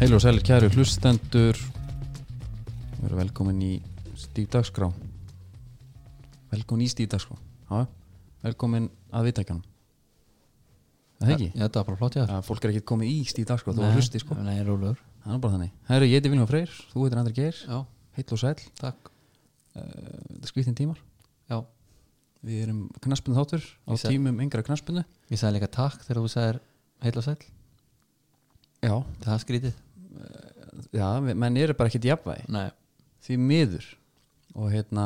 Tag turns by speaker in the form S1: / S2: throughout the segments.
S1: Heilu og sælir kæru hlustendur Við erum velkomin í Stíf Dagskrá Velkomin í Stíf Dagskrá Já, velkomin að vitækjanum Er Það ekki?
S2: Já, þetta var bara flott, já.
S1: Ja. Fólk er ekki komið í Stíf Dagskrá Þú var hlusti sko
S2: Nei, rúlur.
S1: Það er bara þannig Herru, ég heiti Viljum Freyr Þú heitir Andri Geir
S2: Já,
S1: Heill og sæl uh,
S2: takk.
S1: Þetta er skriftin tímar
S2: Já.
S1: Við erum knaspinu þáttur Á
S2: Ég seg-
S1: tímum yngra knaspinu
S2: Ég sagði líka takk þegar þú sagðir heil og sæl.
S1: Já,
S2: Það er skrítið.
S1: já við- menn eru bara ekkert jafnvægi
S2: Nei.
S1: því miður og hérna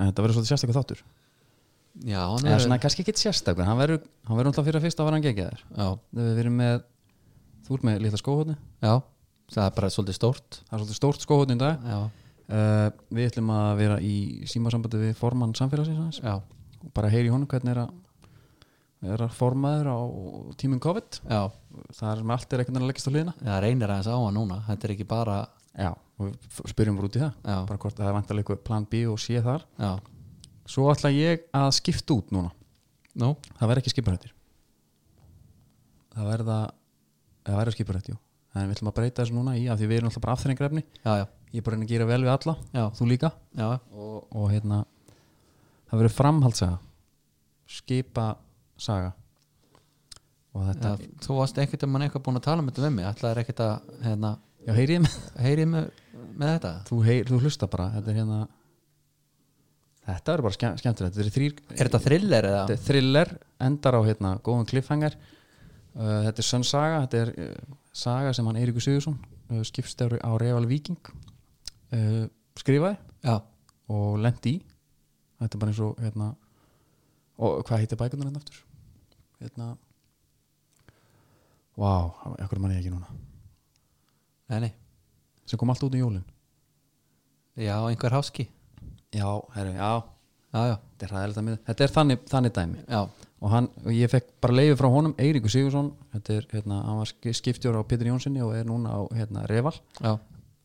S1: en þetta verður svolítið sérstakur þáttur
S2: Já, hann
S1: eða svona kannski ekki sérstakur hann verður hann verður náttúrulega fyrir að fyrsta að vera hann gegja þér
S2: Já,
S1: við erum með þú ert með litla skóhóðni
S2: já. Það er bara svolítið stórt.
S1: það er svolítið stórt skóhóðni í dag
S2: Já,
S1: uh, við ætlum að vera í símasambandi við formann samfélagsins hans
S2: já,
S1: og bara heyri honum hvernig er að er að formaður á tímum COVID
S2: já.
S1: það er sem allt er ekkert að leggast á hliðina
S2: Það reynir aðeins á hann núna. Þetta er ekki bara,
S1: já og við f- spyrjum bara út í það
S2: já,
S1: bara hvort það er vantarlega eitthvað plan B og C þar
S2: já.
S1: svo ætla ég að skipta út núna
S2: Nú?
S1: það verða ekki skipurættir það verða það verða skipurætt, jú en við ætlum að breyta þessu núna í af því við erum alltaf bara afþrengrefni
S2: Já, já,
S1: ég er bara að reyna að gera vel við alla,
S2: já,
S1: þú líka
S2: já,
S1: og, og hérna það verður framhaldsaga skipa saga og
S2: já.
S1: þetta,
S2: Þú varst ekkert um hann eitthvað búin að tala um þetta með mig. Ætlaðir ekkert að, hérna,
S1: já, já heyrið með
S2: heyrið með, með þetta?
S1: þú, heyr, þú hlusta bara, þetta er hérna þetta verður bara skemm, skemmtilegt þetta er þrýr,
S2: Er þetta thriller
S1: þetta
S2: eða?
S1: er thriller endar á hérna, góðan cliffhanger uh, þetta er sönn saga þetta er uh, saga sem hann Eiríkur Sigursson uh, skipstjáru á Reval Viking uh, skrifaði
S2: Já,
S1: og lendi í þetta er bara eins og hérna og hvað heitir bækunar hérna aftur hérna Vá, wow, ekkur mann ég ekki núna
S2: nei, nei.
S1: sem kom allt út í jólin
S2: Já, einhver háski.
S1: já, herri, já,
S2: Já, já,
S1: þetta er hræðilegt að miða þetta er þannig, þannig dæmi
S2: já,
S1: og, hann, og ég fekk bara leiði frá honum Eiríkur Sigursson, þetta er, hérna, hann var ski- skiptjóra á Pétur Jónssoni og er núna á hérna, Reval,
S2: já.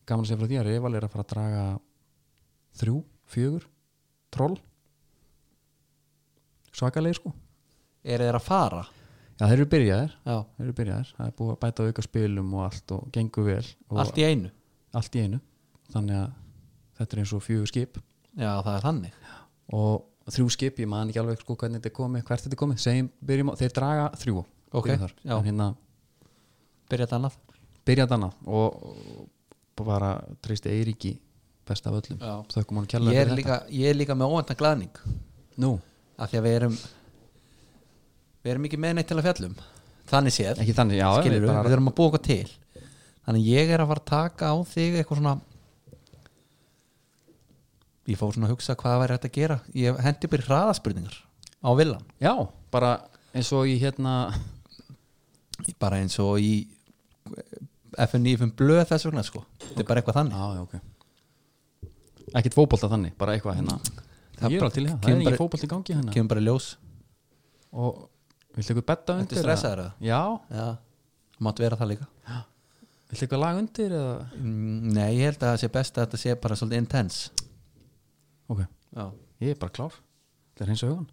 S1: gaman að segja frá því að Reval er að fara að draga þrjú, fjögur troll svakalegir sko
S2: Er þeir að fara?
S1: já þeir eru byrjaðir,
S2: Já,
S1: þeir eru byrjaðir það er búið að bæta auka spilum og allt og gengur vel og
S2: allt í einu
S1: allt í einu þannig að þetta er eins og fjögur skip
S2: Já, það er þannig
S1: og þrjú skip, ég man ekki alveg sko hvernig þetta er komið, hvert þetta er komið, segjum byrjum á, þeir draga þrjú,
S2: Ok,
S1: byrjum þar.
S2: já.
S1: en hérna
S2: Byrja þetta annað
S1: byrjaði annað og og bara treysti Eiríki best af öllum
S2: Já.
S1: þökkum hann
S2: ég
S1: kjærlega
S2: er, líka, ég er líka með óvendan glæðning
S1: þetta Nú,
S2: af því að við erum við erum ekki með neitt til að fjallum þannig séð,
S1: ekki þannig, já
S2: skilur við,
S1: bara,
S2: við erum að búa okkur til þannig ég er að fara að taka á þig eitthvað svona ég fór svona að hugsa hvað væri hægt að gera ég hendi byrja hraðaspurningar á villan
S1: Já, bara eins og í hérna
S2: bara eins og í FNF blöð þess vegna sko þetta er bara eitthvað þannig
S1: Já, já, ok Ekkert fótbolta þannig, bara eitthvað hérna
S2: Það
S1: Ég er
S2: bara
S1: alveg til í það, það
S2: kemur
S1: er
S2: bara-
S1: ekki fótbolta í gangi hérna
S2: kemur bara í ljós
S1: Og viltu eitthvað betta
S2: Ertu
S1: undir?
S2: stressaður eða?
S1: Já,
S2: Já, það mátt vera það líka
S1: viltu eitthvað lag undir eða
S2: Mm, Nei, ég held að það sé best að þetta sé bara svolítið intense
S1: Ok,
S2: Já
S1: ég er bara klár Það er eins og hugan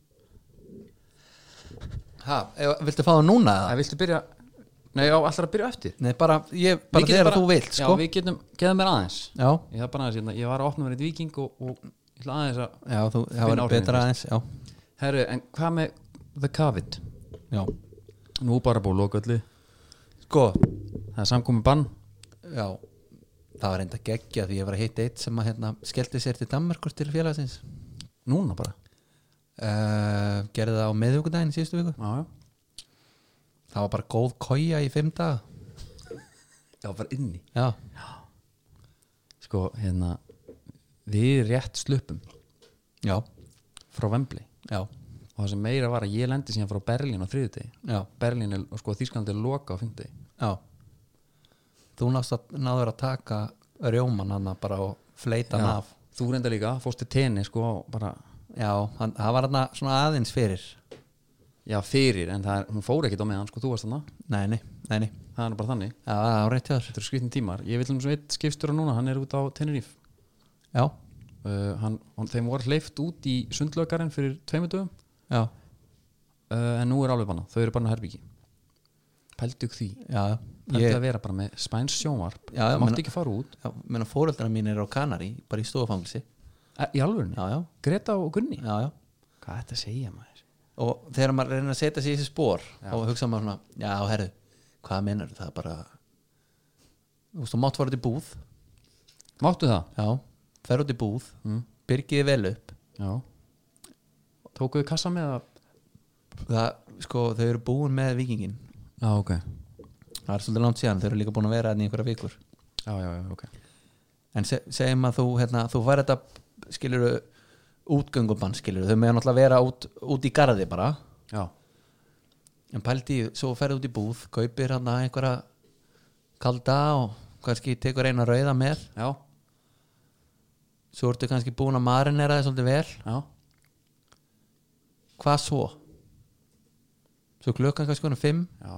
S2: Ha, ef- viltu fá það núna eða?
S1: En viltu byrja Nei, já, allra að byrja eftir
S2: Nei, bara, ég,
S1: Við
S2: bara
S1: getum
S2: þegar þú vilt, sko
S1: Já, við getum, geðum mér aðeins
S2: Já,
S1: Ég það bara aðeins hérna, ég var að opna mér eitt viking og, og ég ætla aðeins að
S2: já, þú,
S1: Finn
S2: það var
S1: áhrifin
S2: betra aðeins Já,
S1: Herru, en hvað með The Covid?
S2: já
S1: Nú bara búið loköllu
S2: Sko,
S1: Það er samkomi bann
S2: já Það var enda geggja því ég var að hitta eitt sem að hérna skellti sér til Danmarkur til félagsins
S1: Núna bara
S2: uh, Gerði það á miðvikudaginn í síðustu viku
S1: Já, já
S2: Það var bara góð koja í fimm daga
S1: Það var bara inni
S2: Já,
S1: Sko, hérna Við rétt slupum
S2: já,
S1: frá Vembli
S2: já,
S1: og það sem meira var að ég lendi síðan frá Berlín á þriðudegi
S2: já,
S1: Berlín er, og sko Þýskalandi er loka á fymdegi
S2: já Þú náðst að náður að taka rjóman hann bara og fleita hann af
S1: Þú reynda líka, fórst til tenni sko og bara,
S2: Já, hann, það var hann svona aðeins fyrir
S1: já fyrir en það er, hún fór ekkit á meðan sko, þú varst þarna
S2: Nei, nei, nei, nei
S1: Það er nú bara þannig,
S2: Já, það var rétt hjá þér
S1: þetta eru skritin tímar Ég vil um sem eitt skipstur á núna, hann er út á Tenerife
S2: Já,
S1: uh, hann, hann, þeim voru hleyft út í sundlögarinn fyrir tveimur dögum
S2: já,
S1: uh, en nú er alveg banna, þau eru bara á herbyggi pældu ykkur því
S2: já,
S1: pældu
S2: ég,
S1: að vera bara með spæns sjónvarp
S2: Já, já,
S1: það mátti
S2: menna-
S1: ekki fara út
S2: já, menna fóreldrar mín eru á Kanari bara í stofangilsi
S1: E, í alvörunni,
S2: já, já,
S1: Greta og Gunni
S2: já, já
S1: hvað þetta segja maður
S2: og þegar maður reynir að setja sig í þessi spór þá hugsa maður svona, já herru hvað meinar það er bara þú veist, þú mátt fara út í búð
S1: máttu það?
S2: já, fer út í búð
S1: Mm.
S2: byrgiði vel upp
S1: já tókuðu kassa með að
S2: það, sko, þau eru búin með vikingin
S1: já, ok
S2: það er svolítið langt síðan, þau eru líka búin að vera þarna í einhverja vikur
S1: já, já, já, ok
S2: en se, segjum að þú, hérna, þú væri þetta skilur útgöngubann skilur þau meðan alltaf vera út, út í garði bara
S1: já,
S2: en pældi, í, svo ferði út í búð kaupir hann að einhverja kalda og kannski tekur eina rauða með
S1: já,
S2: svo ertu kannski búin að marinera þið svolítið vel
S1: já,
S2: hvað svo? svo klukkan kannski konum fimm
S1: já.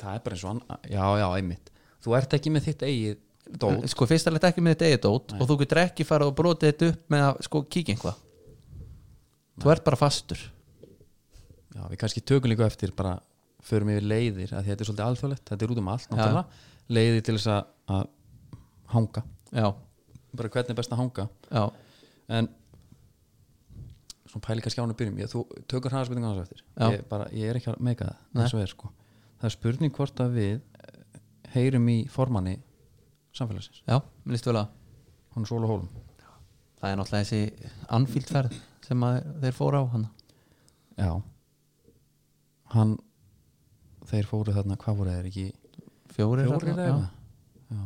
S1: það er bara eins og anna já, já, einmitt þú ert ekki með þitt eigið dót
S2: sko fyrst alveg ekki með þetta eigið dót og þú getur ekki fara og brotið þetta upp með að sko kíkja einhvað þú ert bara fastur
S1: já, við kannski tökum líka eftir bara förum yfir leiðir, að þetta er svolítið alþjóðlegt þetta er út um allt, náttúrulega leiðir til þess að, að hanga
S2: já,
S1: bara hvernig er best að hanga
S2: já,
S1: en svona pæli kannski ánum byrjum ég, þú tökur hana spurningu hans eftir
S2: Já.
S1: ég, bara, ég er ekki að meika það eins og er, sko. það er spurning hvort að við eh, heyrum í formanni samfélagsins,
S2: já, mér líst vel að
S1: hún er Sóla Hólum
S2: það er náttúrulega þessi Anfield ferð sem að þeir fóru á hann
S1: já hann þeir fóru þarna, hvað voru þeir ekki
S2: fjórir,
S1: fjórir
S2: þarna,
S1: eða eitthvað? já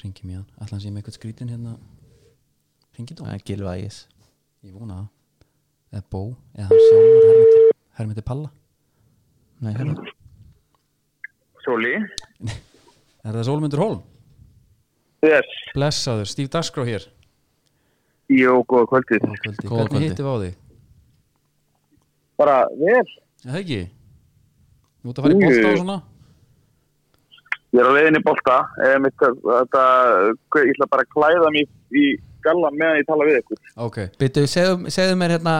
S1: ringi mér hann, allan sé með eitthvað skrítin hérna ringi
S2: já,
S1: dó,
S2: það er gilva ægis
S1: ég vona það eða bó, eða hann sjálfur hermiti, hermiti palla
S2: nei, hérna,
S3: Sóli?
S1: er það Sólmundur Hólm?
S3: Yes.
S1: Blessaður, Steve Dasgró hér
S3: Jó, góða kvöldið.
S1: Góða kvöldi,
S2: Góða
S1: hvernig
S2: kvöldi.
S1: hittum við á þig?
S3: Bara vel.
S1: Er Það ekki? Þú ert að fara í bóta og
S3: Jú.
S1: svona?
S3: Ég er á leiðinni í bolta. Eh, mitt, þetta, ég ætla bara að klæða mig í, í gallan meðan ég tala við ykkur.
S1: Ok,
S2: byrju, segðu, segðu mér hérna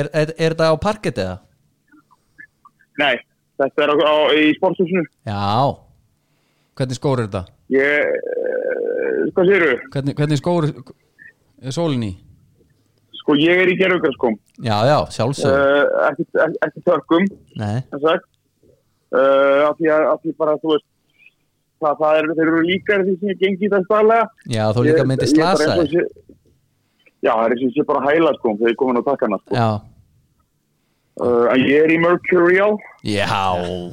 S2: er, er, er það á parkett eða?
S3: Nei, þetta er á, á, í sportshúsinu.
S2: já,
S1: hvernig skór er þetta?
S3: Ég, eh, hvað séru?
S1: Hvernig, hvernig skór er sólin í?
S3: Sko, ég er í gerfugarskóm.
S2: já, já, sjálfsög
S3: Eh, ekki, ekki, ekki törkum,
S2: nei,
S3: sem sagt. Eh, af, því að, af því bara, þú veist, það, það er, þeir eru líkar því sem ég gengi í þess daglega.
S2: já, þú líka myndi
S3: Ég- ég bara
S2: slasa
S3: eins og
S2: þig
S3: sé- Já, það er eins og sé bara að hæla, sko, þegar ég er komin á takkana, sko.
S2: já,
S3: Uh, en ég er í Mercurial
S2: já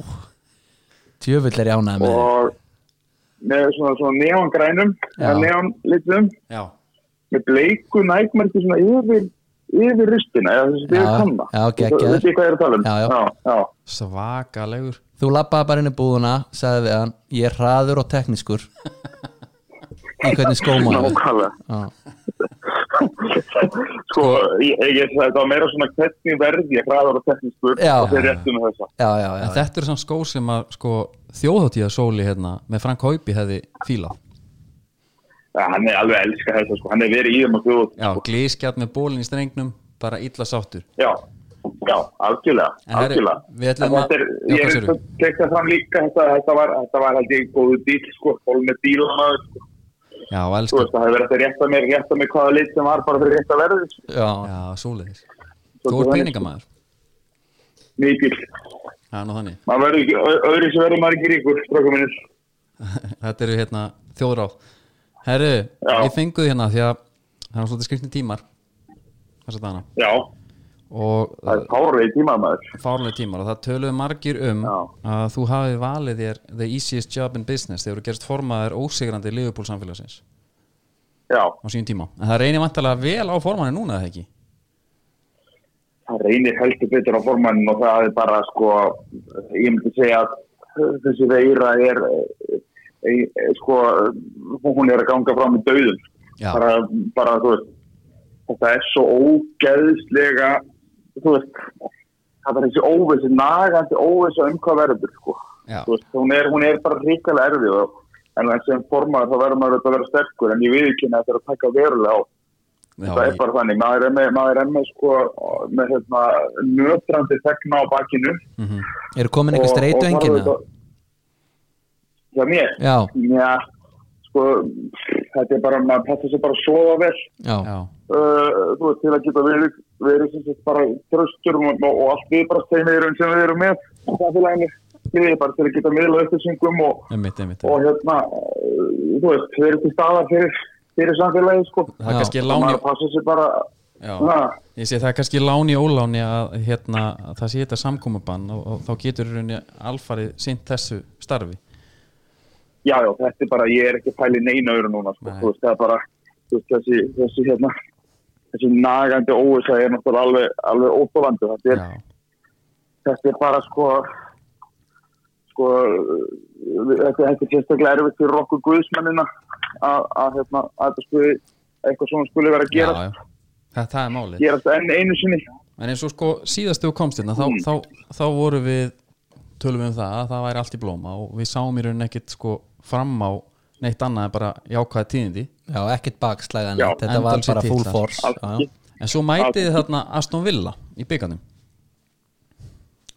S2: tjöfull er ég ánægð með þig
S3: og með svona, svona neongrænum
S2: Já.
S3: eða neonlitum
S1: Já,
S3: með bleiku nægmerki svona yfir, yfir rustina eða
S2: Já,
S3: þessi yfir kanna
S2: já,
S3: Þú-
S2: geggjað.
S3: þú veit ég hvað ég er að tala um
S2: Já, já.
S3: já,
S1: svakalegur
S2: þú lappaði bara inn í búðuna sagði við hann, ég er hraður og teknískur í hvernig skóma ég er.
S3: nákvæmlega
S2: já,
S3: sko, ég, ég, það var meira svona hvernig verð ég hraðar og hvernig spurt
S2: Já.
S3: og þeir réttu með þessa
S2: já, já,
S1: En
S2: já,
S1: þetta eru samt skór sem að sko, þjóðháttíða sóli hérna með Frank Haupi hefði fílað
S3: ja, hann er alveg að elska þessa, sko, hann er verið í þeim og þjóð
S1: Já, glískjart með bólin í strengnum bara illa sáttur
S3: Já, já, algjörlega,
S1: En herri,
S3: algjörlega.
S1: við ætlum
S3: En þetta er,
S1: að- já,
S3: ég
S1: hvað
S3: er
S1: segirðu?
S3: tekta fram líka, þetta, þetta var, þetta var held ég góðu dýl, sko, fólk með dýlamaður, sko,
S1: Já,
S3: þú
S1: elsku
S3: veist, það hefur verið að rétta mér, rétta mér hvaða lit sem var bara fyrir rétta verði, sko,
S2: já.
S1: Já, svoleiðis
S3: Svo
S1: Þú ert
S3: þannig,
S1: peningamæður
S3: mikil,
S1: Já, nú þannig
S3: maður verður ekki, ö- öðru sem verður maður ekki ríkur, strókum minnir,
S1: Þetta eru hérna þjóðráð Herru,
S3: Já.
S1: ég fenguði hérna því að það er svolítið skrifni tímar þess að dana
S3: já,
S1: og
S3: það er párlega í tíma maður,
S1: fárlega tímar og það töluðu margir um
S3: Já.
S1: að þú hafið valið þér the easiest job in business þegar þú gerst formaður ósigrandi liðupól samfélagsins á
S3: já,
S1: sínum tíma en það reynir vantarlega vel á formanni núna eða ekki
S3: það reynir heldur betur á formannin og það er bara, sko, ég myndi segja að þessi veira er, e, e, e, sko, hún er að ganga fram í döðum,
S1: Já,
S3: bara, bara þú veist þetta er svo ógeðslega þú veist það er þessi óvissi, nagandi óvissi um hvað verður sko
S1: já,
S3: Þú veist, hún, er, hún er bara ríkilega erfið og, en sem formaður þá verður maður auðvitað að vera sterkur en ég viðkynna að það er að taka verulega á
S1: Já,
S3: það er
S1: ég-
S3: bara þannig, maður er með, maður er með sko, með hérna, nötrandi þegna á bakinu
S1: Mhm.
S2: eru komin eitthvað
S3: Og-
S2: streitu
S3: og
S2: enginn
S3: horfðu þetta- Já, mér?
S2: Já,
S3: Já, sko, þetta er bara, maður passa sér bara að sofa vel
S2: já,
S1: já,
S3: uh, þú veist, til að geta verið, verið sem sagt bara tröstur og, og, og allt við bara steinveirum sem við erum með í samfélaginu, við bara til að geta miðla upplýsingum og,
S1: einmitt, einmitt
S3: og hérna, uh, þú veist, verið til staðar fyrir, fyrir samfélagi, sko.
S1: það er
S2: Já.
S1: kannski
S3: Og
S1: láni
S3: Maður passa sér bara,
S1: já,
S3: na,
S1: ég sé það er kannski láni óláni að hérna, að það sé þetta samkomubann og, og þá getur í rauninni alfarið sint þessu starfi
S3: já, já, þetta er bara, ég er ekki að pæli neina öru núna, sko,
S1: Nei.
S3: þú veist, það er bara, þú veist, þessi, þessi, hérna, þessi nagandi óvisa er náttúrulega alveg, alveg óþólandi, þetta er,
S1: já,
S3: þetta er bara sko sko við- þetta, þetta er sérstaklega erfitt fyrir okkur guðsmennina að, að, hérna, að þetta skuli eitthvað svona skuli vera að
S1: já,
S3: gera
S1: já. Það, það er málið
S3: gerast enn einu sinni
S1: en eins og sko síðast þegar þú komst hérna þá, þá, þá voru við tölum við um það að það væri allt í blóma og við sáum í rauninni ekkit sko fram á neitt annað en bara jákvæða tíðindi
S2: já, ekkert bakslæðan
S3: Já.
S2: Þetta var
S1: Endalsir
S2: bara full
S1: titlar.
S2: force já, já.
S1: en svo mætið þið þarna Aston Villa í byggarnum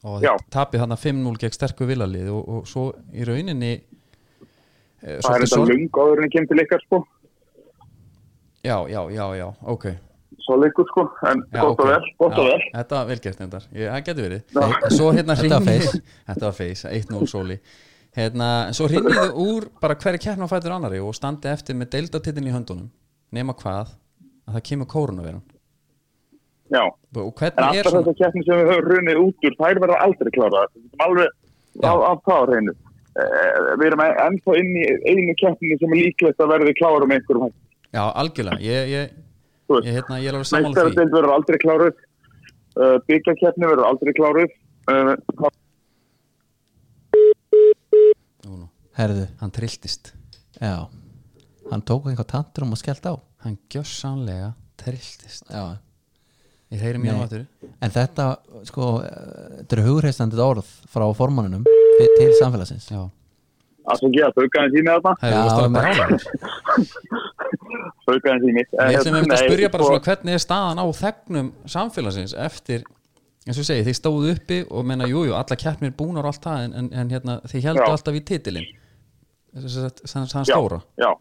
S1: og
S3: Já.
S1: þið tapið þarna 5-0 gegn sterku villalið og, og svo í rauninni eh,
S3: það er
S1: svolítið
S3: þetta
S1: sorg-
S3: lung áður en kemur til ykkar sko
S1: já, já, já, já, ok
S3: svo leikur sko en
S1: Já,
S3: gott
S1: ok.
S3: og vel, gott
S1: Já,
S3: og vel
S1: Þetta var velgert endar, Ég- það getur verið
S3: Já.
S1: Nei, Svo hérna
S2: Þetta var
S1: hringir-
S2: face.
S1: Þetta var feis, 1-0 sóli hérna, Svo hringir þið úr bara hverju kjærna á fætur annari og standi eftir með deildatittin í höndunum nema hvað að það kemur kórunaveiran
S3: já
S1: og
S3: en
S1: hvernig er
S3: alltaf
S1: svona
S3: þessar keppni sem við höfum runnið út úr þær verða aldrei kláraðar. Við erum alveg
S1: Já.
S3: af, af það á hreinu Eh, við erum ennþá inn í einu keppni sem er líklegt að verði klára með einhverjum hætti
S1: Já, algjörlega, ég, ég,
S3: Þú veist.
S1: ég, hérna, ég er alveg sammála því
S3: Meistarabild verður aldrei kláruð uh, Byggjarkeppni verður aldrei kláruð uh, það-
S1: Nú, nú,
S2: Herðu,
S1: Hann trilltist
S2: já Hann tók eitthvað tantrum og skellt á
S1: Hann gjössanlega trilltist
S2: Já,
S1: Ég heyri mjög
S2: Nei.
S1: á þetta
S2: En þetta, sko, eh, þetta eru hugreistandi orð frá formanninum fi- til samfélagsins
S1: Já,
S3: að sem gera þaukaðin tími þarna
S1: það er
S2: Já,
S1: það
S2: en-
S1: með álægur
S3: þaukaðin tími
S1: Ég ætlum einmitt að spyrja
S3: sko,
S1: bara svona hvernig er staðan á þegnum samfélagsins eftir eins og ég segi, þeir stóðu uppi og menna jújú, jú, alla keppnir búnar og allt það en, en, en hérna, þeir heldur
S3: Já.
S1: alltaf í titilin sem hann
S3: já,
S1: stóra
S3: já.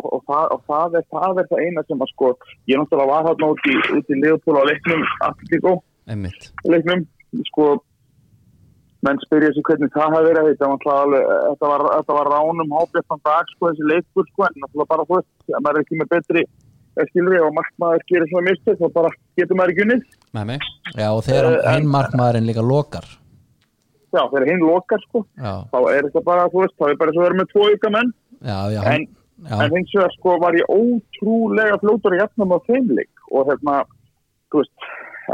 S3: Og, og, það, og það, er, það er það eina sem að sko ég náttúrulega var þarna út í, út í Leopold á leiknum Atletico
S1: emmitt,
S3: leiknum sko menn spyrja sig hvernig það hefði verið þetta var, náttúrulega alveg, eh, þetta var, þetta var ránum hábjartan dag sko þessi leikur sko en náttúrulega bara þú veist að maður er ekki með betri skilri og markmaður gerir svona mistök þá bara getur maður ekki unnið
S1: með mig
S2: Já, og þegar
S3: Eh, en-
S2: hinn markmaðurinn líka lokar
S3: já þegar hinn lokar sko
S2: Já,
S3: þá er þetta bara, þú veist, þá er bara svo verið með tvo auka menn,
S2: já, já,
S3: en,
S2: hann, já,
S3: en hins vegar sko var ég ótrúlega flótur í jafnum á þeimleik og hérna, þú veist,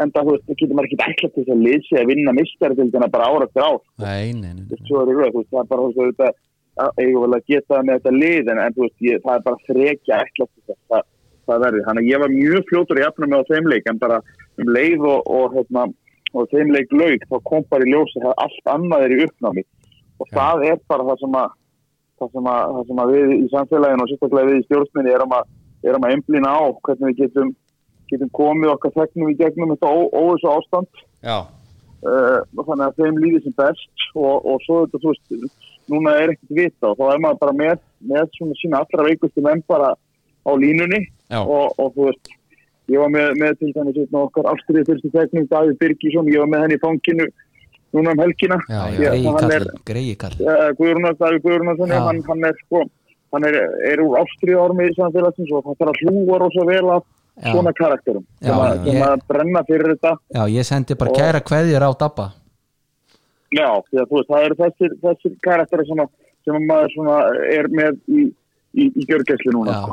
S3: enda þú veist, það getur maður ekki ætla til þess að lýsi að vinna mistarðildina bara ára eftir ár,
S1: nei, nei, nei, nei.
S3: svo er ég röð, þú veist, það er bara, þú veist, þetta, eigum vel að geta með þetta lið, en, en þú veist, ég, það er bara frekja ætla til þess, það, það verði, þannig að ég var mjög flótur í jafnum á þeimleik, en bara um leið og, og hérna, og þeimleik lauk, þá kom bara í ljósi að allt annað er í uppnámi og
S1: Já.
S3: það er bara það sem að það sem að, það sem að við í samfélaginu og sérstaklega við í stjórnminni erum að, erum að einblýna á hvernig við getum, getum komið okkar þegnum í gegnum þetta óvissu ástand
S1: já,
S3: uh, þannig að þeim líði sem best og, og svo þetta, þú veist, núna er ekkert vita og þá er maður bara með, með svona sína allra veikustu menn bara á línunni
S1: já,
S3: og, og þú veist, ég var með, með til dæmis hérna, okkar ástriðið fyrstu þegnum Davíð Birgisson, ég var með henni í fanginu núna um helgina
S1: Já, já.
S3: Ég-
S2: greiði
S3: hann er-
S2: kall Greiði kall,
S3: Eh, Guðrúnar, Davíð Guðrúnarsson
S2: Já.
S3: hann, hann er sko hann er, er úr ástriðu ármi í samfélagsins og það þarf að hlúa rosa vel að
S2: Já.
S3: svona karakterum
S2: Já,
S3: sem, að,
S2: já.
S3: sem að brenna fyrir þetta
S2: já, ég sendi bara
S3: Og-
S2: kæra kveðjur á Dabba
S3: já, því að þú veist, það eru þessir, þessir karakterar sem, að, sem að maður svona er með í, í, í gjörgæslu núna
S2: Já.
S3: sko.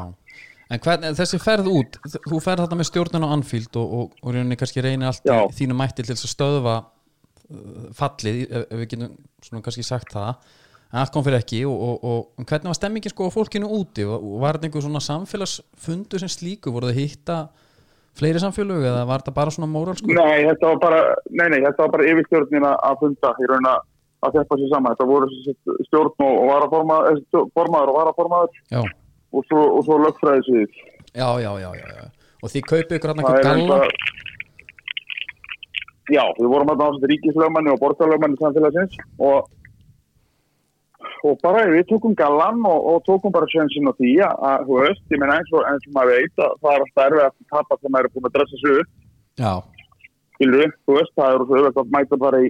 S1: en hvernig, þessi ferð út þú ferð þetta með stjórnun á Anfield og, og, og rauninni kannski reynir allt
S3: Já.
S1: í þínu mætti til þess að stöðva uh, fallið, ef, ef við getum svona kannski sagt það en allt kom fyrir ekki og, og, og en hvernig var stemmingin sko á fólkinu úti og, og var þetta einhver svona samfélagsfundu sem slíku, voru það hitta fleiri samfélög eða var þetta bara svona sko? móralsku?
S3: Nei, þetta var bara, nei, nei, þetta var bara yfirstjórnin að- að funda í raun að að þeppa sér saman, þetta voru sem sagt stjórn og, og varaformaður, eh, stjórn- formaður og varaformaður
S1: Já,
S3: og svo, og svo lögfræðisvið
S1: já, já, já, já, já. og því kaupið ykkur hann
S3: Það
S1: eitthvað
S3: er
S1: galla
S3: eitthvað- Já, við vorum að náðast ríkislöfmanni og borgarlöfmanni samfélagsins og, og bara við tókum gallan og, og tókum bara sjönsinn og því að, að þú veist, ég meina eins og, eins og maður veit að það er alltaf erfið að tapa þegar maður er búin að dressa sig upp,
S2: já,
S3: skilur þú veist, það er svo auðvitað að mæta bara í,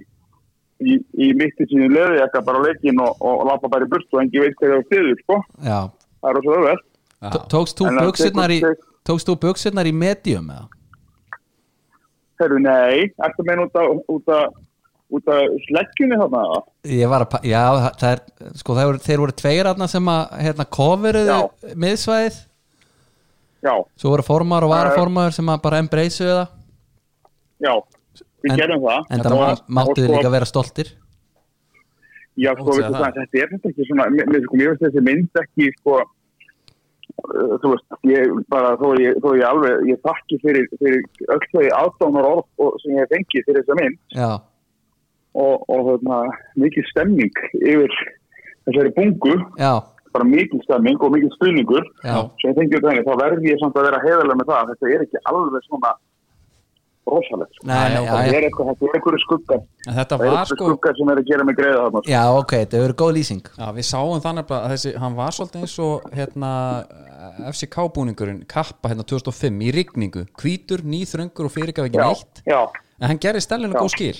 S3: í, í mitt í sínu leði eitthvað bara á leikinn og, og lappa bara í burt og engi veit hvað það stiður, sko,
S2: já.
S3: það er svo auðvitað.
S2: Tó- Tókst þú
S3: En það
S2: buksurnar í
S3: tekur- tek-
S2: Tókst þú buksurnar í medium eða?
S3: Herru, nei, ertu meina út að, út að, út að sleggjunni þarna, eða?
S2: Ég var að, pa- já, það það er, sko, það voru, þeir voru tveir aðna sem að, hérna, coveruðu miðsvæðið,
S3: já.
S2: svo voru formar og varaformaður sem að bara embraceuðu það,
S3: Já, við
S2: En-
S3: gerum það.
S2: en það
S3: Og- og
S2: máttuðu
S3: sko-
S2: líka vera stoltir.
S3: Já, sko,
S1: Mótsaga
S3: veistu
S1: það.
S3: það, þetta er þetta ekki svona, mér, mér- sko, mér finnst þessi mynd ekki, sko, uh, þú veist, ég bara, þó ég, þó ég alveg, ég þakki fyrir, fyrir öll þau aðdánar orð og, sem ég hef fengið fyrir þessa mynd
S2: Já,
S3: og, og þarna, mikið stemning yfir þessari bungu,
S2: já,
S3: bara mikið stemming og mikið stuðningur
S2: Já.
S3: sem ég fengi út af henni, þá verð ég samt að vera heiðarlega með það, að þetta er ekki alveg svona rosalegt, sko.
S2: Nei, nei,
S3: það
S2: já, já.
S3: er eitthvað, þetta er einhverju skuggar
S1: en þetta
S3: það er
S1: var
S3: einhverju
S1: sko
S3: skuggar sem er að gera mig greiða þarna, sko.
S2: já, ok, þetta hefur verið góð lýsing.
S1: Já, við sáum þannig að þessi, hann var svolítið eins og hérna, FCK búningurinn kappa hérna 2005 í rigningu, hvítur, nýþröngur og fyrirgaf ekki
S3: Já,
S1: neitt,
S3: já,
S1: en hann gerði stellinu
S3: Já.
S1: góð skil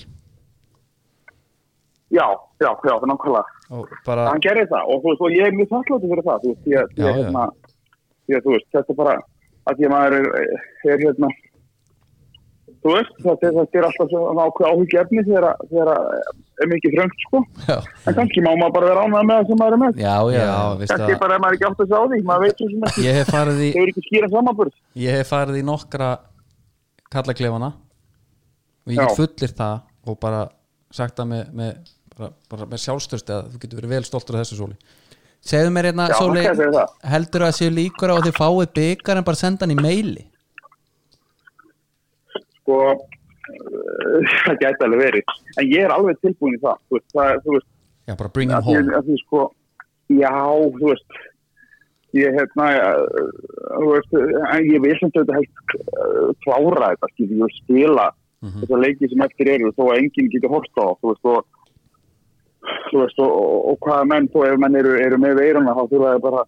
S3: já, já, já, það er nákvæmlega.
S1: og bara,
S3: Hann gerði það og þú veist, og ég er mjög þakkláttið fyrir það, þú veist, ég,
S1: Já,
S3: ég,
S1: já.
S3: hérna, ég, þú veist, þetta er bara, að ég maður er, er hérna, þú veist, þetta, er- þetta er alltaf svona ákveð áhugjefni þegar, að- þegar að er mikið þröngt, sko.
S2: Já,
S3: En kannski má maður bara vera ánægð með það sem maður er með.
S2: já,
S1: Mm.
S2: já,
S1: já, veistu
S3: Kannski
S1: að
S3: bara er maður ekki átt að sjá því, maður veit svo sem ekki,
S1: ég hef farið í
S3: þau eru ekki skýra samanbörð.
S1: ég hef farið í nokkra kallaklefana og ég
S3: Já.
S1: get fullir það og bara sagt það með, með bara, bara með sjálfstörst að þú getur verið vel stoltur af þessu sóli
S2: Segðu mér hérna,
S3: Já,
S2: Sóli,
S3: ok, segðu það.
S2: heldur að séu líkur á að þið fáið byggar en bara senda hann í meili?
S3: sko eh, það gæti alveg verið en ég er alveg tilbúin í það þú veist, það, þú veist
S1: já, bara bring him
S3: að því,
S1: home
S3: að því sko já, þú veist ég hérna ja, þú veist, en ég vil sem þetta helst eh, klára þetta, skil, ég vil spila mm
S2: Mhm.
S3: þessar leiki sem eftir eru þó að enginn getur horft á þá, þú veist og þú veist og, og, og hvaða menn þó ef menn eru, eru með veiruna þá þurfa það bara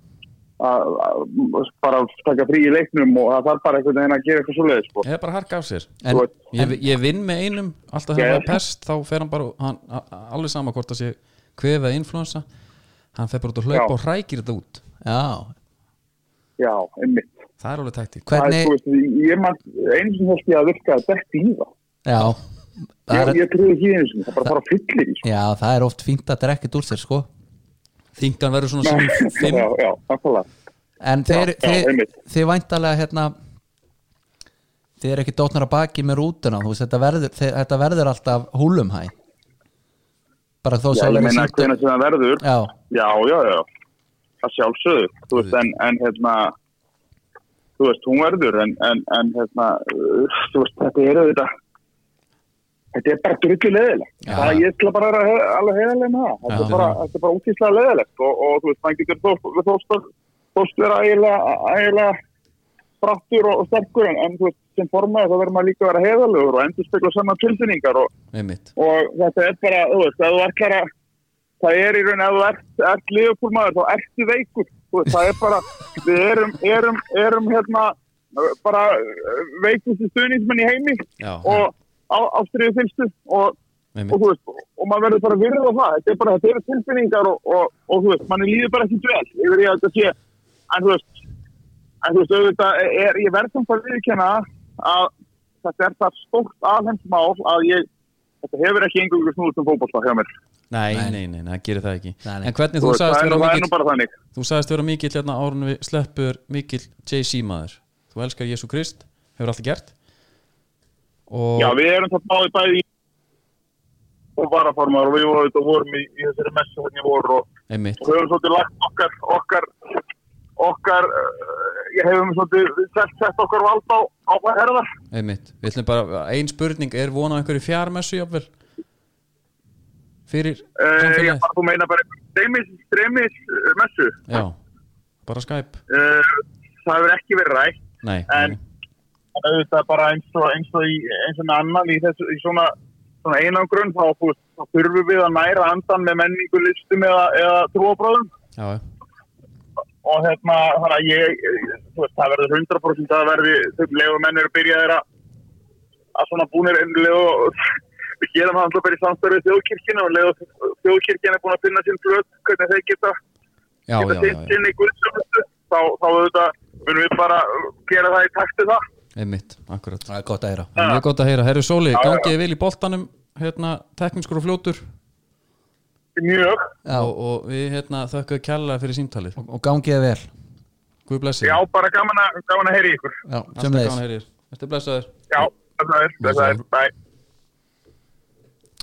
S3: að að- bara taka frí í leiknum og það þarf bara einhvern veginn að gera eitthvað svoleiði sko.
S1: eða bara harka af sér
S2: En,
S3: Þú veist-
S1: ég, ég vinn með einum alltaf þegar
S3: Já,
S1: hann er
S3: já.
S1: pest þá fer hann bara, hann, a- a- alveg sama hvort að sé kvefið eða influensa hann fer bara út að hlaupa
S3: Já.
S1: og hrækir þetta út
S2: já,
S3: já, einmitt
S1: það er alveg taktík
S3: Hvernig...
S2: hvernig,
S3: Veist, ég man einu sem þess að virka að detti í það.
S2: já, það
S3: Ég,
S2: er,
S3: ég trúi ekki einu sem, það bara fara fyllir í. sko.
S2: já, það er oft fínt að drekka þetta úr sér, sko.
S1: þingan verður svona sem fimm
S3: Já, já, nákvæmlega.
S2: En þeir,
S3: já,
S2: þeir,
S3: einmitt.
S2: þeir væntalega hérna þeir eru ekki dótnar að baki með rútuna þú veist, þetta verður, þeir, þetta verður alltaf húlumhæ bara þó
S3: Já,
S2: sjálf
S3: ég
S2: er
S3: meina
S2: sýndu
S1: um-
S3: hvernig sem það verður.
S2: Já,
S3: Já, já, já. Það sjálfsögðu. Þú veist, en, en hérna, þú veist, hún verður, en, en, en hérna, uh, þú veist, þetta eru þetta. Þetta er bara drullu leðilegt.
S2: Já.
S3: Það ég ætla bara að vera he- alveg heiðarlega með það. Þetta
S1: Já.
S3: er bara, þetta er bara útíslega leðilegt og, og þú veist, maður getur þóst, þóst, þóst vera eiginlega, eiginlega brattur og, og sterkur en, en þú veist, sem formaði þá verður maður líka að vera heiðarlegur og endur spekla saman tilfinningar og,
S1: einmitt
S3: og þetta er bara, þú veist, að þú ætlar að það er í raun að þú ert, ert liðupúlmaður, þá ertu veikur þú veist, það er bara, við erum erum, erum hérna bara veikustu stuðningsmenn í heimi
S1: Já,
S3: og ástriðu fylgstu og, og
S1: einmitt
S3: þú veist, og maður verður bara virð á það, þetta er bara, þetta eru tilfinningar og, og, og þú veist, manni líður bara ekki dvel yfir ég að þetta sé, en þú veist en þú veist, auðvitað er, ég verð samt að viðkjanna að þetta er það stórt alheimsmál að ég, þetta hefur ekki engungu snúðust um fótbollta hjá mér
S1: nei, nei, nei, nei, það gerir það ekki
S2: Nei, nei.
S1: en hvernig
S3: Þú
S1: þú
S3: veist,
S1: sagðist
S3: það er nú-
S1: vera
S3: það er nú
S1: mikill
S3: bara þannig
S1: þú sagðist vera mikill hérna árun við sleppur mikill JC maður þú elskar Jésu Krist, hefur alltaf gert og
S3: Já, við erum það báði bæði í og varaformar og við vorum auðvitað vorum í, í þessari messu hvernig voru og,
S1: einmitt,
S3: og höfum svolítið lagt okkar okkar, okkar uh, ég hefum svolítið sett, sett okkar vald á, á hvað herðar
S1: einmitt við ætlum bara, ein spurning, er vonað einhverju fjármessu jafnvel fyrir
S3: uh, ég
S1: samfélagið?
S3: bara, þú meina bara streymis, streymis uh, messu
S1: Já, bara Skype
S3: uh, það hefur ekki verið rætt
S1: Nei,
S3: En-
S1: nei.
S3: en auðvitað bara eins og, eins og, í, eins og með annan í, þessu, í svona, svona einangrun þá, þú veist, þá þurfum við að næra andan með menningu, listum eða, eða trúabráðum
S1: já, já,
S3: og hérna, þannig að ég, þú veist, það verður 100% að verði, þau legu menn eru byrjaðir að, að svona búnir ennlegu og við gerum það alltaf bara í samstarfið þjóðkirkina og legu þjóðkirkina er búin að finna sín flöt, hvernig þeir geta,
S1: já, já,
S3: geta
S1: já,
S3: sinnt
S1: já.
S3: sinni guðsjóðustu, þá, þá auðvitað munum við bara gera það í takti það.
S1: einmitt, akkurat
S2: Það er gott að heyra
S1: Það er mjög gott að heyra, herru Sóli,
S3: já.
S1: gangið þið vel í boltanum hérna, teknískur og fljótur
S3: Mjög,
S2: Já,
S1: og, og við hérna, þökkum kjærlega fyrir símtalið
S2: og gangiði vel Já,
S1: Guð blessi
S3: já, bara gaman að, gaman að heyri ykkur.
S2: sömuleiðis.
S1: Þetta er blessaður
S3: Já, það er, það er, bæ.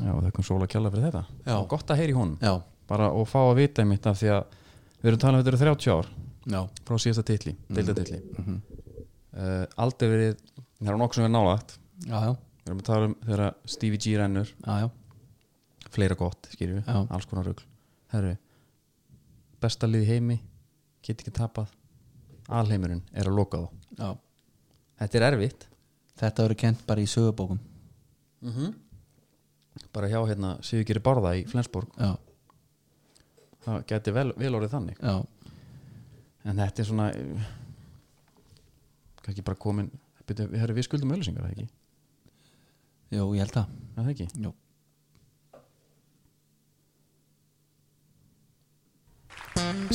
S1: Já, þökkum Sóla kjærlega fyrir þetta
S2: Já.
S1: Og Gott að heyra í honum
S2: Já,
S1: bara og fá að vita einmitt af því að við erum talað um þetta eru 30 ár
S2: já,
S1: frá síðasta titli, deildatilli mm uh, aldrei verið það er nokkuð sem verið nálagt
S2: já, já,
S1: við erum að tala um þegar að Stevie G rennur
S2: já, já.
S1: fleira gott, skýrjum við,
S2: Já.
S1: alls konar rugl herru, besta lið í heimi get ekki tapað alheimurinn er að loka þá
S2: já.
S1: þetta er erfitt
S2: Þetta verður kent bara í sögubókum Mhm.
S1: bara hjá hérna Sigurgeri Barða í Flensborg
S2: Já,
S1: það geti vel, vel orðið þannig
S2: já,
S1: en þetta er svona eh, kannski bara komin byrju, herru, við skuldum öllusingar, það ekki?
S2: jú, ég held að
S1: Er það ekki?
S2: Jú,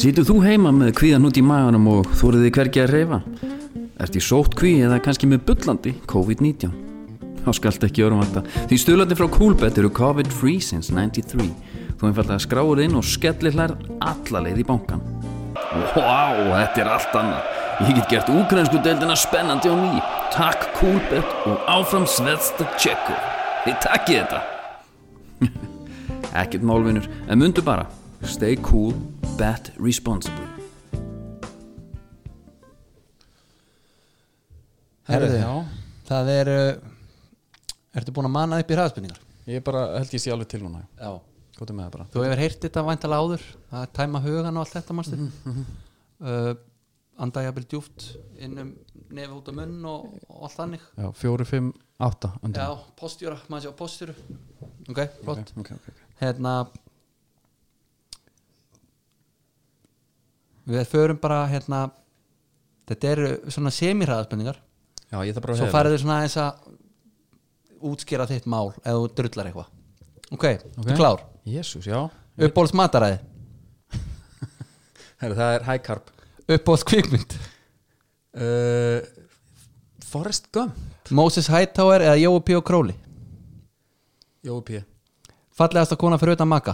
S4: Situr þú heima með kvíðan út í maganum og þórið þið hvergi að reyfa? Ert í sótt kví eða kannski með bullandi COVID-19? Þá skalt ekki örmata. Því stulandi frá Coolbet eru COVID-free since 93. Þú einfallega skráir inn og skellir hlærð alla leið í bankan. Vá, þetta er allt annað. Ég get gert úkrensku deildina spennandi á ný. Takk Coolbet og áfram Svetsta Tjekko. Þið takkið þetta. Ekkert málvinur, en mundu bara Stay cool, bet responsibly
S2: herðu,
S1: já.
S2: það er uh, Ertu búin að manna upp í hraðspinningar?
S1: Ég bara held ég sé alveg til núna
S2: Já
S1: Góti með það bara
S2: Þú hefur heyrt þetta væntalega áður að tæma hugan og allt þetta manstu uh, Anda jafnvel djúft innum nefn út á munn og, og allt þannig
S1: Já, fjóri, fimm, átta undir.
S2: Já, postjóra, maður sé á postjóru Ok, flott
S1: Ok, ok, ok, ok.
S2: Hérna Við förum bara hérna Þetta eru svona semirhraðarspenningar
S1: Já, ég þarf bara að
S2: Svo
S1: heyra
S2: farið þið svona aðeins að útskýra þitt mál eða þú drullar eitthvað Ok, okay.
S1: Ok.
S2: þú klár
S1: Jesús, já
S2: Uppbóls mataræði,
S1: Heru, Það er high carb
S2: uppbóls kvikmynd
S1: uh, Forrest Gump
S2: Moses Hightower eða Jói P. og Króli
S1: Jói P
S2: Fallegasta kona fyrir utan maka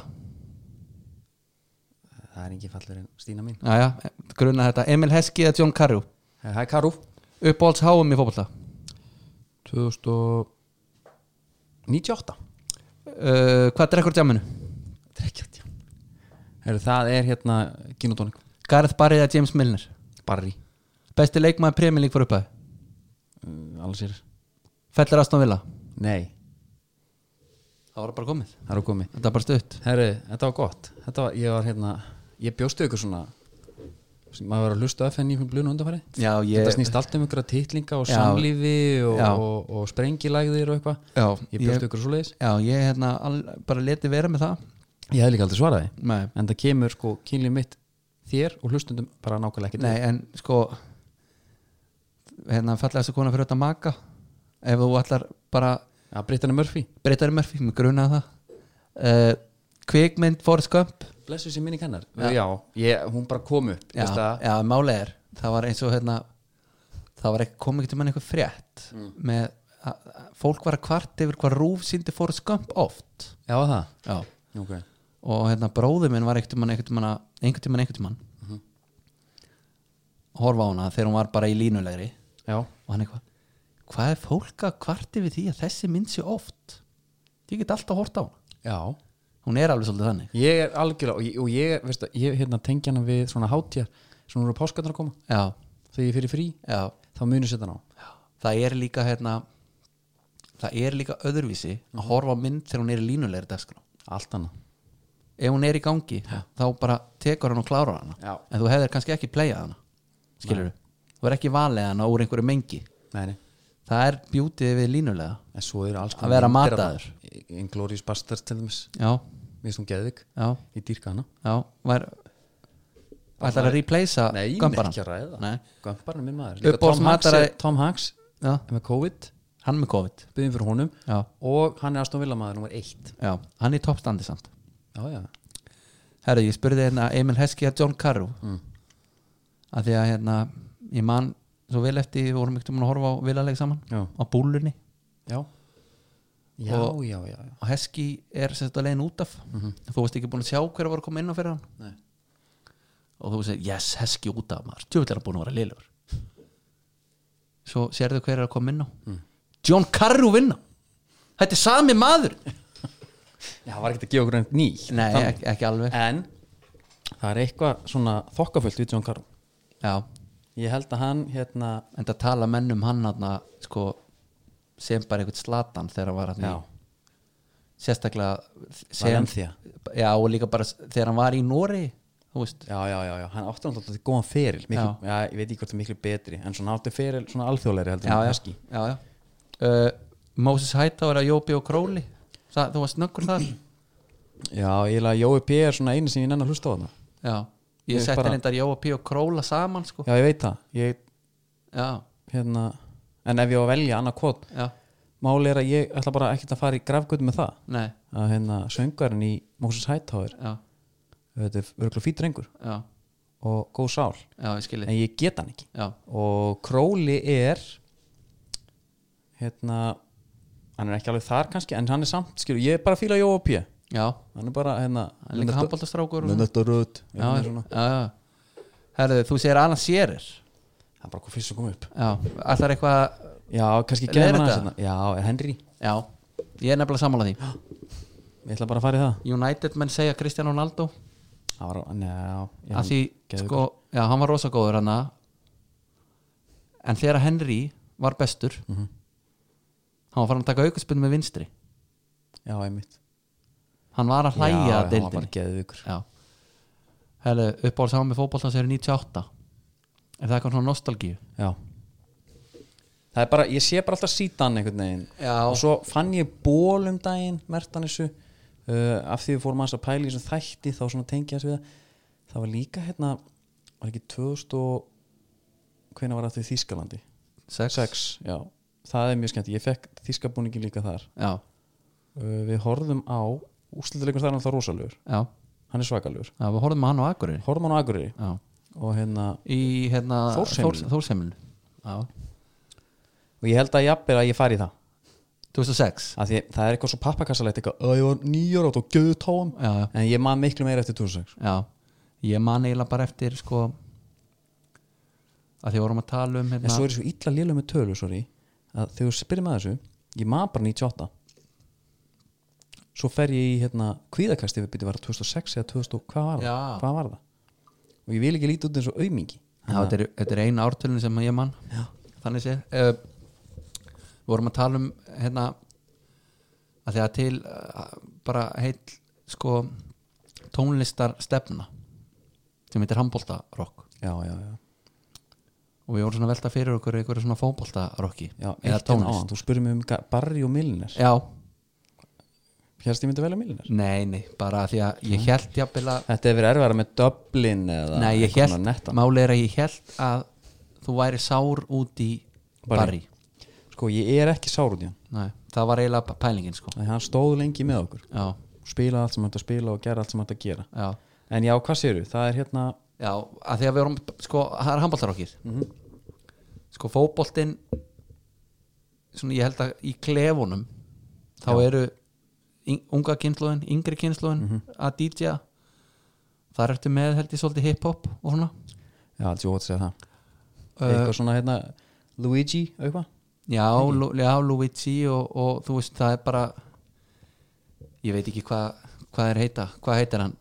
S1: Það er engin fallur en Stína mín Eh,
S2: Jæja, grunna þetta Emil Heski eða John Carrew
S1: High Karu
S2: Uppbóls háum í fótbolta
S1: 2098
S2: uh, Hvað drekkur djáminu?
S1: Trekkjátt, já Heru, Það er hérna Ginotónik
S2: Gareth Barry eða James Milner
S1: Barry
S2: Besti leikmaður premjölík fyrir upphæði
S1: uh, Alls er
S2: Fellur Aston Villa
S1: Nei,
S2: Það var bara komið
S1: það eru komið
S2: Þetta er bara stutt
S1: Herru, þetta var gott Þetta var, ég var hérna Ég bjóstu ykkur svona sem maður var að hlusta á FN í blunum undanfæri
S2: Já, ég-
S1: Þetta snýst allt um ykkur að titlinga og
S2: Já.
S1: samlífi og,
S2: Já.
S1: og, og sprengilægðir og eitthvað
S2: Já,
S1: Ég bjóstu
S2: ég-
S1: ykkur svoleiðis
S2: Já, ég hérna al, bara leti vera með það
S1: Ég hef líka aldrei svaraði
S2: Nei,
S1: En það kemur sko kynlið mitt þér og hlustundum bara nákvæmlega ekki
S2: Nei en sko hérna fallegasta kona fyrir utan maka ef þú ætlar bara
S1: til Að Brittany Murphy
S2: breytari Murphy, mér grunaði það uh, kvikmynd Forrest Gump
S1: Blessu sem minni kennar Já, ég, hún bara kom upp
S2: já,
S1: veist það?
S2: já málega er það var eins og hérna það var ekki, kom ekki til mann eitthvað frétt með að að fólk var að kvart yfir hvað rúf síndi Forrest Gump oft
S1: já, það
S2: já.
S1: okay.
S2: og hérna bróður minn var einhvern tímann einhvern tímann að- einhvern tímann einhvern tímann horfa á hana þegar hún var bara í línulegri
S1: Já,
S2: og hann eitthvað hvað er fólk að kvarti við því að þessi mynd sé oft ég get alltaf hort á hana
S1: já
S2: hún er alveg svolítið þannig
S1: Ég er algjörlega og ég, og ég, veistu, ég hérna, tengja hana við svona hátíjar svona eru páskarnar að koma
S2: já,
S1: þegar ég er fyrir frí
S2: já,
S1: þá munu setja hann á
S2: það er líka hérna, það er líka öðruvísi að horfa á mynd þegar hún er í línulegri dagskrá
S1: allt annað
S2: ef hún er í gangi þá bara tekur hann og klárar hana
S1: Já.
S2: en þú hefðir kannski ekki playað hana skilur þú, þú er ekki valið hana úr einhverju mengi
S1: Nei, nei.
S2: það er bjútið við línulega
S1: en svo eru alls
S2: Að vera
S1: myndir af-
S2: mataður.
S1: Inglourious Basterds til dæmis
S2: já,
S1: Mér finnst hún geðvik
S2: já,
S1: Ég dýrka hana
S2: já var, ætlar að replacea
S1: Nei, ég er
S2: gömbaran
S1: ekki að ræða
S2: Nei.
S1: Gömbaran er minn maður
S2: Uppáhalds
S1: Tom Hanks, er,
S2: mataræði-
S1: Tom Hanks
S2: já,
S1: er með COVID
S2: hann er með COVID
S1: Byðum fyrir honum
S2: já,
S1: Og hann er Aston Villa maður nummer eitt
S2: já, hann er í toppstandi samt
S1: Já, já
S2: Herru, ég spurði hérna Emil Heski að John Carrew mm. að því að hérna ég man svo vel eftir við vorum ekkert um að horfa á vilaleg saman
S1: Já.
S2: á búlunni
S1: Já, já,
S2: Og-
S1: já, já, já.
S2: og Heski er sem þetta leiðin út af þú varst ekki búin að sjá hverja var að koma inn á fyrir hann
S1: Nei.
S2: og þú segir yes, Heski út af maður djúvill er hann búin að vera liðlegur svo sérðu hverja er að koma inn á John Carrew vinna þetta er sami maður
S1: Já, það var ekkert að gefa okkur einn ný
S2: nei, ekki, ekki alveg
S1: En það er eitthvað svona þokkafullt við John Carroll
S2: já,
S1: Ég held að hann hérna
S2: en það tala menn um hann hann sko sem bara einhvern slatan þegar hann var hann í sérstaklega sem,
S1: Valencia.
S2: já og líka bara s- þegar hann var í Nóri þú veist
S1: Já, já, já, já, hann átti alltaf til góðan feril miklu, já. ég veit ekki hvort það er miklu betri En svona átti feril, svona alþjóðleiri heldur
S2: já,
S1: en
S2: já,
S1: Husky.
S2: já, já. Uh, Moses Hightower að Jóbi og Króli Þa, þú var snöggur þar
S1: já, ég lega Jói P er svona einu sem ég nenni að hlusta á þarna
S2: já, ég
S1: Ég
S2: setti
S1: bara-
S2: bara... reyndar Jóbi og Króla saman sko.
S1: Já, ég veit það ég,
S2: já,
S1: hérna, En ef ég á að velja annað kvot
S2: já,
S1: Máli er að ég ætla bara ekkert að fara í grafgötu með það
S2: nei
S1: Að hérna, söngarinn í Moses Hightower
S2: já,
S1: Þetta er örgulega fýtt drengur
S2: já,
S1: og góð sál
S2: já, ég skilji
S1: En ég get hann ekki
S2: já,
S1: og Króli er hérna hann er ekki alveg þar kannski en hann er samt, skilur, ég er bara að fíla Jóa P
S2: já,
S1: hann er bara, hérna
S2: hann er líka handbóltastrákur já,
S1: Lennart og Rödd
S2: já,
S1: hann
S2: já, já. herðu, þú segir Alan Shearer
S1: er bara hvað fyrst að koma upp
S2: já, allar eitthvað
S1: já, kannski
S2: Er
S1: geðum hann
S2: þetta?
S1: aðeins hérna já, er Henry,
S2: já, ég er nefnilega sammála því
S1: ég ætla bara að fara í það
S2: United menn segja Cristiano Ronaldo
S1: það var, njá, já,
S2: að því,
S1: geðveikur.
S2: sko, já, hann var rosa góður hann en þegar Henry var bestur hann var farin að taka aukaspunni með vinstri
S1: já, einmitt
S2: hann var að
S1: já,
S2: hlæja
S1: hann
S2: að
S1: var bara
S2: deildinni
S1: geðvíkur
S2: já, hefðu uppáhalds hann með fótbolta sem eru 98 ef það er eitthvað svona nostalgíu
S1: já það er bara, ég sé bara alltaf sítan einhvern veginn
S2: Já.
S1: og svo fann ég ból um daginn mertanissu uh, af því við fórum aðeins að pæla í þessum þætti þá svona tengja þess við það það var líka hérna, var ekki 2000 og hvenær var þetta í Þýskalandi 6, já, það er mjög skemmt ég fekk Þýskabúningi líka þar
S2: já,
S1: uh, við horfðum á, úslitileikur það er alltaf rosalugur
S2: já,
S1: hann er svakalugur,
S2: já við horfum að hann á Akureyri
S1: horfum hann á Akureyri
S2: já,
S1: og hérna,
S2: í hérna
S1: Þórsheimilinu.
S2: Þórsheimilinu já,
S1: og ég held að jafnir að ég fari í það
S2: 2006
S1: að því, það er eitthvað svo pappakassalegt eitthvað, að ég var nýjar átt og göðu táum
S2: já, já
S1: en ég man miklu meira eftir 2006
S2: Já, ég man eiginlega bara eftir sko að því vorum að tala um
S1: en
S2: hérna,
S1: svo er ég svo illa lélega með tölu sorry, að þegar þú spyrir með þessu ég man bara 98 svo fer ég í hérna kvíðakasti við byrja var það 2006 eða 2000 og hvað var það,
S2: Já.
S1: hvað var það? og ég vil ekki líta út eins og aumingi
S2: já, þetta, er, þetta er eina ártölun sem ég man já. þannig sé uh, vorum að tala um hérna að því að til uh, bara heill sko tónlistar stefna sem heitir handbóltarokk
S1: já, já, já,
S2: og við vorum svona að velta fyrir okkur einhverju svona fótbóltarokki
S1: já
S2: eða
S1: eitt en áðan,
S2: tónlist
S1: þú spyrir mig um ga- Barry og Milner
S2: Já,
S1: hérst ég myndi velja Milner
S2: nei, nei, bara að því að ég held jafnvel að
S1: þetta hefur verið erfara með Dublin eða
S2: Nei, ég
S1: eitthvað
S2: held,
S1: netta.
S2: máli er að ég held að þú væri sár út í Barry,
S1: Barry. sko ég er ekki sár út í hann
S2: Nei, það var eiginlega p- pælingin sko
S1: Nei, hann stóð lengi með okkur
S2: Já,
S1: spila allt sem hann ætti að spila og gera allt sem hann ætti að gera
S2: já,
S1: en já, hvað séru, það er hérna
S2: já að því að við vorum, sko, það er handbóltarokkið Sko, fótboltinn svona ég held að í klefunum þá eru yng- unga kynnslóðin, yngri kynnslóðin að DJ-a þar ertu með held ég svolítið hip-hop og svona
S1: já, það er svo ótt að segja það eitthvað svona hérna Luigi, eitthvað
S2: Já, Lu, já Luigi og, og þú veist það er bara ég veit ekki hvað hvað er heita, hvað heitir hann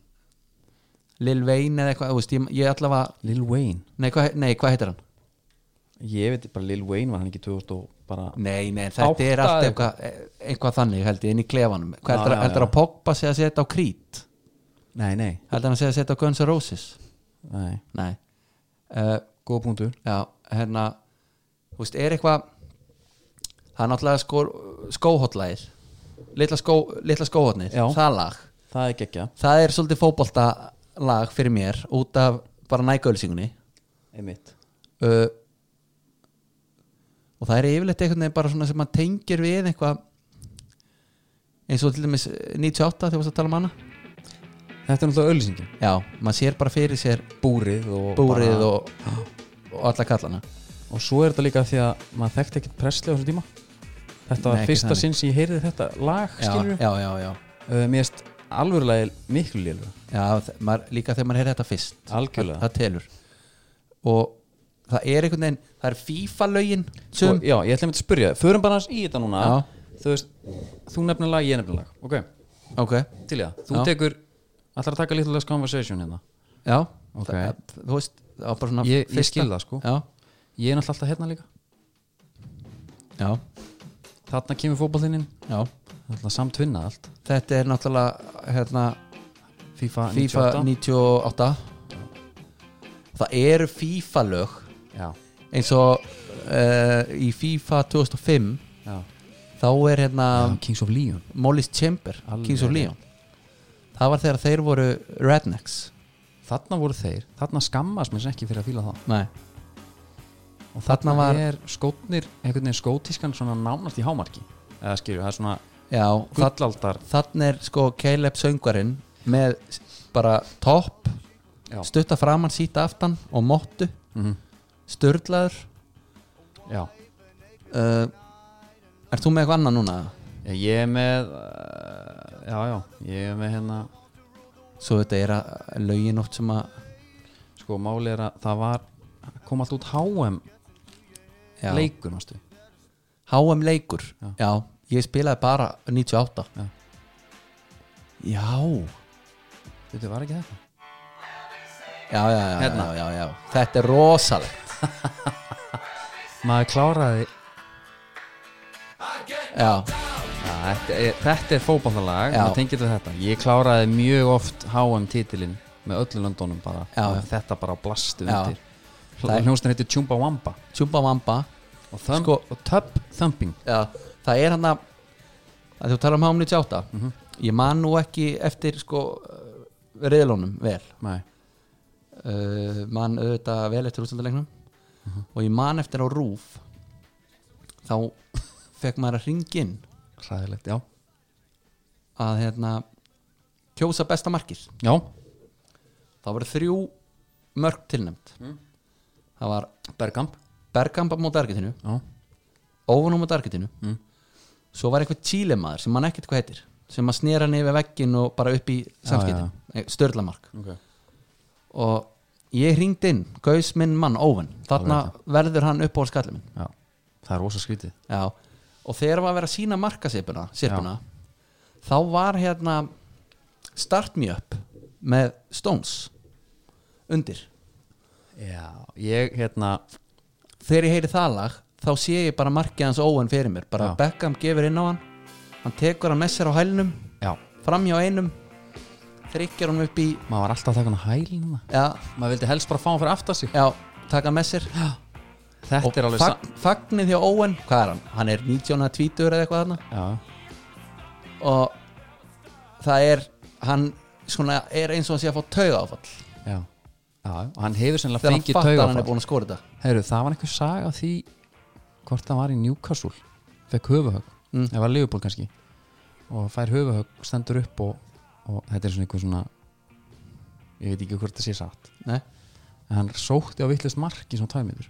S2: Lil Wayne eða eitthvað, þú veist ég, ég allavega,
S1: Lil Wayne,
S2: nei hvað, nei hvað heitir hann
S1: ég veit bara Lil Wayne var hann ekki 2000 og bara
S2: Nei, nei, þetta
S1: Átta
S2: er allt
S1: eða
S2: eitthvað e, eitthvað þannig held ég inn í klefanum
S1: Já,
S2: hvað heldur,
S1: já, já.
S2: heldur að Pogba sé að setja á Creed
S1: nei, nei,
S2: heldur hann að segja að setja á Guns N' Roses
S1: nei,
S2: Nei uh,
S1: góða punktur
S2: Já, hérna þú veist, er eitthvað það er náttúrulega sko, skóhotlæðir litla, skó, litla skóhotnir,
S1: Já.
S2: það lag
S1: það er geggja
S2: það er svolítið fótbolta lag fyrir mér út af bara nægauðlýsingunni
S1: einmitt
S2: uh, og það er yfirleitt einhvern veginn bara svona sem maður tengir við eitthvað eins og til dæmis 98 þegar við að tala um hana
S1: þetta er náttúrulega ölýsingin
S2: já, maður sér bara fyrir sér
S1: búrið og,
S2: búrið
S1: bara,
S2: og, og alla kallana
S1: og svo er þetta líka því að maður þekkti ekkert presli á þessum tíma þetta
S2: Nei,
S1: var
S2: ekki
S1: fyrsta
S2: þannig.
S1: sinn sem ég heyrði þetta lag
S2: já,
S1: skilur
S2: já, já, já,
S1: uh, mér erst alvörulega miklu lélega
S2: já þ- maður, líka þegar maður heyrði þetta fyrst
S1: Algjörlega.
S2: það, það telur og það er einhvern veginn það er FIFA lögin
S1: sko,
S2: sem,
S1: já, ég ætla einmitt að spyrja, förum bara hans í þetta núna
S2: Já.
S1: þú veist, þú nefnir lag, ég nefnir lag ok,
S2: ok,
S1: til ég að, þú
S2: Já.
S1: tekur ætlar að taka little less conversation hérna
S2: já
S1: Ok.
S2: það, þú veist, það var bara svona
S1: Ég- ég
S2: fyrsta-
S1: skil það, sko.
S2: já,
S1: ég er náttúrulega alltaf hérna líka,
S2: já,
S1: þarna kemur fótballtinnin
S2: já
S1: alltaf samtvinna allt
S2: Þetta er náttúrulega hérna,
S1: FIFA,
S2: FIFA
S1: 98
S2: 98 Það eru FIFA lög
S1: já,
S2: eins og uh, í FIFA 2005
S1: já.
S2: þá er hérna
S1: Um, Kings of Leon
S2: Mollis Chamber,
S1: Alveg
S2: Kings of
S1: rétt.
S2: Leon Það var þegar þeir voru Rednecks
S1: þarna voru þeir, þarna skammast mér ekki fyrir að fíla það
S2: Nei,
S1: og
S2: Þarna
S1: þarna
S2: var-
S1: er skótnir, einhvern veginn skótiskan svona nánast í hámarki eða skilju, það er svona
S2: já, það,
S1: gullaldar
S2: þannig er sko Caleb söngarinn með s- bara topp
S1: Já.
S2: stutta framann, síta aftan og mottu
S1: Mhm.
S2: störlaður
S1: já,
S2: uh, Er þú með eitthvað annað núna?
S1: ég er með uh, já, já, ég er með hérna
S2: Svo þetta er að lögin oft sem að
S1: sko máli er að það var kom allt út HM
S2: já,
S1: leikur mástu
S2: HM leikur
S1: Já.
S2: já. ég spilaði bara 98
S1: Já.
S2: Já, já,
S1: þetta var ekki þetta
S2: já, já, já,
S1: Hérna.
S2: já, já, já. Þetta er rosalegt
S1: maður kláraði
S2: Já,
S1: ja, þetta er, þetta er fótballalag
S2: Já.
S1: maður tengir við þetta ég kláraði mjög oft HM titilin með öllu löndunum bara
S2: Já, já.
S1: Og þetta bara blastu
S2: Já.
S1: undir hljónstin heitir Chumba Wamba
S2: Tjumba Vamba
S1: og, thumb,
S2: Sko-
S1: og Tub Thumping
S2: já, Það er hann að þú tala um HM 98 Ég man nú ekki eftir sko reyðlónum vel
S1: Nei.
S2: uh, man auðvitað vel eftir útstendalegnum og ég man eftir á rúf þá fekk maður að ringa inn
S1: hræðilegt, já
S2: að hérna kjósa besta markið
S1: já,
S2: þá voru þrjú mörg tilnæmt það var
S1: Bergkamp
S2: Bergkamp á móti Argetinu
S1: já,
S2: Óvun á móti Argetinu svo var eitthvað Chile-maður sem mann ekkert hvað heitir sem að snera hann yfir veggin og bara upp í samskiptin, störlamark
S1: okay.
S2: og ég hringd inn, gaus minn mann Óvun þarna verður hann upp á skallið minn
S1: já. það er rosa skrítið
S2: Já, og þegar var að vera að sína markasipuna sirpuna, þá var hérna Start Me Up með Stones undir.
S1: já, ég hérna
S2: Þegar ég heyri það lag þá sé ég bara markið hans óen fyrir mér bara
S1: Já.
S2: Beckham gefur inn á hann hann tekur hann með sér á hælnum
S1: já,
S2: fram hjá einum þrykkjar hann upp í
S1: maður var alltaf að taka hann að hælina
S2: já,
S1: maður vildi helst bara fá hann fyrir aftar sig
S2: já, taka hann með sér
S1: þetta
S2: og
S1: er alveg
S2: fag, fagnið hjá óen hvað er hann? Hann er 19 að 20 eða eitthvað þarna
S1: já,
S2: og það er hann svona er eins og hann sé að fá tauga áfall
S1: já, já, og hann hefur sennilega
S2: þegar hann
S1: fengið
S2: fattar að hann er
S1: taugafall
S2: búin að skora þetta
S1: Heyrðu, það var einhver saga af því hvort það var í Newcastle fekk höfuhög, mm. eða var Leopold kannski og fær höfuhög, stendur upp og, og þetta er svona einhver svona ég veit ekki hvort það sé satt
S2: Nei.
S1: en hann sótti á vittlist marki svona tæmiður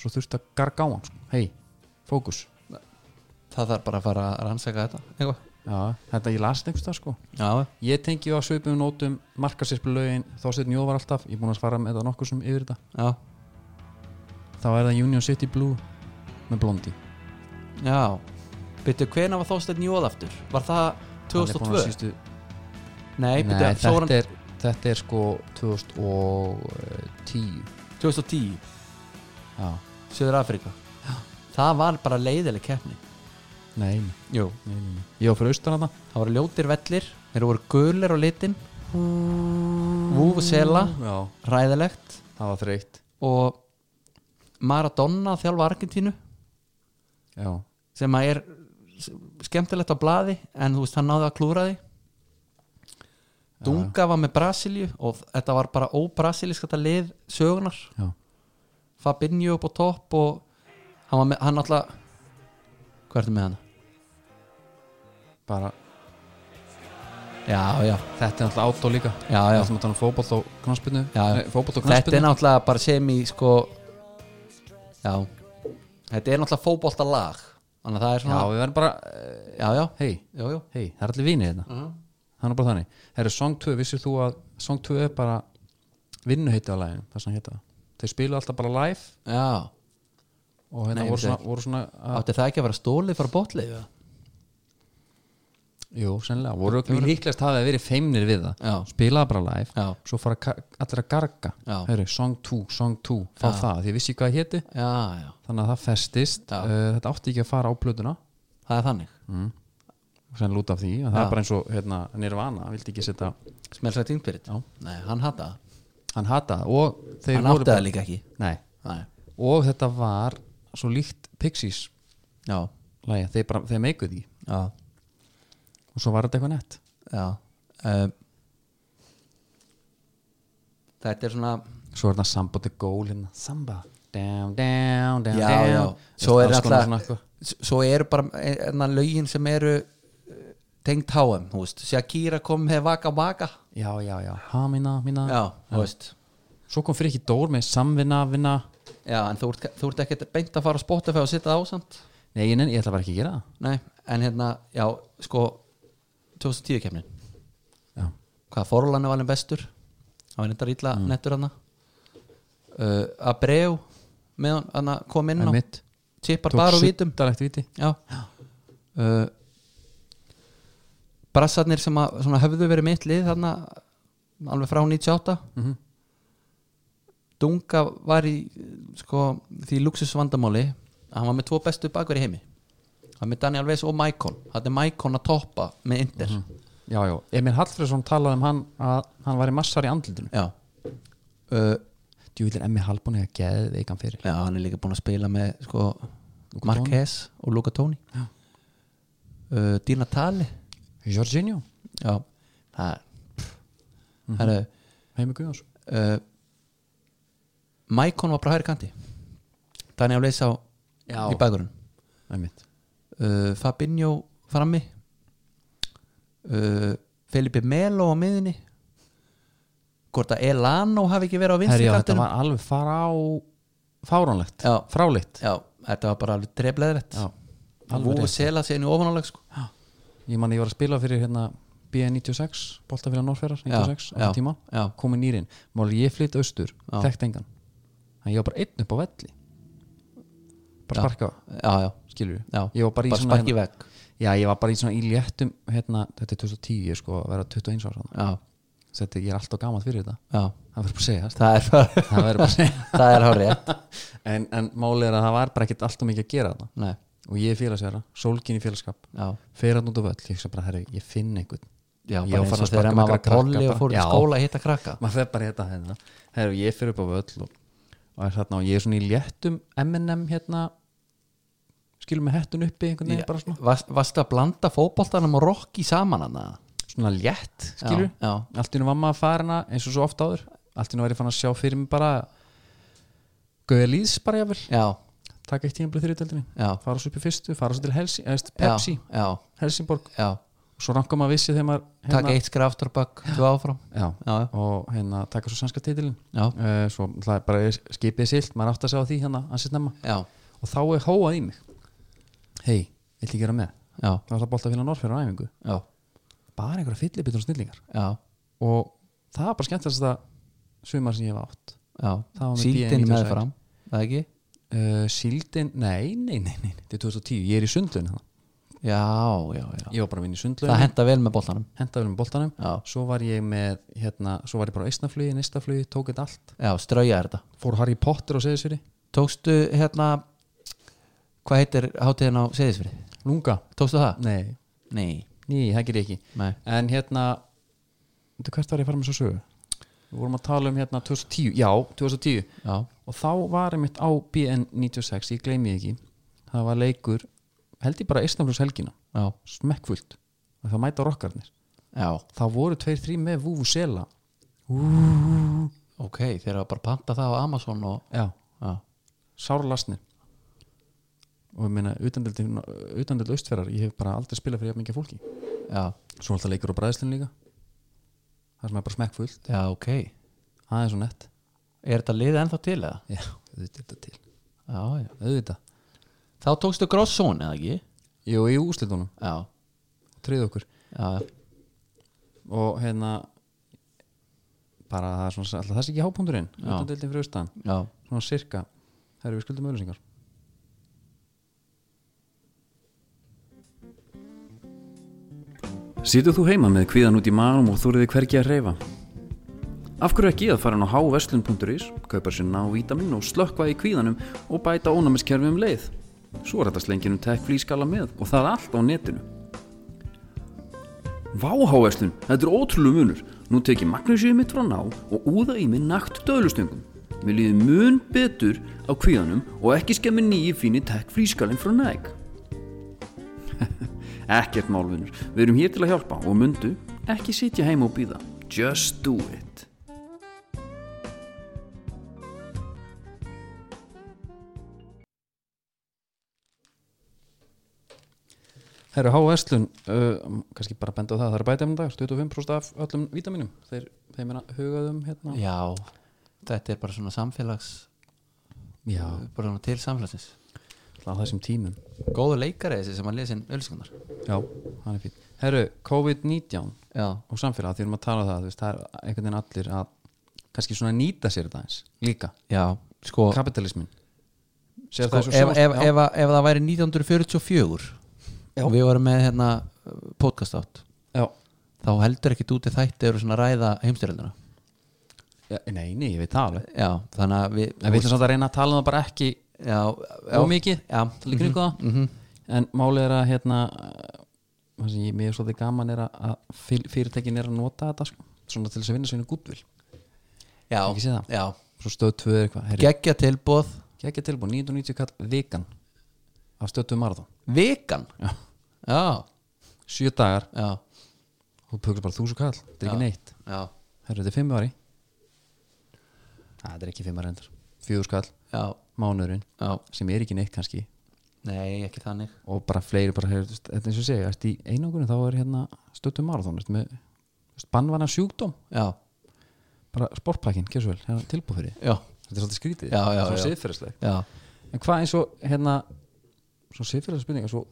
S1: svo þurfti að garga á hann sko. hei, fókus
S2: það þarf bara að fara að rannsaka þetta eitthvað.
S1: já, þetta ég lasið einhvers það sko
S2: já,
S1: ég tengi á svipum nótum markarsirplu lögin, þá setjum Jóvar alltaf ég er búin að svara með það nokkuð sem yfir þetta
S2: já,
S1: þá er það Union City Blue með Blondi
S2: já byrju, hvena var Þorsteinn Jóð aftur? var það 2002?
S1: sístu,
S2: nei,
S1: nei,
S2: byrju,
S1: þetta,
S2: svo var hann
S1: er, þetta er sko 2010
S2: 2010
S1: já,
S2: Söður Afrika það var bara leiðileg keppni
S1: nei, nei,
S2: Jú.
S1: nei, nei. ég var fyrir austan að
S2: það voru ljótir vellir þeir voru gulir á litin vúf og sela
S1: já,
S2: ræðilegt
S1: það var þreytt
S2: og Maradona þjálfa Argentínu
S1: já,
S2: sem að er skemmtilegt á blaði en þú veist hann náði að klúra því Dunga var með Brasilju og þetta var bara óbrasilísk þetta lið sögunar
S1: já,
S2: Fabinho upp á topp og hann var með, hann alltaf hvað ertu með hann?
S1: bara
S2: Já, já,
S1: þetta er alltaf átó líka
S2: já, já,
S1: Það sem að tala um fótbolt og knarspinnu
S2: já, já.
S1: Fótbolt og
S2: þetta er
S1: knarspinnu
S2: náttúrulega bara sem í sko já, þetta er náttúrulega fótbolta lag þannig að það er
S1: Já,
S2: svona
S1: við verðum bara eh,
S2: já, já,
S1: Hei,
S2: já, já.
S1: hei, það er allir vinið þetta
S2: Mhm.
S1: Það er nú bara þannig Herru, Song 2, vissir þú að Song 2 er bara vinnuheiti á læginu Það sem heita það Þeir spilu alltaf bara live
S2: já.
S1: Og hérna
S2: Nei,
S1: voru,
S2: ég
S1: svona,
S2: veit
S1: voru svona að,
S2: átti það ekki að vera stólið frá botlið
S1: Jú, sennilega voru, Við líklegast hafið að verið feimnir við það
S2: Já.
S1: Spilaði bara live
S2: Já.
S1: Svo fara ka- allir að garga
S2: Já.
S1: Herru, Song 2, Song 2 Fá það, því ég vissi hvað það héti
S2: já, já,
S1: Þannig að það festist
S2: Já.
S1: uh, Þetta átti ekki að fara á plötuna
S2: það er þannig
S1: sem lúta af því, en það er bara eins og hérna, Nirvana, vildi ekki setja
S2: Smelsa Tínbyrð
S1: Já.
S2: Nei, hann hata það
S1: hann hata það og þeir
S2: Hann
S1: voru
S2: átti það líka ekki
S1: nei,
S2: Nei.
S1: og þetta var svo líkt Pixies
S2: Já,
S1: lægja, þeir, bara- þeir meikuð því
S2: já,
S1: og svo var þetta eitthvað nett
S2: já um, Þetta er svona
S1: svo er þetta Samba the Goal hérna, Samba, down, down, down,
S2: Já,
S1: down.
S2: já
S1: Veist,
S2: Svo er
S1: alls konar svona sko.
S2: alltaf
S1: eitthvað.
S2: s- Svo eru bara enna lögin sem eru eh, tengd HM, þú veist Shakira kom með Vaka Vaka
S1: já, já, já, hamina, mina
S2: Já, þú veist
S1: svo kom fyrir ekki Dór með samvinna, vinna
S2: Já, en þú ert, þú ert ekkert beint að fara á Spotify og sitta það ásamt
S1: nei, ég, nenni- ég ætla bara ekki að gera það
S2: Nei, en hérna, já, sko 2010 kemnin
S1: já,
S2: hvað Forlani var hann bestur hann var þetta ítla nettur hann uh, Abreu með hann- hann kom inn á
S1: Einmitt.
S2: tippar bara og vítum
S1: suttalegt viti
S2: já uh, brassarnir sem að, svona, höfðu verið mitt lið þarna alveg frá 98 Dunga var í sko, því luxusvandamáli að hann var með tvo bestu bakverði í heimi hann var með Daniel Weiss og Maikon hann er Maikon að toppa með Inter
S1: já, já, Emil Hallfriðsson talaði um hann að hann var í massar í andlutinu
S2: já uh,
S1: djúvill er Emmi Hallbún eða geðveikan fyrir
S2: Já, hann er líka búinn að spila með sko, Marquez og Luca Toni uh, Di Natale
S1: Jorginho,
S2: Já, það er
S1: Mhm.
S2: Það er
S1: Heimi Guðjóns
S2: uh, Maikon var bara hægri kanti Daniel Leis á
S1: Já.
S2: í bækurinn
S1: Einmitt.
S2: uh, Fabinho frammi uh, Felipe Melo á miðinni Hvort að Elano hafi ekki verið á vinstri
S1: Herri, já, þetta
S2: kantinum?
S1: var alveg fara á fáránlegt,
S2: Já.
S1: fráleitt
S2: Já, þetta var bara alveg drefleðrætt
S1: Já, alveg
S2: Vúfu sela sig inn í ofanáleg sko.
S1: ég manni ég var að spila fyrir hérna B96, Boltafélag Norferar 96
S2: Já,
S1: á
S2: já,
S1: tíma,
S2: já.
S1: komin nýrin máli ég flytt austur,
S2: Já.
S1: þekkt engan þannig ég var bara einn upp á velli bara sparka,
S2: Já, já,
S1: skilur
S2: já
S1: ég var bara í svona,
S2: sparki
S1: hérna,
S2: vekk
S1: já, ég var bara í svona í léttum, hérna, þetta er 2010 sko, að vera 21 ára
S2: Já,
S1: þetta, ég er alltaf gamað fyrir þetta
S2: já
S1: það verður bara að segja
S2: Það er bara
S1: það verður bara að segja
S2: Það er hárið
S1: en, en málið er að það var bara ekkert alltaf mikið að gera þarna
S2: Nei,
S1: og ég er félagsverða, sólgin í félagskap
S2: já
S1: fer hann út á völl, ég hugsa bara, herri, ég finn einhvern
S2: Já,
S1: Ég
S2: bara
S1: var
S2: eins
S1: farin
S2: og
S1: að
S2: þegar
S1: sparka marga
S2: maður var polli
S1: krakka
S2: og fór í
S1: bara. Já.
S2: skóla að hitta krakka
S1: maður fer bara í þetta hérna herri, ég fer upp á völl og, og er þarna og ég er svona í léttum M&M hérna skilur með hettun uppi einhvern veginn bara svona,
S2: Varst- Varstu að blanda fótboltanum og rokki saman hann
S1: svona létt skilur,
S2: Já, já.
S1: allt í nú var maður farina eins og svo oft áður, allt í nú var ég fann að sjá fyrir mig bara Gauja Lýðs bara jáfnvel,
S2: Já,
S1: taka eitt tíma blið þriðutöldinni,
S2: Já.
S1: fara svo upp í fyrstu fara svo til Helsi, eða,
S2: já,
S1: Pepsi
S2: já,
S1: Helsingborg,
S2: já
S1: svo ranka maður vissi þegar maður hérna-
S2: Takk eitt skraf torbökk, þú áfram
S1: já,
S2: Já, já.
S1: og hérna taka svo sænska titilin
S2: Já.
S1: uh, svo það er bara er skipið silt maður átt að segja á því hérna ansið snemma
S2: Já,
S1: og þá er hóað í mig hei, vill ég gera með
S2: já,
S1: þá er það bólt að finna norrfjörður á æfingu
S2: já,
S1: bara einhverja fyllibitur og snillingar
S2: já,
S1: og það er bara skemmtilegast að sumar sem ég hef átt
S2: já
S1: Það var með
S2: Síldin
S1: BN96.
S2: með fram, það ekki?
S1: uh, síldin, nei, nei, nei, nei þetta er 2010, ég er í sundlun hérna.
S2: Já, já, já
S1: ég var bara að vinna í sundlun
S2: Það henda vel með boltanum
S1: hentaður með boltanum,
S2: Já.
S1: svo var ég með hérna, svo var ég bara á eistnaflugi, neistaflugi tók þetta allt,
S2: Já, strauja er þetta
S1: fór Harry Potter og segðisveri
S2: Tókstu hérna Hvað heitir hátíðin á Seyðisfri?
S1: lunga,
S2: Tókstu það?
S1: nei,
S2: Nei,
S1: Ný, það ger ég ekki
S2: Nei.
S1: En hérna Þetta hvert var ég að fara með svo sögu Við vorum að tala um hérna 2010 Já, 2010
S2: já,
S1: Og þá var ég mitt á BN96 Ég gleymi því ekki það var leikur held ég bara Istanbul's helgina
S2: já,
S1: smekkfullt og það mæta rokkarnir
S2: já,
S1: þá voru tveir þrý með Vuvuzela
S2: ok þeir hafa bara panta það á Amazon og
S1: já,
S2: já,
S1: sárlasnir og ég meina utandöld austferðar, ég hef bara aldrei spilað fyrir jafn mikið fólki,
S2: já,
S1: svo alltaf leikur á bræðslinn líka það sem er bara smekkfullt
S2: já, ok
S1: það er svo nett
S2: er þetta liðið ennþá til eða?
S1: já, auðvitað er þetta til,
S2: já, já,
S1: auðvitað
S2: þá tókstu Grossón eða ekki?
S1: jú, í úslitunum,
S2: já,
S1: treyð okkur
S2: já,
S1: og hérna bara það er svona, alltaf það sé ekki hápunkturinn utandöldin fyrir austan,
S2: já
S1: svona sirka það eru við skuldum auðlýsingar
S4: Situr þú heima með kvíðan út í maðurum og þóriði hvergi að reyfa? Af hverju ekki að fara hann á háveslun.is, kaupa sér ná vítamin og slökkva í kvíðanum og bæta ónæmiskerfi um leið? Svo er þetta um slenginu tekk flýskala með og það allt á netinu. Vá háveslun, þetta er ótrúlu munur. Nú tek ég magnusíu mitt frá ná og úða í mig nakt döðlustöngum. Mér líður mun betur á kvíðanum og ekki skemmi nýji fíni tekk flýskalinn frá næg. Ekkert málvinur, við erum hér til að hjálpa og mundu, ekki sitja heima og býða. Just do it.
S1: Herru, H. Vestlun, uh, kannski bara benda á það, það er bæta um dag, 25% af öllum vítaminum, þeir, þeir meina hugaðum hérna.
S2: já, þetta er bara svona samfélags
S1: Já,
S2: bara svona til samfélagsins
S1: alltaf á þessum tímum.
S2: góðu leikari þessi sem hann lesi inn ölskunar
S1: Já, hann er fín. Herru, COVID-19
S2: já,
S1: og samfélag, því erum að tala um það, þú veist, það er einhvern veginn allir að kannski svona nýta sér þetta eins, líka,
S2: já, sko,
S1: kapitalismin. Sér það
S2: sko ef,
S1: svo
S2: ef,
S1: sjálfst,
S2: ef, ef það væri 1944
S1: Já.
S2: og við varum með hérna podcast átt
S1: já, já,
S2: þá heldur ekkit úti þætti eru svona að ræða heimstyrjöldina
S1: já, nei, nei, ég veit það alveg.
S2: já, þannig að við,
S1: En við ætlum samt að reyna að tala um það bara ekki
S2: já, já,
S1: og mikið,
S2: já,
S1: til að kringu það.
S2: mhm,
S1: En málið er að hérna það sem ég mér er svolítið gaman er að- að fyr- fyrirtækin er að nota þetta sko, svona til þess að vinna svinni gúdvill
S2: já,
S1: Ekki séð það?
S2: já.
S1: svo stöð 2 er eitthvað herri,
S2: geggja tilbóð
S1: ekki tilbúin, 990 kall vikan af stöð 2 marathon
S2: vikan
S1: Já.
S2: já,
S1: 7 dagar
S2: já,
S1: og pöklar bara 1000 kall, þetta er ekki neitt
S2: já,
S1: herru, þetta er 5 ári Æ, þetta er ekki 5 ári endur 4 kall,
S2: já,
S1: mánuðurinn
S2: já
S1: sem er ekki neitt kannski
S2: nei, ekki þannig
S1: og bara fleiri bara heyrðu, þú veist, þetta er eins og segja, ertu í einangunum þá er hérna stöttu marathon, ertu með bannvana sjúkdóm
S2: já,
S1: bara sportpakkin, gerðu svo vel, hérna tilbúið fyrir þig.
S2: já,
S1: þetta er svolítið skrítið,
S2: Já, já,
S1: svo
S2: já.
S1: siðferðisleg
S2: já,
S1: en hvað eins og hérna svo siðferðisleg spurninga svo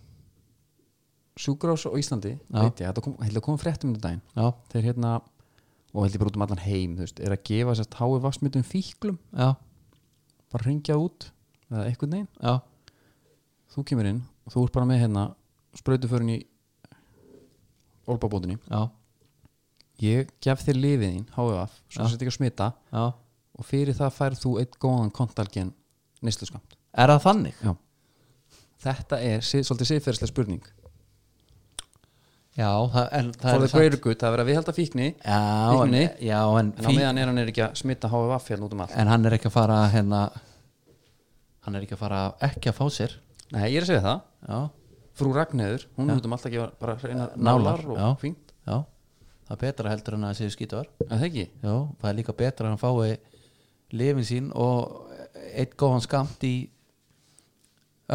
S1: sjúkrás á Íslandi veit ég, þetta kom, held að koma fréttum um daginn
S2: já,
S1: þeir hérna, og held ég bara út um allan heim þú veist, er að gefa sérst hái vassmyndum fíklum
S2: já,
S1: bara ringja út, eða eitthvað neginn
S2: já
S1: þú kemur inn og þú ert bara með hérna sprautuförun í olbabótinni,
S2: já,
S1: ég gef þér lifið þín HVF, svo þetta ekki að smita
S2: já
S1: og fyrir það færð þú eitt góðan kontalgen neysluskamt
S2: er það þannig?
S1: Já. Þetta er si- svolítið siðferðislega spurning
S2: já, það, en það
S1: For
S2: er
S1: the greater good, það er verið að viðhalda fíkni
S2: já, en,
S1: fíkninni,
S2: já, en,
S1: en á
S2: fí-
S1: meðan er hann er ekki að smitta HVF hérna út um allt
S2: en hann er ekki að fara hérna hann er ekki að fara ekki að fá sér
S1: Nei, ég er að segja það,
S2: já,
S1: frú Ragnheður hún er út um allt að gefa bara reynar
S2: nálar
S1: nálar og
S2: já,
S1: fínt,
S2: já, það er betra heldur en að séu skítuar já,
S1: en það ekki
S2: það er líka betra að hann fái lifin sín og eitt góðan skamt í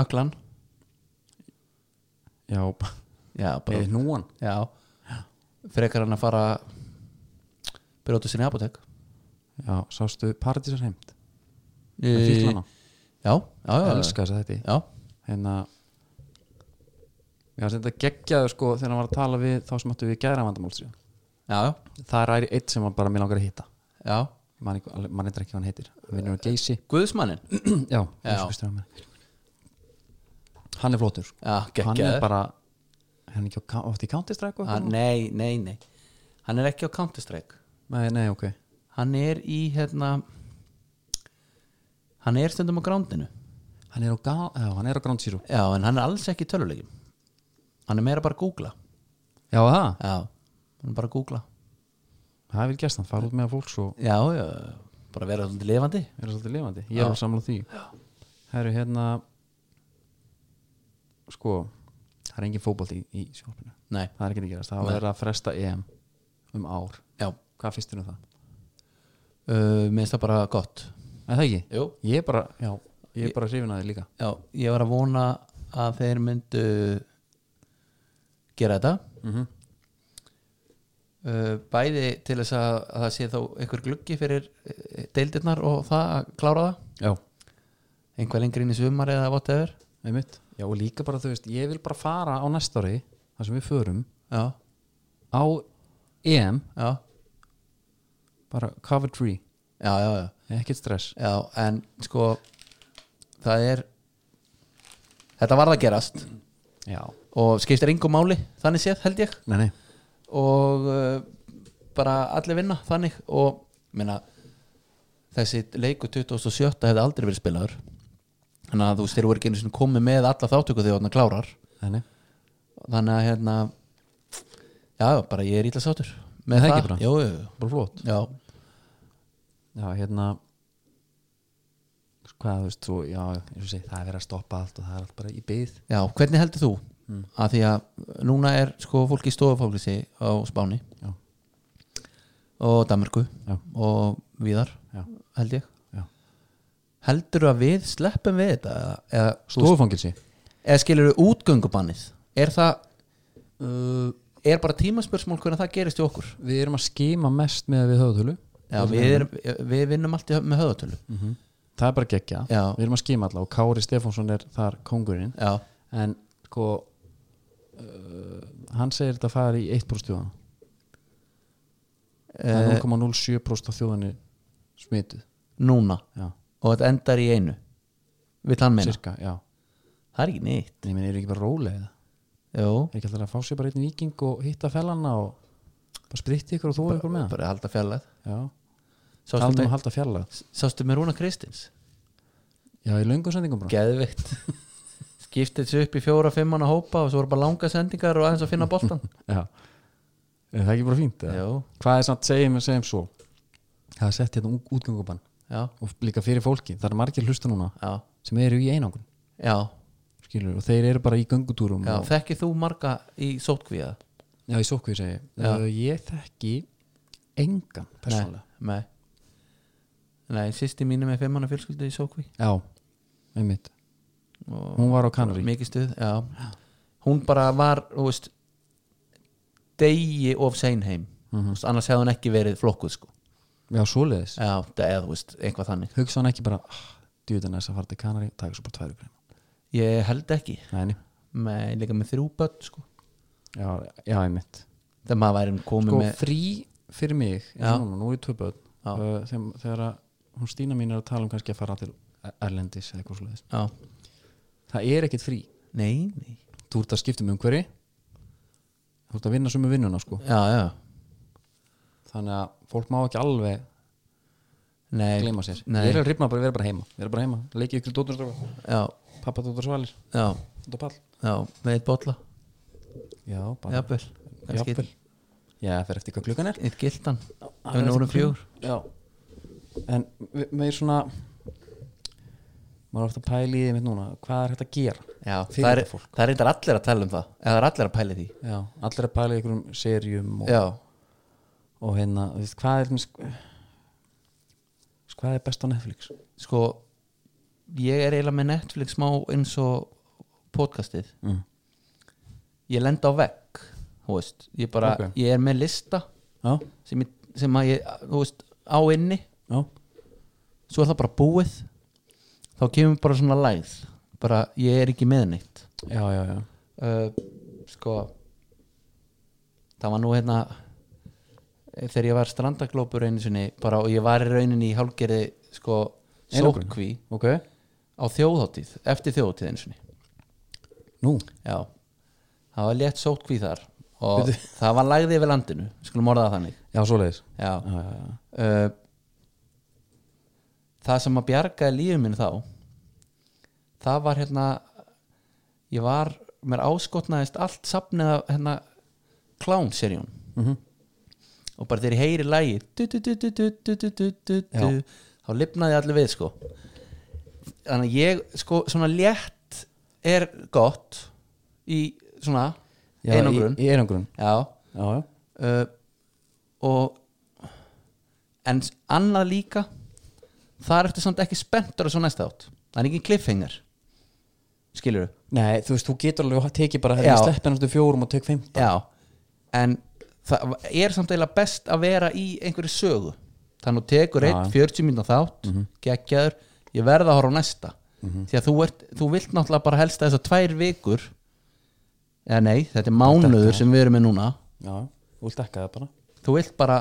S2: öklan
S1: Já,
S2: já, bara,
S1: eða núan
S2: já frekar hann að fara brjóta sinni apotek
S1: Já, sástu Paradísar heimt
S2: Í-
S1: Það fíkla hana,
S2: já, já, já,
S1: elska þess að þetta
S2: já,
S1: hérna já, þetta geggjaðu sko þegar hann var að tala við þá sem áttu við gæra vandamálsri
S2: já, já,
S1: það er æri eitt sem hann bara mér langar að hitta
S2: já.
S1: mann man eitthvað ekki hvað hann heitir hann vinnur á geysi
S2: Guðsmannin
S1: já,
S2: Já.
S1: eins og Kristian Hammer. hann er flottur sko.
S2: Já,
S1: hann er
S2: geggjaður.
S1: bara hann er ekki á Ka- átti í Counter-Strike og
S2: Ah,
S1: eitthvað
S2: Nei, nei, nei Hann er ekki á Counter-Strike
S1: nei, nei, ok
S2: Hann er í hérna Hann er stundum á grándinu
S1: hann er á, ga... já, hann er á Ground Zero
S2: Já, en hann er alls ekki í töluleikin Hann er meira bara að googla
S1: já, það,
S2: Já, hann er bara að googla
S1: það er vel gæst hann fara út með fólks og
S2: Já, já, bara vera svolítið lifandi
S1: er svolítið lifandi, ég er að samla því herru, hérna sko, það er engin fótbolt í, í sjónvarpinu
S2: Nei,
S1: það er ekki að gerast, það
S2: Nei.
S1: verður að fresta EM um ár,
S2: já
S1: hvað finnst þér um það?
S2: uh, Mér finnst það bara gott
S1: Er það ekki?
S2: Jú
S1: Ég er bara, já, ég er bara hrifin að þið líka
S2: Já, ég var að vona að þeir myndu gera þetta mm Bæði til þess að, að það sé þá einhver gluggi fyrir eh, deildirnar og það að klára það
S1: Já,
S2: einhver lengri inn í sumar eða whatever
S1: einmitt Já, og líka bara, þú veist, ég vil bara fara á næsta ári þar sem við förum
S2: Já,
S1: á EM
S2: já,
S1: bara cover tree,
S2: já, já, já,
S1: ekkert stress
S2: já en sko það er þetta varð að gerast
S1: Já,
S2: og skiptir engum máli þannig séð held ég
S1: nei, nei,
S2: og uh, bara allir vinna þannig og minna, þessi leiku 2007 hefði aldrei verið spilaður þannig að þú styrir voru ekki einu sinni komið með alla þáttöku þegar þannig klárar
S1: nei, nei.
S2: þannig að hérna já, bara ég er ítla sátur
S1: Er
S2: með
S1: það
S2: það,
S1: ekki bara?
S2: Jú, jú, jú.
S1: bara flott
S2: já,
S1: Já, hérna hvað, þú veist, þú, já, eins og segi það er verið að stoppa allt og það er allt bara í byð
S2: já, hvernig heldur þú
S1: Hmm.
S2: að því að núna er sko fólki stofafólkisi á Spáni
S1: Já.
S2: og Danmarku
S1: Já.
S2: og viðar
S1: Já.
S2: held ég
S1: Já.
S2: heldur að við sleppum við þetta eða, eða, þú veist-
S1: Stofangilsi
S2: eða skilur við útgöngubannið er það uh, er bara tímaspörsmál hvernig það gerist í okkur
S1: Við erum að skima mest með að við höfðtölu
S2: já, við, erum, við vinnum allt í, hö- með höðatölu
S1: Hmm. Það er bara geggja,
S2: Já.
S1: við erum að skima alla og Kári Stefánsson er þar kongurinn
S2: já,
S1: en sko uh, hann segir þetta fara í 1% þjóðan Það er 0,07% af þjóðan er smituð
S2: núna
S1: Já,
S2: og þetta endar í einu vill hann meina,
S1: cirka, já
S2: það er ekki neitt
S1: Nei, menn, eru ekki bara rólega það
S2: Jó,
S1: Er ekki alltaf að fá sér bara einn viking og hitta fellana og bara spritti ykkur og þú ykkur með hann
S2: bara halda fjallæð
S1: Já,
S2: sástu,
S1: taldum að
S2: með-
S1: halda fjalla
S2: sástu með Rúna Kristins
S1: Já, í löngu sendingum bara
S2: geðveikt skiptið þessu upp í fjóra, fimmana hópa og svo voru bara langa sendingar og aðeins að finna boltan
S1: Já, er það ekki bara fínt eða?
S2: Jó,
S1: Hvað er samt segjum segjum svo Það er sett hérna ung- útgöngubann
S2: já,
S1: og líka fyrir fólki, það er margir hlusta núna
S2: já,
S1: sem eru í einangun
S2: já,
S1: skilur, og þeir eru bara í göngutúrum
S2: já.
S1: og,
S2: þekkið þú marga í sótkvíða?
S1: já í sókvið segi
S2: Já.
S1: já. ég þekki engan persónulega
S2: Nei, nei. nei sýsti mín er með fimm manna fjölskyldu í Sókví
S1: já, einmitt
S2: og
S1: hún var á Kanarí
S2: mikið stuð já. hún bara var þú veist, degi of sein heim mm -hmm. annars hefði hún ekki verið flokkuð sko.
S1: já, svoleiðis,
S2: já, það- eða þú veist, eitthvað þannig
S1: hugsa hann ekki bara ah, djúðan þess að fara til Kanarí taka svo bara tværu greina
S2: ég held ekki,
S1: Nei, nei.
S2: með, líka með þrjú börn sko.
S1: já, já, einmitt
S2: þegar maður væri komið
S1: sko,
S2: með
S1: frí fyrir mig eins og núna, nú er ég tvö börn
S2: Já.
S1: uh, þegar, þegar að hún Stína mín er að tala um kannski að fara til Erlendis eða eitthvað svoleiðis
S2: já.
S1: það er ekkit frí,
S2: nei, nei
S1: þú ert að skipta um umhverfi þú ert að vinna sömu vinnuna sko
S2: já, já,
S1: þannig að fólk má ekki alveg
S2: nei,
S1: gleyma sér
S2: nei.
S1: ég er að rifna bara, vera bara heima, vera bara heima leikið ykkur dóttur stróka,
S2: já,
S1: pappa dóttur svalir
S2: já,
S1: dóttur pall
S2: já, með eitt bolla
S1: já, bara,
S2: jafnvel, kannski
S1: jafnvel. já, það fer eftir hvað klukkan er
S2: eitt- eitt gildan ef við vorum fjögur
S1: já, en við- við erum svona maður er ofta að pæla í því mitt núna hvað er hægt að gera
S2: Já,
S1: Fyrir
S2: það er,
S1: þetta fólk.
S2: það er reyndar allir að tala um það eða það er allir að pæli því
S1: já, allir að pæla í einhverjum serjum og,
S2: Já,
S1: og hérna, þú veist, hvað er til dæmis- hvað er best á Netflix
S2: sko ég er eiginlega með Netflix smá eins og podcastið
S1: Mm.
S2: ég lenda á vegg þú veist, ég bara,
S1: Ok.
S2: ég er með lista
S1: já,
S2: sem, ég, sem að ég, þú veist á inni,
S1: já,
S2: svo er það bara búið þá kemur bara svona læð bara, ég er ekki með neitt
S1: já, já, já.
S2: uh, sko það var nú hérna eh, þegar ég var strandaglópur einu sinni bara, og ég var í rauninni í hálgerði sko
S1: Einangrun.
S2: sókví
S1: ok,
S2: á þjóðháttíð, eftir þjóðháttíð einu sinni
S1: nú
S2: já, það var létt sótkví þar og það var lagði yfir landinu skulum orða það þannig
S1: já, svoleiðis
S2: já.
S1: já, já, já.
S2: Uh, það sem að bjargaði lífið minn þá það var hérna ég var, mér áskotnaðist allt safnið af hérna klánserjón
S1: Mhm.
S2: og bara þegar ég heyri lægi
S1: Já.
S2: þá lifnaði allir við sko þannig að ég sko svona létt er gott í svona
S1: Já,
S2: einangrun
S1: í, í einangrun
S2: já
S1: já, já.
S2: uh, og en s- annað líka þar ertu samt ekki spenntur að svo næsta átt það er ekki cliffhanger skilur
S1: Nei, þú veist, þú getur alveg að tekið bara
S2: Já.
S1: hérna sleppin eftir fjórum og tök 15
S2: já en það er samt eiginlega best að vera í einhverju sögu þannig að þú tekur
S1: Já,
S2: einn
S1: já.
S2: 40 mínúna þátt geggjaður, ég verð að horfa á næsta því að þú, ert, þú vilt náttúrulega bara helst þess að tvær vikur eða nei, þetta er mánuður sem við erum með núna
S1: Já, þú vilt dekka það bara
S2: þú vilt bara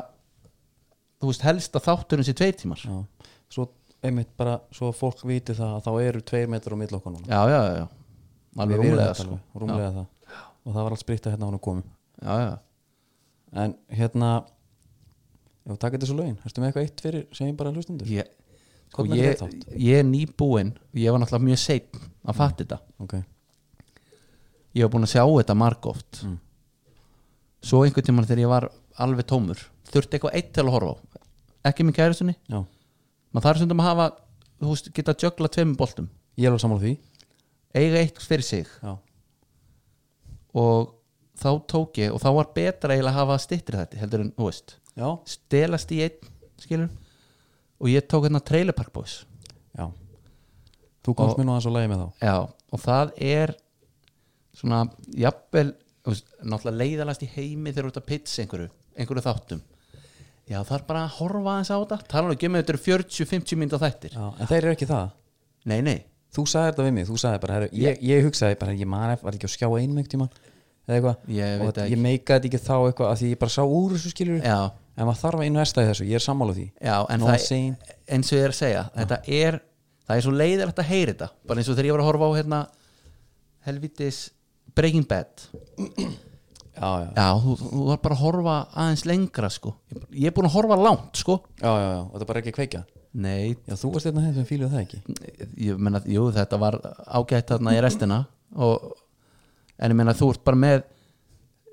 S2: þú veist helst að þátturinn sér tveir tímar já,
S1: Já, svo einmitt bara svo að fólk viti það að þá eru tveir metrar á milli okkar núna
S2: já, já, já. alveg
S1: Við vitum
S2: rúmlega
S1: þetta
S2: sko.
S1: alveg, rúmlega það og það var allt spritta hérna á hún að komum
S2: já, já.
S1: en hérna ef við taka þetta svo lögin, erstu með eitthvað eitt fyrir segjum bara hlustundur
S2: Ég, sko,
S1: Hvað með
S2: ég,
S1: þetta þátt?
S2: ég er nýbúinn ég var náttúrulega mjög seitt að fatta þetta
S1: okay.
S2: ég var búinn að sjá þetta margóft
S1: Mm.
S2: svo einhvern tímann þegar ég var alveg tómur þurfti eitthvað eitt til að horfa á ekki minn kæristunni
S1: Já,
S2: maður þarf stundum að hafa þú veist, geta að jökla tveimur boltum
S1: ég er alveg sammála því
S2: eiga eitt fyrir sig
S1: Já,
S2: og þá tók ég og þá var betra eiginlega að hafa stittri þetta heldur en, þú veist
S1: já,
S2: stelast í einn skilur og ég tók hérna Trailer Park Boys
S1: já. Þú komst mér nú aðeins á lægi með þá
S2: já, og það er svona jafnvel þú veist, náttúrulega leiðalast í heimi þegar þú ert að pitsa einhverju, einhverju þáttum já það er bara að horfa aðeins á þetta tala nú ekki um að þetta eru 40-50 mynda þættir
S1: já. En þeir eru ekki það
S2: nei, nei,
S1: Þú sagði þetta við mig, þú sagði bara heru, ég, ég hugsaði bara, ég man eftir, var ekki að skjá einum einhvern tímann eða eitthvað
S2: Ég
S1: og
S2: veit það
S1: ég
S2: ekki.
S1: meikaði þetta ekki þá eitthvað að því ég bara sá úr þessu skilur
S2: já,
S1: en maður þarf að investa í þessu, ég er sammála því
S2: já en
S1: Nóa
S2: það,
S1: Sein,
S2: eins og ég er að segja þetta er, það er svo leiðalegt að heyra þetta bara eins og þegar ég var að horfa á hérna helvitis Breaking Bad
S1: já, já,
S2: Já, þú, þú var bara að horfa aðeins lengra sko Ég er búin að horfa langt sko
S1: já, já, já, og þetta er bara ekki að kveikja
S2: Nei,
S1: já, þú varst einna þeim sem fíluð það ekki
S2: ég meina, jú þetta var ágætt þarna í restina og, En ég meina þú ert bara með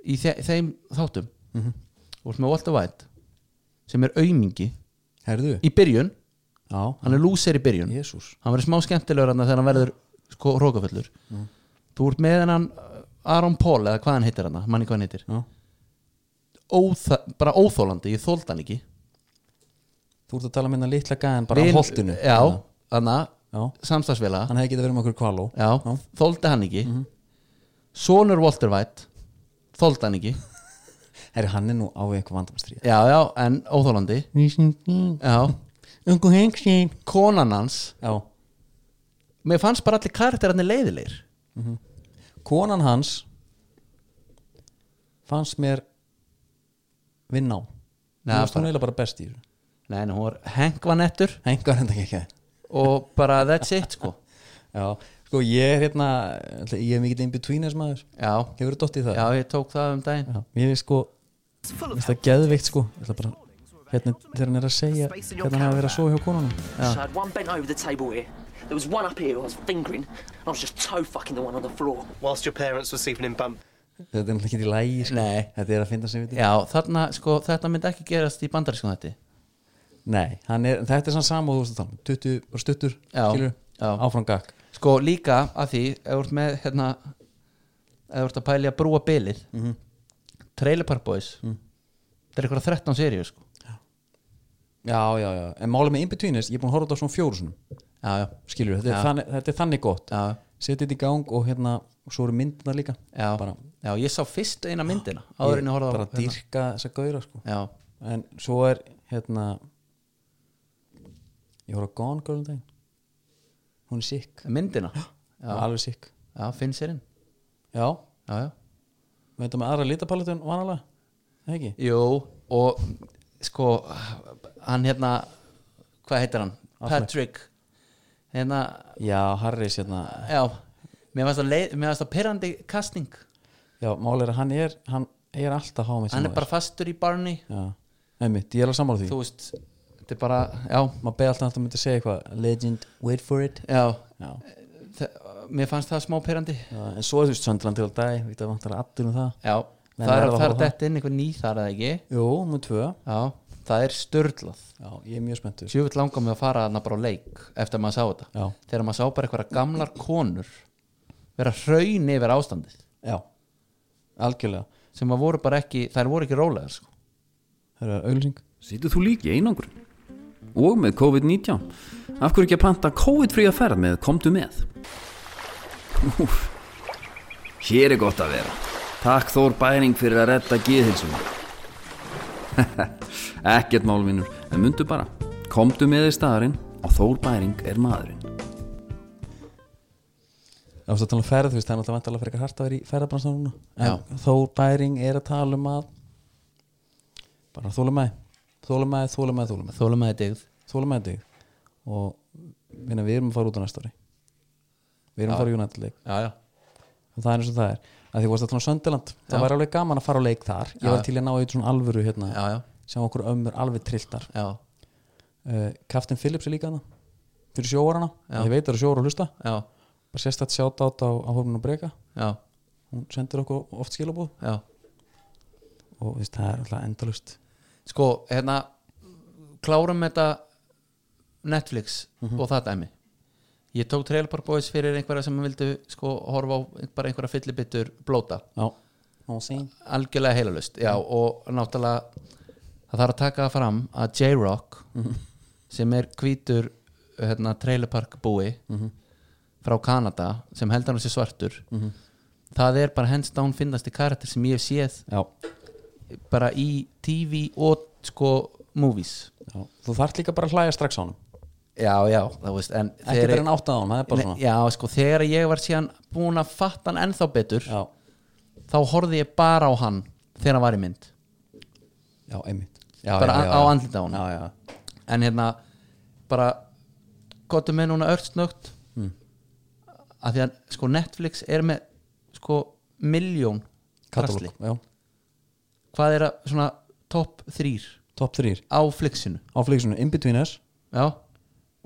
S2: í þe þeim þáttum
S1: Mhm.
S2: Þú ert með Walter White sem er aumingi
S1: herðu,
S2: í byrjun
S1: já,
S2: Hann er lúser í byrjun
S1: jésús
S2: Hann verður smá skemmtilegur hann þegar hann verður sko rókafullur
S1: Mhm.
S2: Þú ert með hennan Aaron Paul eða hvað hann heitir hann manni hvað hann heitir
S1: já.
S2: Óþa, bara óþólandi, ég þóld hann ekki
S1: þú ert að tala með hennar litla gæðan bara á
S2: Vin-
S1: holtinu Hérna.
S2: já, þannig
S1: já,
S2: samstagsfélaga
S1: hann hefði getið verið með okkur kvaló
S2: já, Mhm. þóldi hann ekki sonur Walter White þóldi hann ekki
S1: herri, hann er nú á eitthvað vandamstríð
S2: já, já, en óþólandi já,
S1: ungu hengsin
S2: konan hans
S1: já,
S2: mér fannst bara allir karakterarnir leiðilegir
S1: konan hans fannst mér vinna á þú varst hún
S2: Já, bara-
S1: eiginlega bara best í þessu
S2: nei, en hún var hengvanettur
S1: hengar hendak ekki ekki
S2: og bara that's it sko
S1: já, sko ég er hérna ég er mikill in-betweeners maður
S2: já,
S1: hefur þú dottið í það?
S2: já, ég tók það um daginn
S1: Já, mér er sko mér finnst það geðveikt sko Ég ætla bara, hérna, þegar hann er að segja hérna hann er að vera að sofa hjá konunum
S5: So I had one bent over the table here. There was one up here who I was fingering, and I was just toe fucking the one on the floor.
S6: whilst your parents were sleeping in bunk
S1: þetta er náttúrulega ekki í lægi sko.
S2: Nei.
S1: þetta er að finna sig við
S2: já, þarna, sko, þetta myndi ekki gerast í bandarískum þetta
S1: Nei, hann er, þetta er svona samúð þú veist að tala um. tuttu og stuttur
S2: Já,
S1: skilur,
S2: já.
S1: áfram gakk
S2: sko líka að því ef þú ert með hérna ef þú ert að pæli að brúa bilið Trailer Park Boys það er eitthvað 13 seríu sko
S1: já, já, já, en málið með in-betweeners ég er búin að horfa þetta á svona fjóru svona
S2: já, já,
S1: skilur, þetta, er þannig, þetta er þannig gott
S2: já,
S1: setja þetta í gang og hérna og svo eru myndina líka
S2: já,
S1: bara,
S2: já ég sá fyrst eina myndina áður en ég horfði á
S1: bara dýrka þessa gauðra sko.
S2: já,
S1: en svo er hérna ég horf á Gone Girl um daginn hún er sikk,
S2: myndina já,
S1: alveg sikk
S2: já finn sérinn
S1: já,
S2: já, já,
S1: við þetta með aðra litapaletun vanalega, eða ekki
S2: jú og sko hann hérna, hvað heitir hann Patrick hérna,
S1: já, Harris hérna
S2: já mér varst að, leið, mér varst að pyrrandi kastning
S1: já, mál er að hann er, hann er alltaf hámið
S2: hann er bara fastur í Barney
S1: já, einmitt, ég er að sammála því
S2: þú veist, þetta er bara já,
S1: maður beði alltaf að það myndi segja eitthvað legend, wait for it
S2: já,
S1: já.
S2: þe- mér fannst það smá perandi
S1: Já, en svo er þú veist söndran til að dag við þetta vantar aftur um það
S2: já,
S1: Menn
S2: það er
S1: verða að
S2: það er
S1: horfa á
S2: dett inn einhver ný þar eða ekki
S1: jú, múið tvö
S2: já, það er störlað
S1: já, ég er mjög spenntur
S2: sjöfull langar mig að fara þarna bara á leik eftir að maður sá þetta
S1: Já.
S2: þegar maður sá bara einhverja gamlar konur vera hraun yfir ástandið
S1: já, algjörlega
S2: sem að voru bara ekki, þær voru ekki rólegar sko.
S1: það er auðlýsing
S4: Situr þú líki einangur og með COVID-19 af hverju ekki að panta COVID-fría ferð með komdu með Úf. Hér er gott að vera Takk Þór Bæring fyrir að redda geðhilsum Ekkert málvinur en mundu bara komdu með í staðarinn og Þór Bæring er maðurinn
S1: Ef þú ert að tala um ferð, þú veist, það er náttúrulega vantalega fyrir hart að vera í ferðabransan núna en Þór Bæring er að tala um að bara þólumæði þólumæði, þólumæði, þólumæði
S2: þólum að þetta yfir
S1: þólumæði dig og minna, við erum að fara út á næsta ári við erum að fara í United-leik
S2: já, já.
S1: og það er eins og það er að því varst að tala um Söndaland það væri alveg gaman að fara á leik þar ég var til að ná eitthvað svona alvöru hérna
S2: Já, já.
S1: sem okkur ömmur alveg trilltar
S2: Já,
S1: uh, Kaftin Phillips er líka hana fyrir sjóarana, ég veit að það eru sjóar að hlusta
S2: já,
S1: bara sérstætt sjátt á, á hófnum að breyka
S2: já,
S1: hún sendir okkur oft skilabóð
S2: já.
S1: og þú veist, það er alltaf endalust
S2: sko, hérna klárum þetta Netflix og það dæmi ég tók Trailer Park Boys fyrir einhverja sem vildu sko horfa á bara einhverja fyllibittur blóta
S1: já, og sín
S2: algjörlega heilalust já, og náttúrulega það þarf að taka það fram að J-Rock sem er hvítur hérna, trailerpark búi frá Kanada sem heldur hann sér svartur það er bara hands down finnasti karakter sem ég hef séð
S1: já,
S2: bara í TV og sko movies
S1: já, þú þarft líka bara að hlæja strax á hann
S2: já, já, það veist en
S1: ekki
S2: þegar-
S1: þegar hann áttað á hann, það er bara
S2: Nei,
S1: svona
S2: já, sko, þegar ég var síðan búin að fatta hann ennþá betur
S1: já,
S2: þá horfði ég bara á hann þegar hann var í mynd
S1: já, einmitt já, já,
S2: Bara
S1: já,
S2: á
S1: já.
S2: andlitið á honum.
S1: já, já,
S2: en hérna bara gotum með núna ört snögt að því að sko Netflix er með sko miljón
S1: katalóg,
S2: drasli
S1: já,
S2: hvað er að svona topp þrýr
S1: top 3
S2: á flixinu
S1: á flýksinu, Inbetweeners,
S2: já,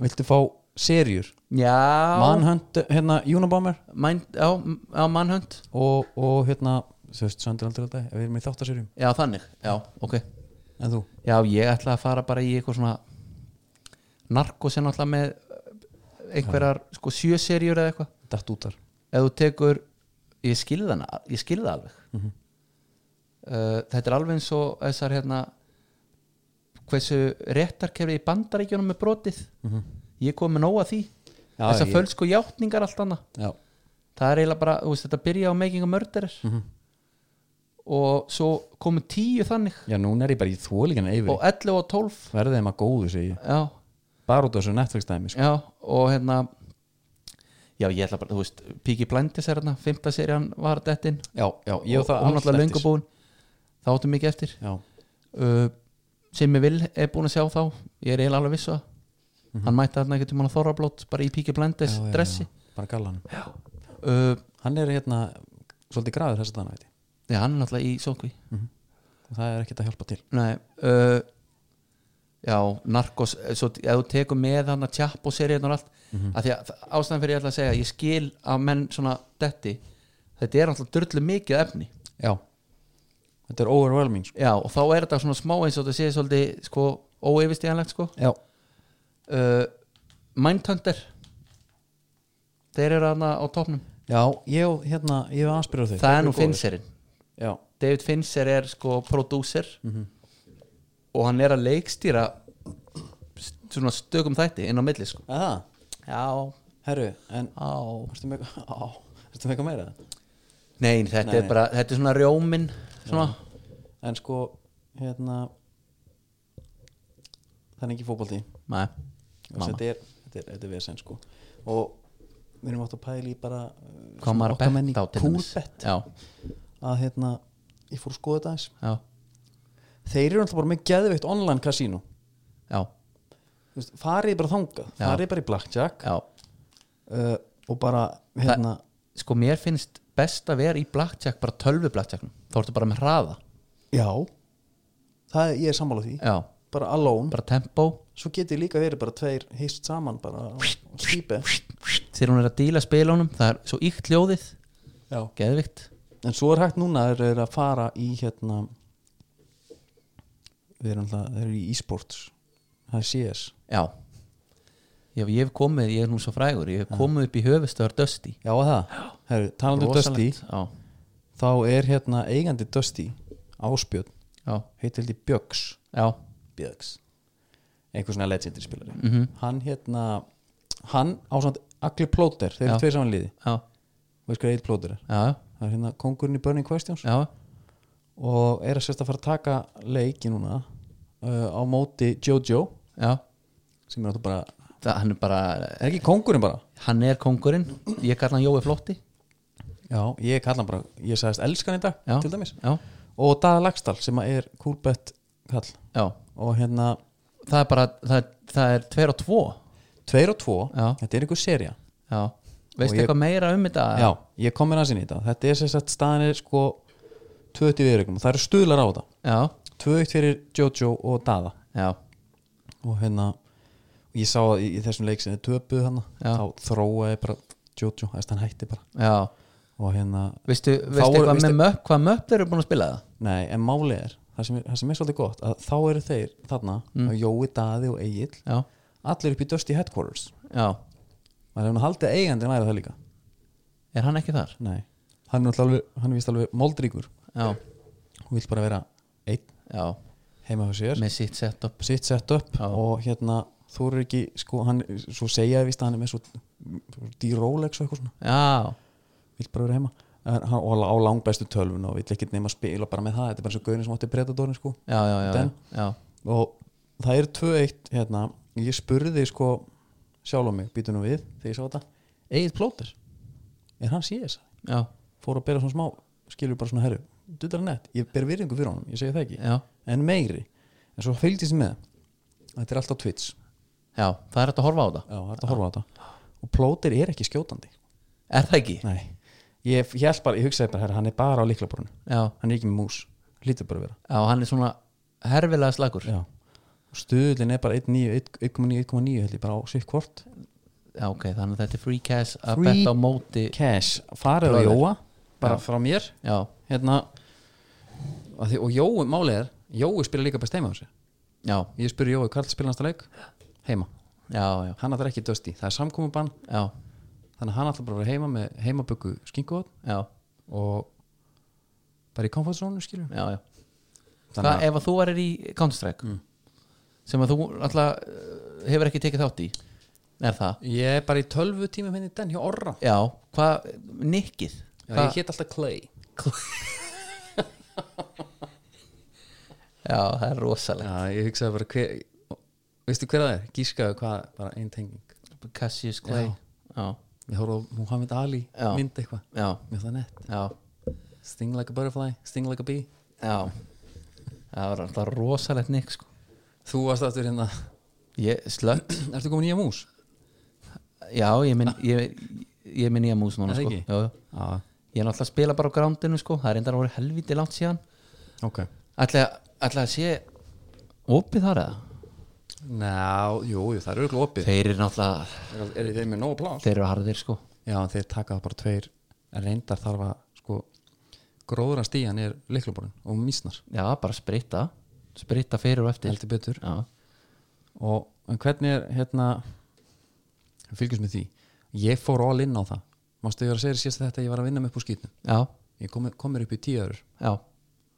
S1: viltu fá serjur
S2: já
S1: Manhunt, hérna, Unabomber
S2: Mind, já, m- já mannhönd
S1: og, og hérna, þú veist, Söndir aldrei þetta við erum í þáttarserjum,
S2: já þannig, já, ok
S1: en þú
S2: já, ég ætla að fara bara í eitthvað svona narkos er náttúrulega með eh, einhverjar sko sjöserjur eða eitthvað
S1: datt út þar,
S2: ef þú tekur ég skilði hana, ég skilði það alveg
S1: Mhm.
S2: uh, þetta er alveg eins og þessar hérna hversu réttarkerfi í bandaríkjunum er brotið ég kom með nóga því
S1: Mhm. Já,
S2: þessar
S1: ég-
S2: fölsku játningar allt annað
S1: já,
S2: það er eiginlega bara, þú veist, þetta byrja á making a murderer
S1: Mhm.
S2: og svo komu tíu þannig
S1: já, núna er ég bara í þvólíkina
S2: og
S1: yfir,
S2: 11 og 12
S1: verðið þeim að góðu segi ég,
S2: já,
S1: bara út af þessu Netflix-dæmi sko.
S2: já, og hérna já, ég ætla bara, þú veist Piki Blindis er hérna, fymta serían var dettin
S1: já, já, ég og það
S2: hún alltaf
S1: allt eftir.
S2: löngu búin það áttum mikið eftir
S1: já,
S2: uh, sem ég vil er búin að sjá þá ég er eiginlega alveg vissu það hann mætti þarna ekkert um hann að þorrablót bara í Piki Blendis
S1: já, já,
S2: dressi
S1: já, bara gallan
S2: uh,
S1: hann er hérna svolítið graður þess að dana veit ég.
S2: já, hann er náttúrulega í sókví
S1: og það er ekkert að hjálpa til
S2: nei uh, já, Narcos eh, svo, t- ef þú tekur með hann að tjapp og serið og allt, af því að þa- ástæðan fyrir ég ætla að segja að ég skil að menn svona detti, þetta er alltaf drullu mikið efni
S1: já, þetta er overwhelming sko.
S2: já, og þá er þetta svona smá eins og þetta sé svolítið sko, óeyfistíðanlegt sko
S1: já,
S2: uh, Mindhunter þeir eru hana á topnum
S1: já, ég og hérna ég hef anspyrðað þau
S2: það er nú Fincherinn
S1: já,
S2: David Fincher er sko prodúser
S1: Mhm.
S2: og hann er að leikstýra st- svona stökum þætti inn á milli sko
S1: eða,
S2: já,
S1: herru, en
S2: já
S1: erstu með eitthvað- á, ertu með eitthvað meira
S2: nei, þetta
S1: Nei,
S2: er
S1: nei.
S2: bara, þetta er svona rjómin svona,
S1: en sko, hérna það er ekki fótbolti
S2: nei,
S1: Og
S2: mamma
S1: þetta er, þetta er, þetta er vesen sko og við erum átt að pæla í bara uh,
S2: hvað
S1: svona
S2: maður
S1: okkar
S2: að
S1: menn í
S2: betta á til dæmis.
S1: Coolbet,
S2: já,
S1: að hérna, ég fór að skoða þetta aðeins
S2: já,
S1: þeir eru alltaf bara með geðveitt online kasínu
S2: já,
S1: Þú veist, farið bara þangað,
S2: Já.
S1: farið bara í blackjack
S2: já
S1: uh, og bara hérna,
S2: sko mér finnst best að vera í blackjack bara tölvu blackjacknum, þá ertu bara með hraða
S1: já það er, ég er sammála því,
S2: já,
S1: bara alone
S2: bara tempo
S1: svo getið líka verið bara tveir heist saman bara og skýpe
S2: þegar hún er að díla spilunum það er svo íkt hljóðið,
S1: já.
S2: geðvikt
S1: en svo er hægt núna þeir eru að fara í hérna þeir eru alltaf, þeir eru í e-sports það er CS
S2: já ég, ég hef komið, ég er nú svo frægur ég hef komið upp í höfustöðar Dusty
S1: já að það, Heru, talandi um Dusty
S2: já,
S1: þá er hérna eigandi Dusty Áspjörn,
S2: já,
S1: heitir held í Bjöggs
S2: já,
S1: Bjöggs einhver svona legendary spilari
S2: Mhm.
S1: hann hérna hann á svona allir plóter, þeir eru
S2: Já.
S1: tveir saman í liði
S2: já,
S1: veist hvað eitt plóter er,
S2: já,
S1: það er hérna kongurinn í Burning Questions
S2: já,
S1: og er að sérst að fara að taka leiki núna uh, á móti Jojo
S2: já.
S1: sem er náttúrulega bara,
S2: Það, hann er bara,
S1: er ekki kongurinn bara
S2: hann er kongurinn ég kalla hann Jói Flótti
S1: já, ég kalla hann bara, ég sagðist elskan í dag
S2: já,
S1: til dæmis,
S2: já,
S1: og Dada Lagstall sem að er kúlbett kall
S2: já,
S1: og hérna
S2: það er bara það, er- það er tveir og tvo
S1: tveir og tvo,
S2: Já.
S1: þetta er einhver serja
S2: já, veistu
S1: ég-
S2: eitthvað meira um þetta
S1: já, ég kom mér aðeins inn í þetta þetta er sérst að staðan er sko 20 viðrökum og það eru stuðlar á þetta
S2: já,
S1: 2-1 fyrir Jojo og Dada
S2: já,
S1: og hérna og ég sá að í, í þessum leik sem þið töpuðu hann
S2: Já.
S1: þá þróaði bara Jojo þess að hann hætti bara
S2: já.
S1: og hérna,
S2: veistu,
S1: voru-
S2: veistu eitthvað
S1: veistu-
S2: með möpp hvað möpp eru búin að spila það
S1: nei, en máli er það sem, er- það sem er svolítið gott, að þá eru þeir þarna, mm. Jói, Daði og Egil
S2: já,
S1: allir upp í Dusty Headquarters
S2: já,
S1: maður hefur nú haldið að eigandinn væri það líka
S2: er hann ekki þar
S1: nei, hann er náttúrulega alveg, hann er vist alveg moldríkur
S2: já,
S1: hún vil bara vera einn
S2: já,
S1: heima fyrir sér
S2: með sitt setup
S1: sitt sett upp
S2: Já.
S1: og hérna þú eru ekki, sko, hann, svo segja ég vist að hann er með svo D-Rolex og eitthvað svona
S2: já,
S1: vill bara vera heima En hann, og á langbestu tölvun og vill ekkert nema spila bara með það, þetta er bara svo gaurin sem átti predatorin sko.
S2: já, já, já,
S1: Den.
S2: já, já.
S1: og það er 2-1 hérna, ég spurði sko sjálf á mig, býtu nú við þegar ég sá þetta, Egil Plóter er hann síðis,
S2: já,
S1: fór að bera svona smá skilur bara svona herru, duttar nett ég ber virðingu fyrir honum, ég segi það ekki
S2: já,
S1: en meiri, en svo fylgdist ég með þetta er allt á Twitch,
S2: já, það er hægt að horfa á það
S1: já, það er hægt að horfa á þetta og Plóter er ekki skjótandi
S2: er það ekki?
S1: Nei. ég held bara, ég hugsaði bara herra, hann er bara á líklaborinu
S2: já,
S1: hann er ekki með mús, hlýtur bara að vera
S2: já, hann er svona herfilega slagur
S1: já. og stuðlinn er bara 1,9 1,9, 1,9 held ég bara á sitt hvort
S2: Já, ok, þannig að þetta er free cash að
S1: Free
S2: betta á móti
S1: cash, farið á
S2: Brother.
S1: Jóa bara frá mér
S2: Já,
S1: hérna, og, því, og Jói, málið er Jói spila líka best heima á þessu
S2: já,
S1: ég spyrir Jói, hvað spila hans það leik? heima,
S2: já, já,
S1: hann ætlar ekki dösti það er samkomubann,
S2: já,
S1: þannig að hann ætlar bara að vera heima með heimaböku skinkuot
S2: já,
S1: og bara í komfortzónu skilur
S2: já, já.
S1: Þannig Mm.
S2: Hvað ef að þú varir í Counter-Strike sem að þú alltaf eh, hefur ekki tekið þátt í er það?
S1: ég er bara í tölvu tímum henni den hjá Orra
S2: Já, hvað, nikkið
S1: Já,
S2: Hvað-
S1: ég hét alltaf Clay
S2: já, það er rosalega
S1: Já, ég hugsaði bara hver, veistu hver það er? Gískaðu hvað, bara einn tenging
S2: Cassius Clay Já,
S1: Ég horfði á Muhammad Ali
S2: Já.
S1: mynd eitthvað,
S2: já,
S1: mér það nett
S2: já,
S1: Sting like a butterfly, sting like a bee
S2: já Það var alltaf rosalegt nikk sko
S1: Þú varst aftur hérna,
S2: Ég slögt
S1: ertu komin í að mús?
S2: Já, ég minn, ég, ég minn ég að mús núna
S1: Er það
S2: sko
S1: ekki?
S2: já, já.
S1: Já,
S2: Ég er náttúrulega að spila bara á grándinu sko Það er reyndar að voru helviti langt síðan
S1: ok
S2: Ætla ætla að sé opið þar eða?
S1: Ná, jú, jú, það eru örugglega opið
S2: Þeir eru náttúrulega
S1: Er, er þeir með nóg plás?
S2: Þeir eru harðir sko
S1: Já, en þeir taka það bara tveir en reyndar þarf að, sko gróðra stíjan er liklaborinn og mísnar
S2: Já, bara spritta Spritta fyrir og eftir
S1: heldur betur
S2: Já,
S1: og en hvernig er hérna fylgjast með því ég fór all in á það mástu ég var að segja þér síðast þetta að ég var að vinna með upp úr skýtnum
S2: já,
S1: ég kom, kom mér upp í 10 öður
S2: já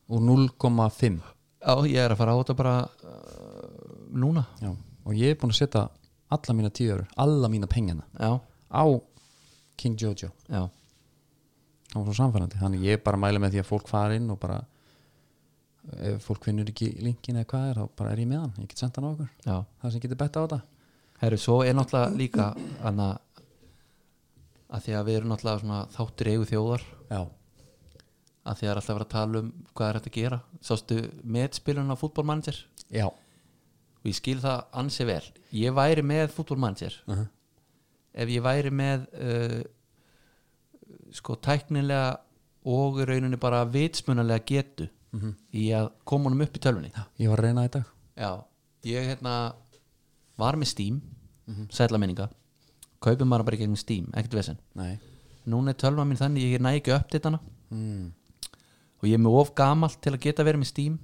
S1: og 0,5
S2: Já, ég er að fara á þetta bara uh, Núna
S1: Já. og ég er búin að setja alla mína 10 öður alla mína pengina
S2: Já,
S1: á King Jojo
S2: já,
S1: það var svo samfærandi þannig ég bara mæla með því að fólk fara inn og bara ef fólk finnur ekki linkin eða hvað er þá bara er ég með hann, ég get sendt hann á okkur
S2: já
S1: það sem getur betta á þetta
S2: Herru, svo er náttúrulega líka Þannig að að Því að við erum náttúrulega svona þáttur eigu þjóðar
S1: Já.
S2: að því að það er alltaf að vera að tala um hvað er hægt að gera sástu metspilun á fútbolmanager
S1: Já.
S2: og ég skil það ansi vel ég væri með fútbolmanager ef ég væri með uh, sko tæknilega og í rauninni bara vitsmunalega getu í að koma honum upp í tölvunni já,
S1: ég var að reyna í dag
S2: ég hérna var með Steam mm -hmm. sætla minninga kaupið maður bara í gegnum Steam, ekkert vesen
S1: Nei.
S2: núna er tölva mín þannig ég næ ekki upp þetta hana
S1: Hmm.
S2: og ég er með of gamalt til að geta verið með Steam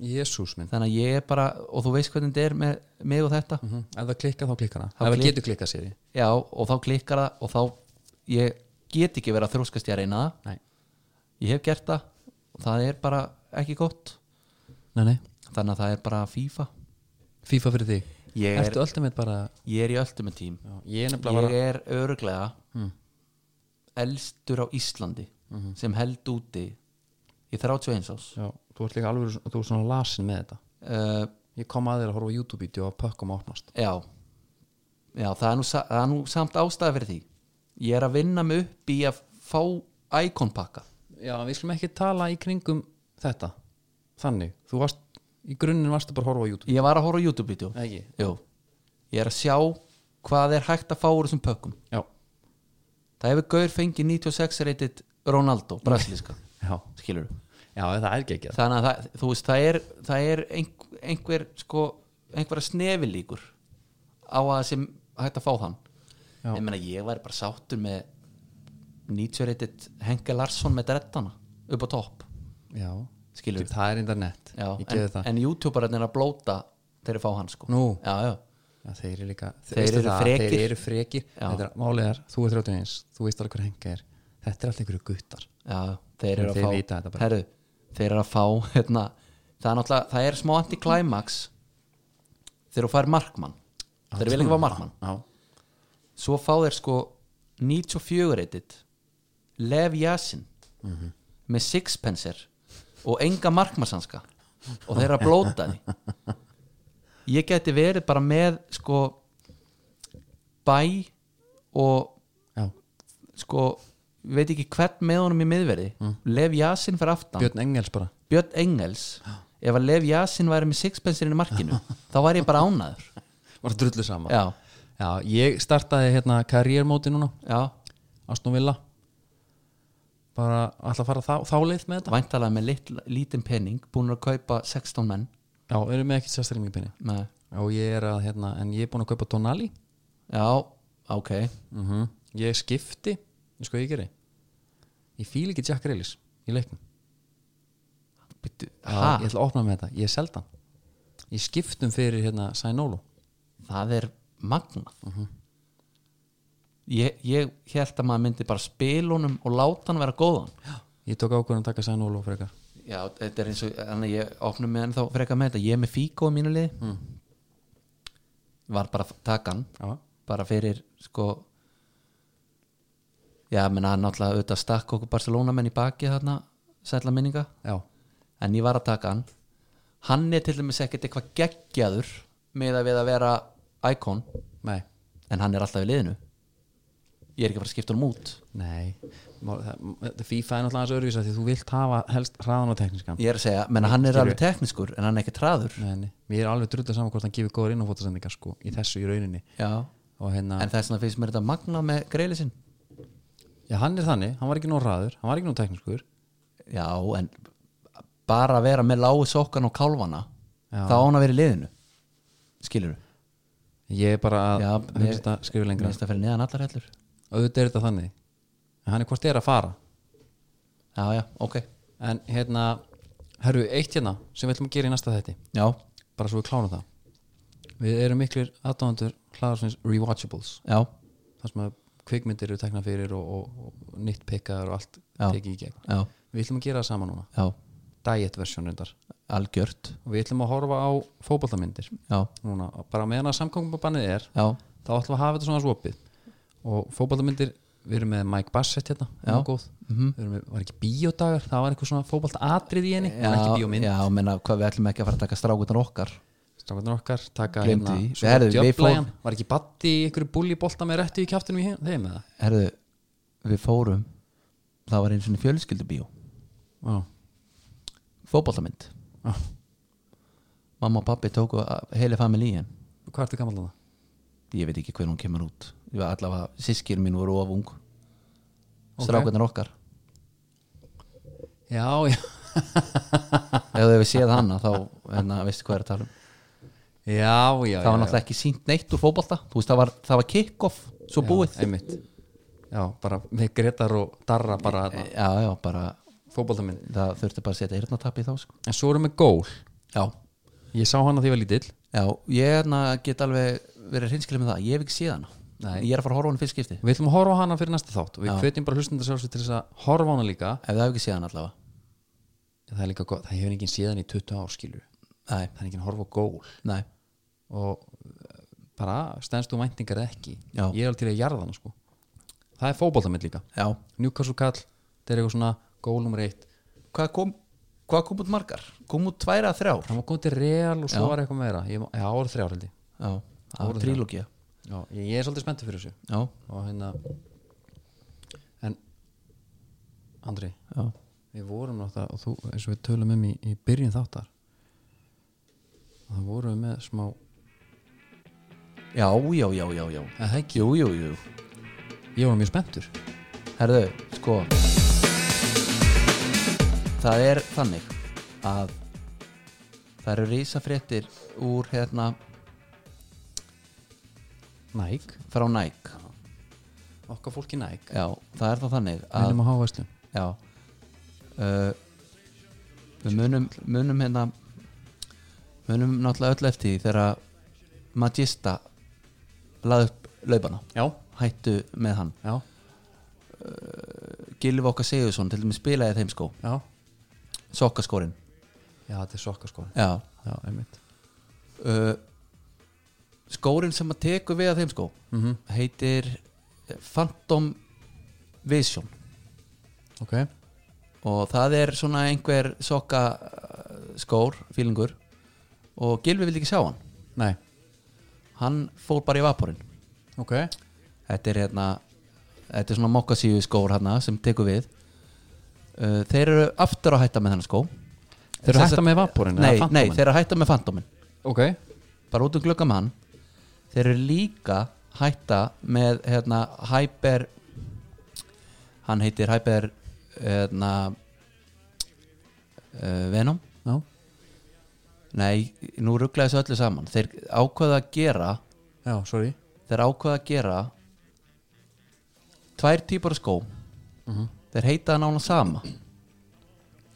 S1: Jésús minn
S2: þannig að ég er bara, og þú veist hvernig þetta er með mig og þetta,
S1: -hmm. Ef það klikkar þá klikkar það
S2: Þá
S1: Ef það
S2: klik-
S1: getur klikkað sér ég
S2: já, og þá klikkar það og þá, ég get ekki verið að þróskast ég að reyna það
S1: Nei.
S2: ég hef gert það og það er bara ekki gott
S1: Nei, nei,
S2: þannig að það er bara FIFA
S1: FIFA fyrir þig
S2: Ég er-
S1: Ertu alltaf með bara
S2: ég er í öllum með tím
S1: Ég er nefnilega bara Hmm.
S2: ég er öruglega elstur á Íslandi
S1: Mhm.
S2: sem held úti í 31 ás
S1: Já, þú ert líka alveg, þú ert svona lasin með þetta
S2: uh,
S1: Ég kom að þér að horfa á YouTube-vídeó að pökkum að opnast
S2: já já, það er, nú, sa- það er nú samt ástæða fyrir því ég er að vinna mig upp í að fá icon pakka
S1: Já, við skulum ekki tala í kringum þetta Þannig, þú varst, í grunninn varstu bara að horfa á YouTube
S2: ég var að horfa á YouTube-vídeó
S1: Ekki?
S2: ég er að sjá hvað er hægt að fá úr þessum pökkum
S1: Já,
S2: það hefur Gaur fengið 96 reytið Ronaldo, brasilíska
S1: já,
S2: skilur þú
S1: já, það er ekki ekki það
S2: þannig að það, þú veist, það er, það er einhver, einhver sko, einhverja snefilíkur á að sem hægt að fá þann
S1: Já.
S2: ég meina ég væri bara sáttur með 90 reytit Henke Larsson með drettana upp á topp
S1: Já,
S2: Skilur.
S1: Þú- það er enda nett
S2: já,
S1: Ég geði
S2: en,
S1: það
S2: en youtuberarnir að blóta þegar þeir fá hann sko
S1: Nú.
S2: já, já.
S1: Já, þeir eru líka,
S2: Þeir
S1: veistu
S2: eru frekir.
S1: Þeir eru frekir,
S2: Já.
S1: þetta er málegar Þú er 31, þú veist alveg hver henga er Þetta er alltaf einhverju guttar
S2: Já, þeir eru
S1: Þeir
S2: að
S1: vita
S2: fá
S1: þetta bara.
S2: herru, þeir eru að fá hérna, það er náttúrulega, það er smá anti-climax þegar þú fær markmann þeir vilja ekki fá markmann
S1: Já,
S2: svo fá þeir sko 94 reytit Lev Yasin með sixpencer og enga markmannsanska og þeir eru að blóta því ég geti verið bara með sko bæ og
S1: já,
S2: sko ég veit ekki hvern með honum í miðverði Lev Yasin fyrir aftan Björn,
S1: Björn Engels bara
S2: Engels ef að Lev Yasin væri með sixpencerinn í markinu þá væri ég bara ánaður
S1: Var það drullu sama
S2: já,
S1: Já, ég startaði hérna karriérmóti núna
S2: já,
S1: Aston Villa bara alltaf að fara þá, þá leið með þetta
S2: væntalega með lit, lítinn penning búin að kaupa 16 menn
S1: já, erum við ekki sérstaklega mikið penni
S2: Nei.
S1: og ég er að, hérna, en ég er búin að kaupa Tonali
S2: já, ok
S1: mm
S2: Mhm.
S1: ég skipti, ég sko ég geri ég fíl ekki Jack Reilis í leiknum,
S2: Bittu,
S1: Já,
S2: ha,
S1: ég ætla að opna með þetta ég seldi hann, ég skiptum fyrir hérna Sainolo,
S2: það er magna
S1: Mhm.
S2: ég, ég held að maður myndi bara spila honum og láta hann vera góðan
S1: ég tók ákvörðum að taka Sainolo frekar,
S2: Já, þetta er eins og þannig að ég opnum með ennþá frekar með þetta ég er með Figo í mínu lið
S1: Mm.
S2: var bara að taka hann
S1: Já.
S2: bara fyrir sko já, menna náttúrulega auðvitað stakk okkur Barcelona menn í baki þarna sætla minninga,
S1: já,
S2: en ég var að taka hann hann er til dæmis ekkert eitthvað geggjaður með að við að vera íkon,
S1: nei
S2: en hann er alltaf í liðinu ég er ekki að fara að skipta hann út
S1: nei, Má- það- þetta FIFA er náttúrulega aðeins örvísa því þú vilt hafa helst hraðan og teknískan
S2: ég er að segja, menna hann er alveg teknískur en hann er ekki traður
S1: Nei, nei, mér er alveg drullið saman hvort hann gefur góðar innfótasendingar sko, í þessu í rauninni
S2: já,
S1: og hérna,
S2: en þess vegna finnst mér þetta magna með greilisinn
S1: já hann er þannig hann var ekki nóg ræður, hann var ekki nóg teknískur
S2: já en bara að vera með lágu sokkan og kálvana
S1: Já.
S2: þá á hann að vera í liðinu skilur
S1: ég er bara að
S2: Já,
S1: hugsa
S2: mér-
S1: þetta skrifa lengra
S2: finnst það fyrir neðan allar hellur
S1: auðvitað er þetta þannig en hann er hvort er að fara
S2: já já ok
S1: en hérna, herru, eitt hérna sem við ætlum að gera í næsta þetti
S2: já
S1: bara svo við klárum það við erum miklir aðdóðandur hlaðarsvins rewatchables
S2: já
S1: þar sem að kvikmyndir eru tekna fyrir og, og, og nýtt pekkaðar og allt
S2: Já.
S1: tekið í gegn
S2: já
S1: við ætlum að gera það saman núna
S2: já
S1: diet version reyndar
S2: algjört
S1: og við ætlum að horfa á fótballtamyndir
S2: já
S1: núna, og bara meðan að samkvæmbabannið er
S2: já
S1: þá ætlum við að hafa þetta svona svopið og fótballtamyndir, við erum með Mike Bassett hérna, hún var góð
S2: Mhm.
S1: Við erum með, var ekki bíódagar, það var eitthvað svona fótballtatrið í henni, það var ekki bíómynd
S2: já menna hvað við ætlum ekki að fara að taka strákutan okkar
S1: strákarnir okkar, taka
S2: Gleymdu því.
S1: svona
S2: Herðu, við
S1: djöflægjan.
S2: fórum-
S1: var ekki batti í einhverju búllibolta með réttu í kjáttunum í þeim eða?
S2: herðu við fórum það var eins og fjölskyldubíó
S1: Já,
S2: fótboltamynd
S1: já,
S2: mamma og pappi tóku að- heili familíin
S1: hvað ertu gammal þarna?
S2: ég veit ekki hvernig hún kemur út ég var allavega, sískir mín voru of ung
S1: Ok.
S2: strákunar okkar
S1: Já, já,
S2: ef þau hefur séð hana þá hérna, veistu hvað er að tala um
S1: já, já
S2: það var náttúrulega ekki sínt neitt úr fótbolta þú veist það var, það var kick-off svo búið já,
S1: einmitt Já, bara með Gretar og Darra bara
S2: Eh,
S1: þarna,
S2: já, bara
S1: fótballtamynd
S2: það þurfti bara að setja eyrnatapp í þá sko.
S1: En svo erum við gól,
S2: já,
S1: ég sá hana því ég var lítill
S2: já, ég hérna get alveg verið hreinskilið með það ég hef ekki séð hana
S1: Nei.
S2: ég er að fara að horfa á hann fyrst skipti
S1: Við ætlum að horfa á hana fyrir næsta þátt og
S2: Já.
S1: við hvetjum bara hlustundar sjálfsög til þess að horfa á hana líka
S2: ef það hef ekki séð hann allavega
S1: það er líka gott, það hefur enginn séðan í 20 ár skilur
S2: nei,
S1: það er enginn að horfa á gól
S2: nei,
S1: og eh, bara stendst þú væntingar eða ekki
S2: Já.
S1: ég er alveg til að jarða hana sko það er fótboltamill líka
S2: já
S1: Newcastle kall, það er eitthvað svona gól nummer eitt
S2: hvað kom, hvað kom út margar? kom út tværa að þrjár
S1: það var komið til real og svo
S2: Já.
S1: var eitthvað meira ég, já, það voru þrjár held ég
S2: já, það var trílógía
S1: já, ég, ég er svolítið spenntur fyrir þessu
S2: já,
S1: og hérna en Andri,
S2: já,
S1: við vorum náttúrulega og þú, eins og við tölum um í, í byrjun þáttar það vorum við með smá
S2: já, já, já, já, já.
S1: eða það ekki,
S2: jú, jú, jú
S1: ég var mjög spenntur
S2: herðu, sko það er þannig að það eru rísafréttir úr hérna
S1: næk,
S2: frá Nike
S1: okkar fólki næk
S2: já, það er það þannig að
S1: viljum að hafa veistum
S2: já uh, við munum munum hérna munum náttúrulega öll eftir því þegar Magista laði upp laupana
S1: já,
S2: hættu með hann
S1: já,
S2: Gilvi okkar Sigursson til dæmis spilaði í þeim sko, skó
S1: já
S2: sokkaskorinn
S1: já, þetta er sokkaskóri
S2: já
S1: já, einmitt
S2: uh, skórin sem að teku við að þeim skó -hmm. heitir Phantom Vision
S1: ok,
S2: og það er svona einhver sokka uh, skór, fílingur og Gilvi vildi ekki sjá hann
S1: nei,
S2: hann fór bara í vaporinn
S1: ok
S2: þetta er hérna þetta er svona mokkasíu skór hérna sem tekur við uh, þeir eru aftur að hætta með þennan skó
S1: þeir eru
S2: Sem sagt-
S1: hætta með vaporinn
S2: nei,
S1: eða
S2: nei,
S1: Phantomin?
S2: þeir eru að hætta með fantómin
S1: ok,
S2: bara út um glöggam hann þeir eru líka hætta með hérna Hyper hann heitir Hyper hérna uh, Venom
S1: já,
S2: nei, nú rugglaði þessu öllu saman þeir ákvaða að gera
S1: já, sorry
S2: þeir ákvaða að gera tvær típar af skó þeir heita nána sama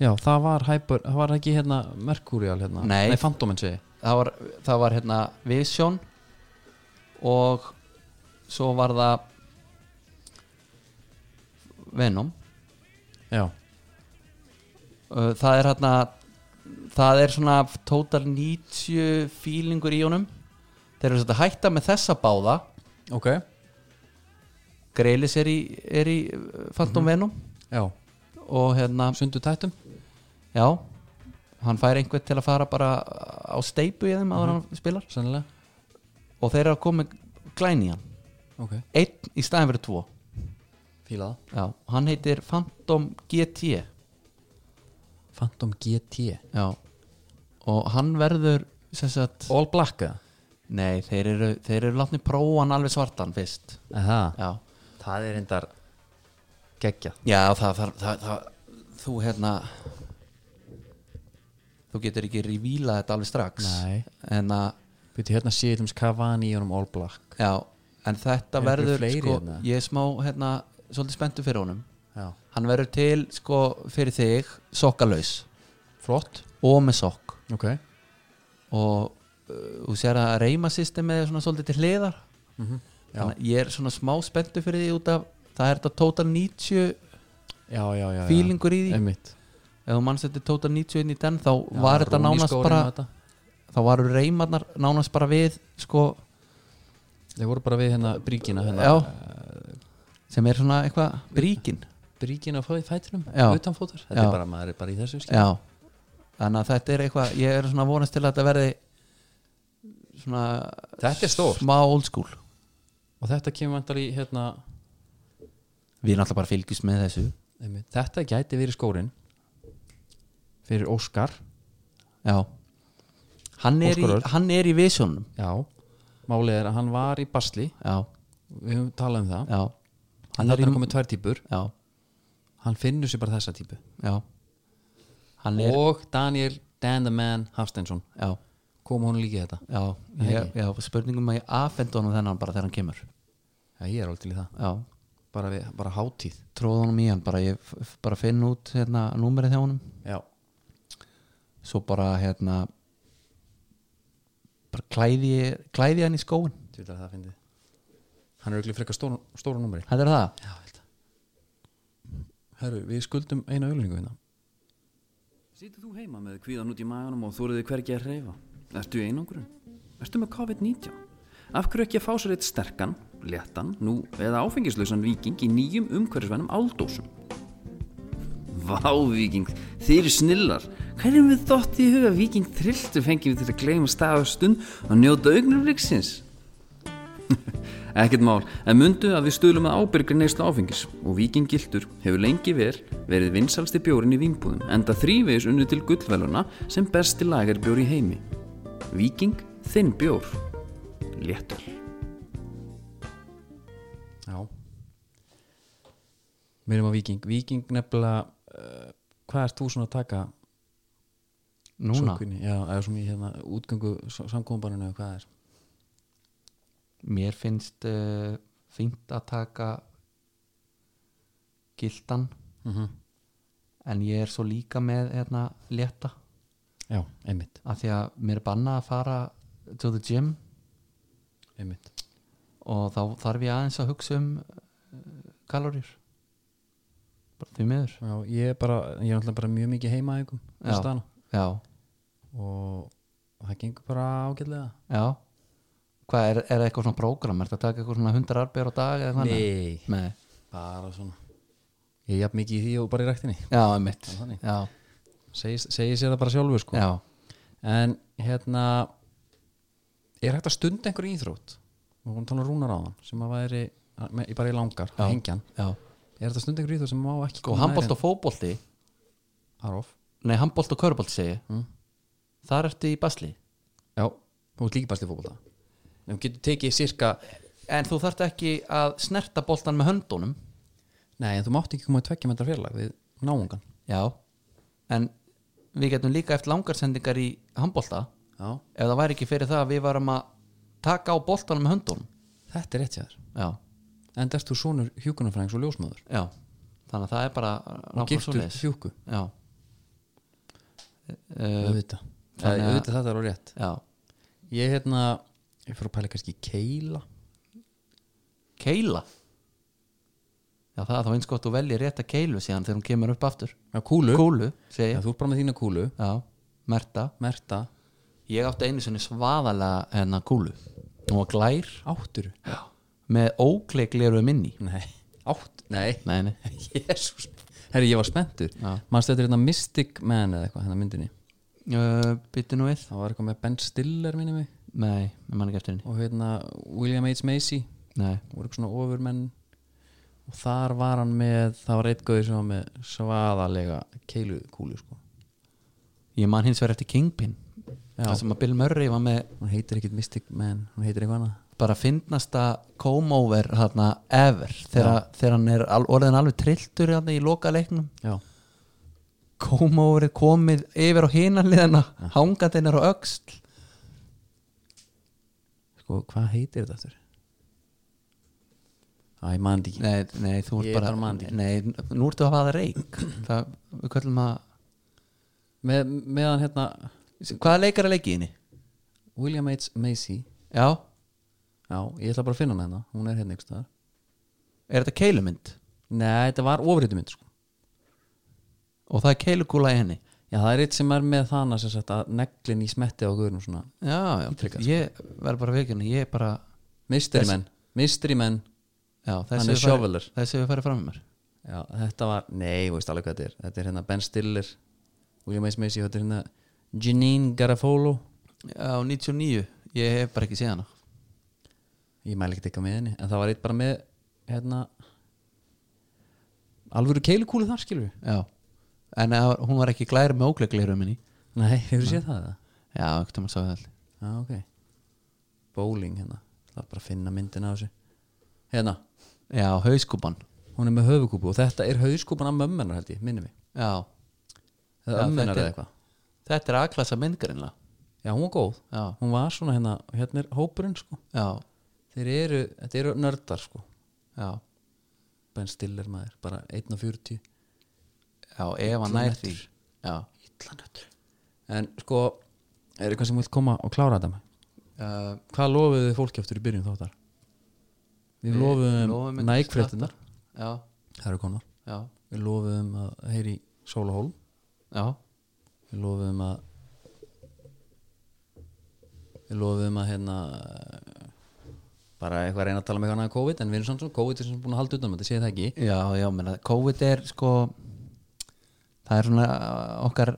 S1: já, það var hæpur, það var ekki hérna Mercurial hérna,
S2: Nei.
S1: nei Fantomen segi ég.
S2: það var, það var hérna Vision og svo var það Venom
S1: já,
S2: Uh, það er hérna það er svona total 90 fílingur í honum þeir eru svolítið að hætta með þessa báða
S1: ok,
S2: Greilis er í, er í uh, Phantom
S1: já
S2: Venom og hérna,
S1: sundu tættum,
S2: já hann fær einhvern til að fara bara á steipu í þeim
S1: Mhm.
S2: aðra hann spilar
S1: sennilega
S2: og þeir eru að koma með glæn í hann
S1: ok,
S2: einn í staðin fyrir tvo
S1: fílaða
S2: já, og hann heitir Phantom GT
S1: Phantom GT
S2: já, og hann verður sem sagt,
S1: All Black eða?
S2: nei, þeir eru þeir eru látni prófan alveg svartan fyrst
S1: Aha.
S2: já
S1: Það er reyndar geggja
S2: Já, það, það, það, það þú hérna þú getur ekki revíla þetta alveg strax
S1: Nei.
S2: en að
S1: Býttu hérna sé ég um Cavani og um All Black
S2: já, en þetta
S1: Eru
S2: verður
S1: fleiri
S2: sko,
S1: hérna?
S2: ég er smá hérna, svolítið spenntu fyrir honum
S1: Já.
S2: hann verður til sko fyrir þig sokkalaus
S1: Flott
S2: og með sokk
S1: Ok
S2: og uh, þú sér að reyma systemið er svona svolítið til hliðar
S1: Mhm, Já.
S2: þannig að ég er svona smá spenntu fyrir því út af það er þetta total 90
S1: Já, já, já, já.
S2: Feelingur í því?
S1: Einmitt
S2: ef þú mannst þetta total 90 inn í den þá var þetta
S1: Rooney
S2: nánast
S1: skórinn
S2: bara
S1: og þetta.
S2: þá varu reymarnar nánast bara við sko,
S1: Þeir voru bara við hérna bríkina hérna
S2: já sem er svona eitthvað bríkin
S1: Bríkina á fæ- fætinum
S2: Já.
S1: Utanfótur Þetta er
S2: Já.
S1: bara, maður er bara í þessu skil
S2: já, þannig að þetta er eitthvað ég er svona vonast til að þetta verði svona
S1: Þetta er stórt.
S2: smá old school
S1: Og þetta kemur vantar í hérna
S2: við erum alltaf bara að fylgjast með þessu
S1: einmitt. Þetta gæti verið skórin Fyrir Óskar
S2: já hann er, í,
S1: Óskar Örn.
S2: hann er í visionum
S1: Já Málið er að hann var í basli
S2: já,
S1: Við höfum talað um það
S2: já,
S1: Hann er
S2: Þarna
S1: í
S2: er
S1: komið tvær típur
S2: já,
S1: Hann finnur sér bara þessa típu
S2: já hann er,
S1: og Daniel Dan the Man Hafsteinsson
S2: já,
S1: kom hún líka í þetta
S2: já, ég, já spurningum að ég afhendu honum þennan bara þegar hann kemur
S1: já, ég er alveg til í það,
S2: já,
S1: bara, við, bara hátíð
S2: tróð honum í hann bara, ég f- f- bara finn út hérna númerið hjá honum
S1: já,
S2: svo bara hérna bara klæði, ég- klæði ég hann í skóin
S1: til það finnir Hann er auðvitað frekar stóra, stóra númeri
S2: Þetta er það
S1: Já, held Herru, við skuldum eina auðlýningu hérna
S4: Situr þú heima með kvíðan út í maganum og þóriði hvergi að reyfa? Ertu í einangrun? Ertu með COVID-19? Af hverju ekki að fá sér eitt sterkan, léttan, nú eða áfengislausan viking í nýjum umhverfisvænum áldósum? Vá, viking, þeir eru snillar. Hverjum við þótt í huga viking trilltu fengjum við til að gleyma stafastund og njóta augnumriksins? Ekkert mál, en mundu að við stuðlum að ábyrgri neyslu áfengis og Viking Gildur hefur lengi vel verið vinsalsti bjórin í vingbúðum enda þrývegis unnu til gullveluna sem besti lagerbjór í heimi. Viking, þinn bjór. Léttur.
S1: Já Mér erum á Viking Viking nefnilega uh, Hvað ert þú svona að taka
S2: Núna,
S1: sókvinni? Já, eða svona í hérna útgöngu samkómbarinu eða hvað er
S2: mér finnst uh, fínt að taka gildan
S1: Mhm.
S2: en ég er svo líka með hérna, létta
S1: Já, einmitt,
S2: af því að mér er bannað að fara to the gym
S1: einmitt
S2: og þá þarf ég aðeins að hugsa um uh, kaloríur bara því miður
S1: Já, ég er bara, ég er náttúrulega bara mjög mikið heima einhverjum
S2: Já. já,
S1: og það gengur bara ágætlega
S2: já hvað er, er eitthvað svona prógram, er þetta að taka eitthvað svona 100 arbjör á dag eða
S1: Nei,
S2: þannig? Nei.
S1: bara svona Ég er jafn mikið í því og bara í ræktinni
S2: já, mitt
S1: þannig.
S2: já,
S1: Segir segi sér það bara sjálfur sko
S2: já,
S1: En hérna Er hægt að stunda einhver íþrótt og hún tónar um rúnar á þann sem að væri með, bara í langar,
S2: Já. Sko,
S1: hengjan
S2: já
S1: Er þetta stunda einhver íþrótt sem má ekki
S2: og handbólt og fótbólti
S1: Arof
S2: nei, handbólt og körbólt segi ég.
S1: Mm.
S2: þar ertu í basli
S1: Já, þú ert líka bæst í fótbolta En þú getur tekið sirka
S2: en þú þarft ekki að snerta boltan með höndunum
S1: Nei, en þú mátt ekki koma að tvekja með þetta fjarlag við náungan
S2: já, en við getum líka eftir langarsendingar í handbólta
S1: Já,
S2: ef það væri ekki fyrir það að við varum að taka á boltanum með höndunum
S1: þetta er rétt sér
S2: já,
S1: En derst þú sonur hjúkunarfræðings og ljósmaður
S2: já, þannig að það er bara
S1: og
S2: nákvæmlega
S1: giftur
S2: svoleiðis.
S1: hjúku
S2: já,
S1: auðvitað Eða,
S2: Ehm, þannig að-
S1: auðvitað þetta er á rétt
S2: já,
S1: ég hérna, ég fyrir að pæla kannski í keila
S2: keila já, það er þá eins gott þú velji rétt að keilu síðan þegar hún kemur upp aftur
S1: já, kúlu,
S2: kúlu, segi
S1: Já,
S2: ég
S1: þú ert bara með þína kúlu,
S2: já, merta
S1: merta
S2: ég átti einu sinni svaðalega hennar kúlu hún var glær
S1: átturu,
S2: með ókleikleru minni
S1: nei, átt nei,
S2: nei, nei,
S1: jésús herri, ég var spenntur, mannstu þetta er hérna Mystic Man eða eitthvað, hérna myndinni
S2: uh, byttu nú við
S1: það var eitthvað með Ben Stiller minni mig
S2: nei, ég man ekki eftir henni
S1: og hérna William H. Macy
S2: nei,
S1: voru eitthvað svona ofurmenn og þar var hann með, það var eitt gauði sem var með svaðalega keilu kúlu sko.
S2: ég man hins vegar eftir Kingpin það sem að Bill Murray var með
S1: hún heitir ekkit Mystic Man, hún heitir eitthvað annað
S2: bara fyndnasta come over þarna ever þegar, þegar hann er al, orðin alveg trilltur þarna í loka leiknum
S1: já,
S2: come over er komið yfir á hinanliðana hangatinn er á öxl
S1: sko, hvað heitir þetta aftur? Æ, mann ekki
S2: nei, nei, þú ert
S1: Ég
S2: bara,
S1: bara man ekki.
S2: nei, nú ertu að hafa það reik það, við köllum að
S1: með, meðan hérna
S2: hvaða leikar er leikið inni?
S1: William H. Macy
S2: já,
S1: já, ég ætla bara að finna hana hérna, hún er hérna ykkur staðar
S2: er þetta keilumynd?
S1: nei, þetta var ofriðumind sko.
S2: og það er keilukúla í henni
S1: já, það er eitt sem er með þana sem sagt að neglin í smetti á guðurum svona
S2: já, já,
S1: Ítrekað,
S2: ég verð bara veikinu ég er bara,
S1: mystery men, mystery men
S2: já,
S1: Hann
S2: þessi
S1: er
S2: hefur farið-
S1: shoveler.
S2: þessi hefur farið fram með mér
S1: já, þetta var, nei, þú veist alveg hvað þetta er þetta er hérna Ben Stiller William H. Macy, þetta er hérna Janine Garofalo
S2: já, 99, ég hef bara ekki séð hana
S1: ég mæli ekkert eitthvað með henni en það var eitt bara með hérna alvöru keilukúlu þar skilur við
S2: Já, en að, hún var ekki glær með ógleikleiru minni
S1: nei, hefur séð það eða?
S2: Já, ekkert að maður sagði það
S1: já, ok bowling hérna, það er bara að finna myndina á þessu hérna,
S2: Já, hauskúpan
S1: hún er með höfukúpu og þetta er höfuskúpan af mömmennar held ég, minni mig
S2: Já, Já,
S1: eða ömmennar
S2: þetta
S1: eða
S2: er-
S1: eitthvað
S2: þetta er A-klassa myndgrinlega
S1: já, hún var góð,
S2: Já,
S1: hún var svona hérna hérna er hópurinn sko
S2: já,
S1: þeir eru, þetta eru nördar sko
S2: já
S1: Ben Stiller maður, bara 1.40
S2: Já, Eva nær því Já,
S1: en sko, er eitthvað sem vilt koma og klára þetta með
S2: uh,
S1: hvað lofuðu þið fólki aftur í byrjun þáttar? Við lofuðum
S2: ykkur
S1: nægfréttinar
S2: skatta. Já,
S1: Það eru konar
S2: já,
S1: Við lofuðum að heyri sólahól
S2: já
S1: Við lofuðum að Við lofuðum að hérna bara eitthvað reyna að tala með hana COVID en við erum samt svo COVID er sem búin að halda utan um þetta, segið það ekki
S2: Já, já, menna, COVID er sko það er svona uh, okkar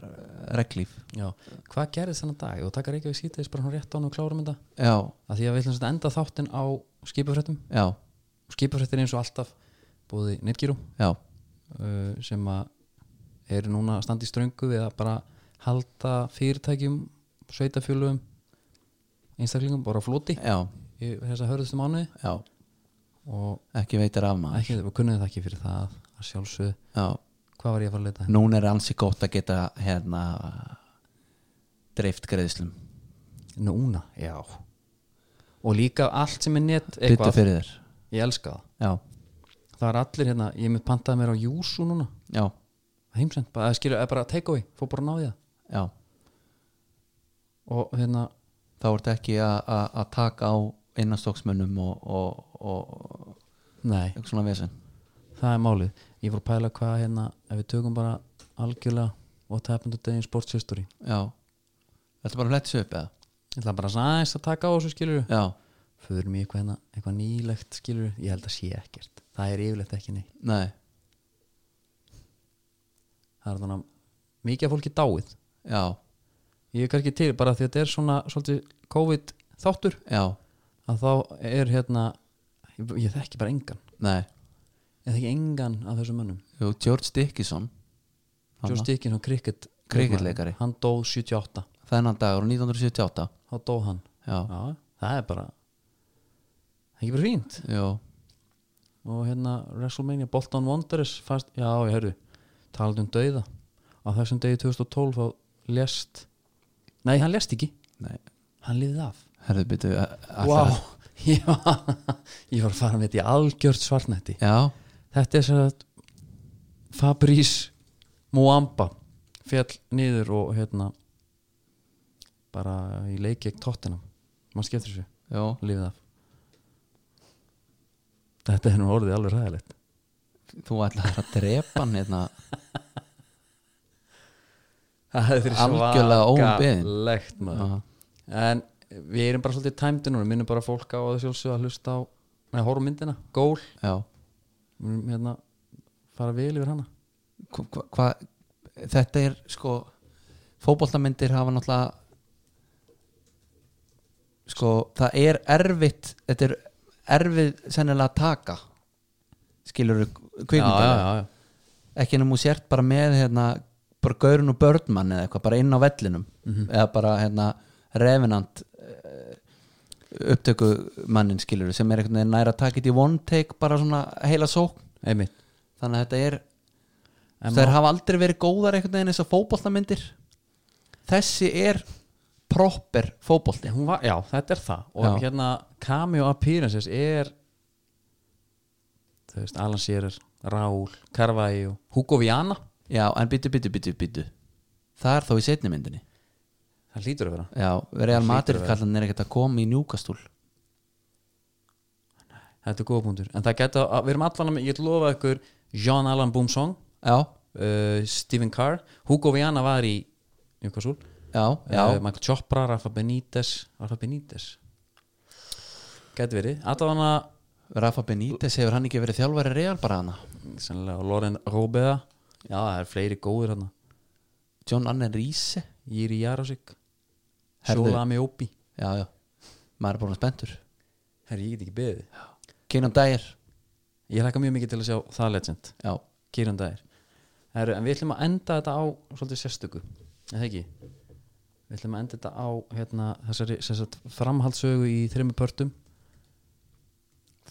S2: reglíf
S1: Já, hvað gerðist þennan dag? Ég var að taka Reykjavík síðdeis bara hún rétt án og klárum þetta
S2: Já,
S1: að því að við ætlum að enda þáttinn á skipafréttum
S2: já,
S1: skipafréttin eins og alltaf búið Netgyru
S2: já
S1: uh, sem að er núna að standa í ströngu við að bara halda fyrirtækjum sveitafjölugum einstaklingum bara á floti
S2: já,
S1: í þessa hörðustu mánuði
S2: já,
S1: og
S2: ekki veitir af maður
S1: ekki, við kunnum það ekki fyrir það að sjálfsög,
S2: Já,
S1: hvað var ég að fara að leita
S2: núna er ansi gott að geta hérna dreift greiðslum
S1: núna, já og líka allt sem er net
S2: bytta
S1: eitthvað,
S2: fyrir þér
S1: ég elska það
S2: Já,
S1: það er allir hérna, ég er með pantaði mér á Júsu núna
S2: já,
S1: heimsend, bara, eða skilja, eða bara take away fór bara að ná í það
S2: já
S1: og hérna,
S2: þá ertu ekki að- að að taka á innastóksmönnum og, og, og
S1: nei
S2: eitthvað svona vesen
S1: það er málið, ég fór að pæla hvað hérna ef við tökum bara algjörlega what happened today in sports history
S2: Já, þetta bara hlættis upp eða
S1: ég ætla bara aðeins að taka á þessu skilur
S2: Já,
S1: förum í eitthvað, hérna, eitthvað nýlegt skilur ég held að sé ekkert, það er yfirlegt ekki neitt
S2: nei,
S1: það er þannig að mikið af fólki dáið
S2: já,
S1: ég er kannski til bara því að þetta er svona svolítið COVID þáttur
S2: já,
S1: að þá er hérna ég, ég þekki bara engan,
S2: nei
S1: ég þekki engan af þessum mönnum
S2: Jú, George Dickinson
S1: Joe Stickin, hann krikket
S2: Cricketleikari.
S1: hann dó 78,
S2: þennan dagur 1978
S1: þá dó hann
S2: Já,
S1: já, það er bara það er ekki bara fínt
S2: já,
S1: og hérna WrestleMania, Bolton Wanderers fast, já, ég hörðu, talað um dauða á þessum degi 2012 þá lest, nei hann lest ekki
S2: nei
S1: hann liðið af
S2: Herðu byttu
S1: wow. ég, var, ég var að fara með þetta í algjört svartnætti
S2: Já,
S1: þetta er sér að Fabrice Muamba fjall niður og hérna bara í leik gegn tóttinam, maður skiptir þessu
S2: já,
S1: lífið af þetta er nú orðið alveg ræðilegt
S2: þú ætlar að drepa hann hérna
S1: það er
S2: Algjörlega óumbeðin.
S1: svakalegt maður. en við erum bara svolítið tæmdi núna, minnum bara fólk á að sjálfsögða að hlusta á, neða horfum myndina gól,
S2: Já,
S1: Við erum hérna fara vel yfir hana
S2: hvað hva, hva- þetta er sko fótboltamyndir hafa náttúrulega sko það er erfitt þetta er erfið sennilega að taka skilur kvikmyndir
S1: já, já,
S2: ekki ennum hún sért bara með hérna, bara gaurun og börnmann eða eitthvað bara inn á vellinum eða bara hérna refinant upptöku mannin skilur sem er einhvern veginn næra að taka þetta í one take bara svona heila sókn
S1: einmitt
S2: þannig að þetta er
S1: En
S2: þær hafa aldrei verið góðar einhvern veginn eins og fótboltamyndir þessi er proper fótbolti
S1: Hún var, já, þetta er það og
S2: Já.
S1: hérna cameo appearances er þú veist, Alan Shearer Raúl, Carvalho, Hugo Viana
S2: já en byttu byttu byttu byttu það er þó í setni myndinni
S1: það hlýtur að vera
S2: já Real Madrid kallan er ekkert að koma í njúkastúl
S1: þetta er góða punktur en það geta, að- við erum allan að, ég ætla að lofa ykkur Jean Alan Boomsong
S2: já
S1: uh, Stephen Carr, Hugo Viana var í Newcastle
S2: já já
S1: uh, Michael Chopra, Rafa Benítez Rafa Benítez gæti verið, allan að
S2: Rafa Benítez hefur hann ekki verið þjálfari Real bara hana
S1: sennilega Loren Róbeða já, það er fleiri góðir hann
S2: John Annen Riese
S1: Jiri Jarosik
S2: Herðu.
S1: Sjóla Amiobi
S2: já já maður er búin að spendur
S1: Herri, ég get ekki beðið
S2: Keinan Dyer
S1: Ég hlækka mjög mikið til að sjá það legend
S2: já
S1: Kýran dagir Herri, en við ætlum að enda þetta á svolítið sérstöku Er það ekki? Við ætlum að enda þetta á hérna, þessari sem sagt, framhaldssögu í þreymur pörtum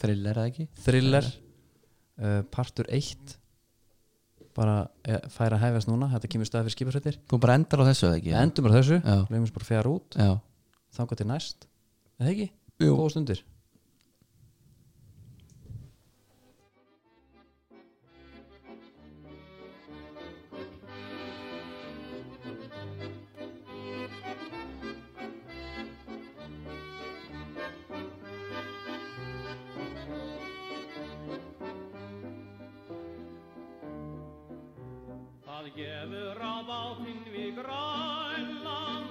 S2: thriller eða ekki
S1: Thriller uh, Partur 1 bara eh, fær að hæfast núna þetta kemur staði fyrir skipasrættir
S2: þú bara endar á þessu eða ekki
S1: yeah. Endum bara þessu,
S2: Já.
S1: gleymum þessu bara að fjara út
S2: já
S1: Þangar til næst Er það ekki?
S2: Jú.
S1: Góða stundir
S7: gefur á bátinn við grænland og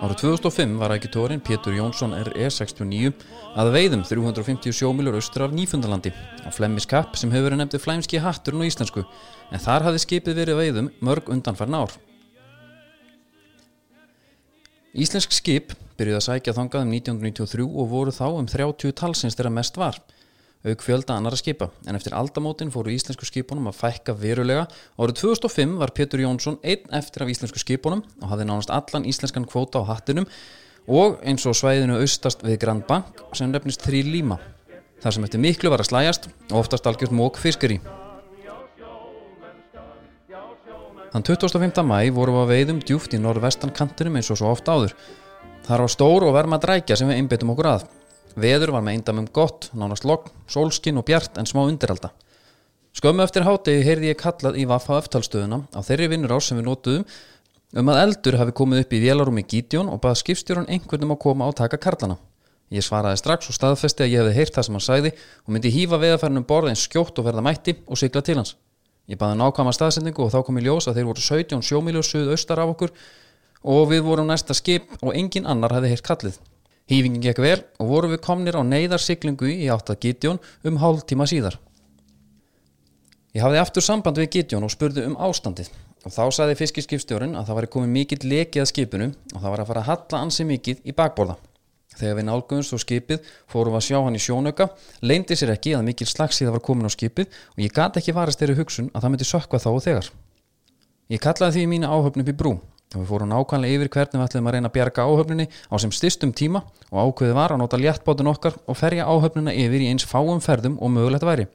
S1: Ára 2005 var ægjutórin Pétur Jónsson E RE69 að veiðum 357 milur austur af Nýfundalandi á Flemmis Kapp sem hefur verið nefndi flæmski hatturinn og íslensku en þar hafði skipið verið að veiðum mörg undanfarn ár. Íslensk skip byrjuði að sækja þangað um 1993 og voru þá um 30 talsins þegar mest var auk fjölda annara skipa en eftir aldamótin fóru íslensku skipunum að fækka verulega árið 2005 var Pétur Jónsson einn eftir af íslensku skipunum og hafði nánast allan íslenskan kvóta á hattinum og eins og svæðinu austast við Grand Bank sem nefnist Þrí Líma þar sem eftir miklu var að slæjast og oftast algjört mók fiskir í Þann 25. mæ vorum við að veiðum djúft í norðvestan kantinum eins og svo oft áður. Þar var stór og verma drækja sem við einbyttum okkur að. Veður var með eindamum gott, nánast logn, sólskinn og bjart en smá undiralda. Skömmu eftir hátegi heyrði ég kallað í Vaffa öftalstöðuna á þeirri vinnur ás sem við notuðum um að eldur hafi komið upp í vélarúmi Gítjón og bað skipstjórun einhvernum að koma og taka karlana. Ég svaraði strax og staðfesti að ég hefði heyrt það sem hann sagði og myndi hýfa veðafærnum borð eins skjótt og verða mætti og sigla til hans. Ég baði nákvæma staðsendingu og þá kom í ljós að þeir voru 17 sjómiljós suð austar af okkur og við vorum næsta skip og engin annar hefði heyrt kallið. Hýfingin gekk vel og vorum við komnir á neyðarsiklingu í átt að Gítjón um hálf tíma síðar. Ég hafði aftur samband við Gitjón og spurði um ástandið og þá sagði fiskiskipstjórinn að það væri komið mikill lekið að skipinu og það var að fara að halla ansi mikið í bakborða. Þegar við nálgumumst og skipið fórum við að sjá hann í sjónauka, leyndi sér ekki að mikill slagsíða var komin á skipið og ég gat ekki varist þeirri hugsun að það myndi sökva þá og þegar. Ég kallaði því mína áhöfn upp í brú og við fórum nákvæmlega yfir hvernig við ætlum að reyna að bjarga áhöfninni á sem styrstum tíma og ákveðið var að nota léttbátun okkar og ferja áhöfnina yfir í eins fáum ferðum og mögulegt væri.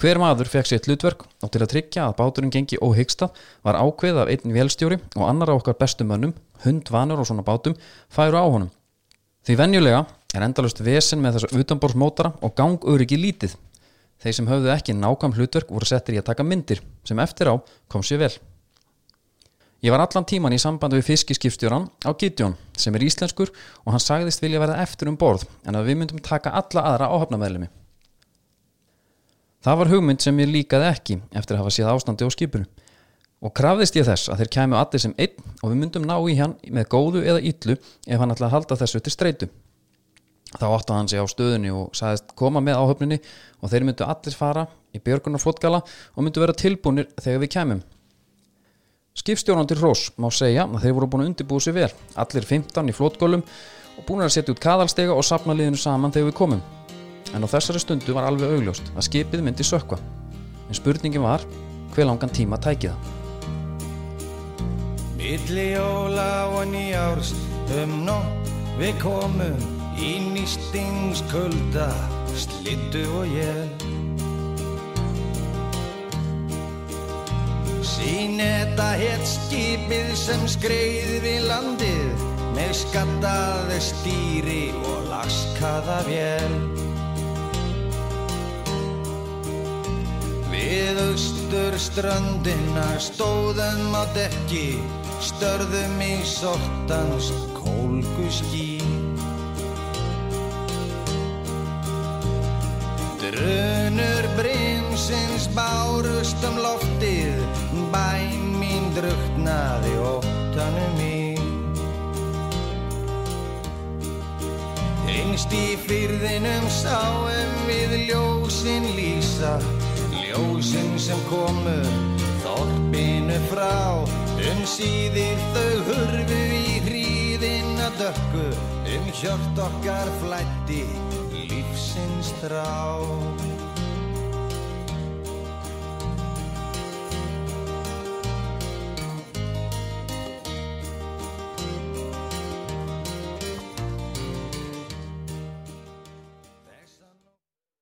S1: Hver maður fekk sitt hlutverk og til að tryggja að báturinn gengi óhyggstað var ákveð af einn vélstjóri og annar af okkar bestu mönnum, hundvanur og svona bátum, færu á honum. Því venjulega er endalust vesen með þessa utanbórsmótara og gangurigi lítið. Þeir sem höfðu ekki nákvæm hlutverk voru settir í að taka myndir sem eftir á kom sér vel. Ég var allan tíman í samband við fiskiskipstjóran á Gitjón sem er íslenskur og hann sagðist vilja verða eftir um borð en að við myndum taka alla aðra áhafnameðlumi. Það var hugmynd sem ég líkaði ekki eftir að hafa séð ástandi á skipinu og krafðist ég þess að þeir kæmu allir sem einn og við myndum ná í hann með góðu eða illu ef hann ætlaði að halda þessu til streitu. Þá áttaði hann sig á stöðunni og sagðist koma með áhöfninni og þeir myndu allir fara í björgunarflotgala og myndu vera tilbúnir þegar við kæmum. Skipstjóran til Hrós má segja að þeir voru búin að undirbúið sér vel, allir 15 í flotgólum og búin að setja út kaðalstega og sapna liðinu saman þegar við komum en á þessari stundu var alveg augljóst að skipið myndi sökva en spurningin var hver langan tíma tæki það
S8: Milli jóla og nýjárs um nótt við komum í nýstingskulda, slittu og ég. Sýneta hétt skipið sem skreið við landið með skattaði stýri og laskaða vél. Við austur ströndina stóðum á dekki, störðum í sortans kólgu skí. Drunur brimsins bárust um loftið, bæn mín druknaði óttanum í. Engst í fyrðinum sáum við ljósin lýsa Ljósin sem komu þorpinu frá Um síðir þau hurfu í hríðina dökku Um hjört okkar flætti lífsins þrá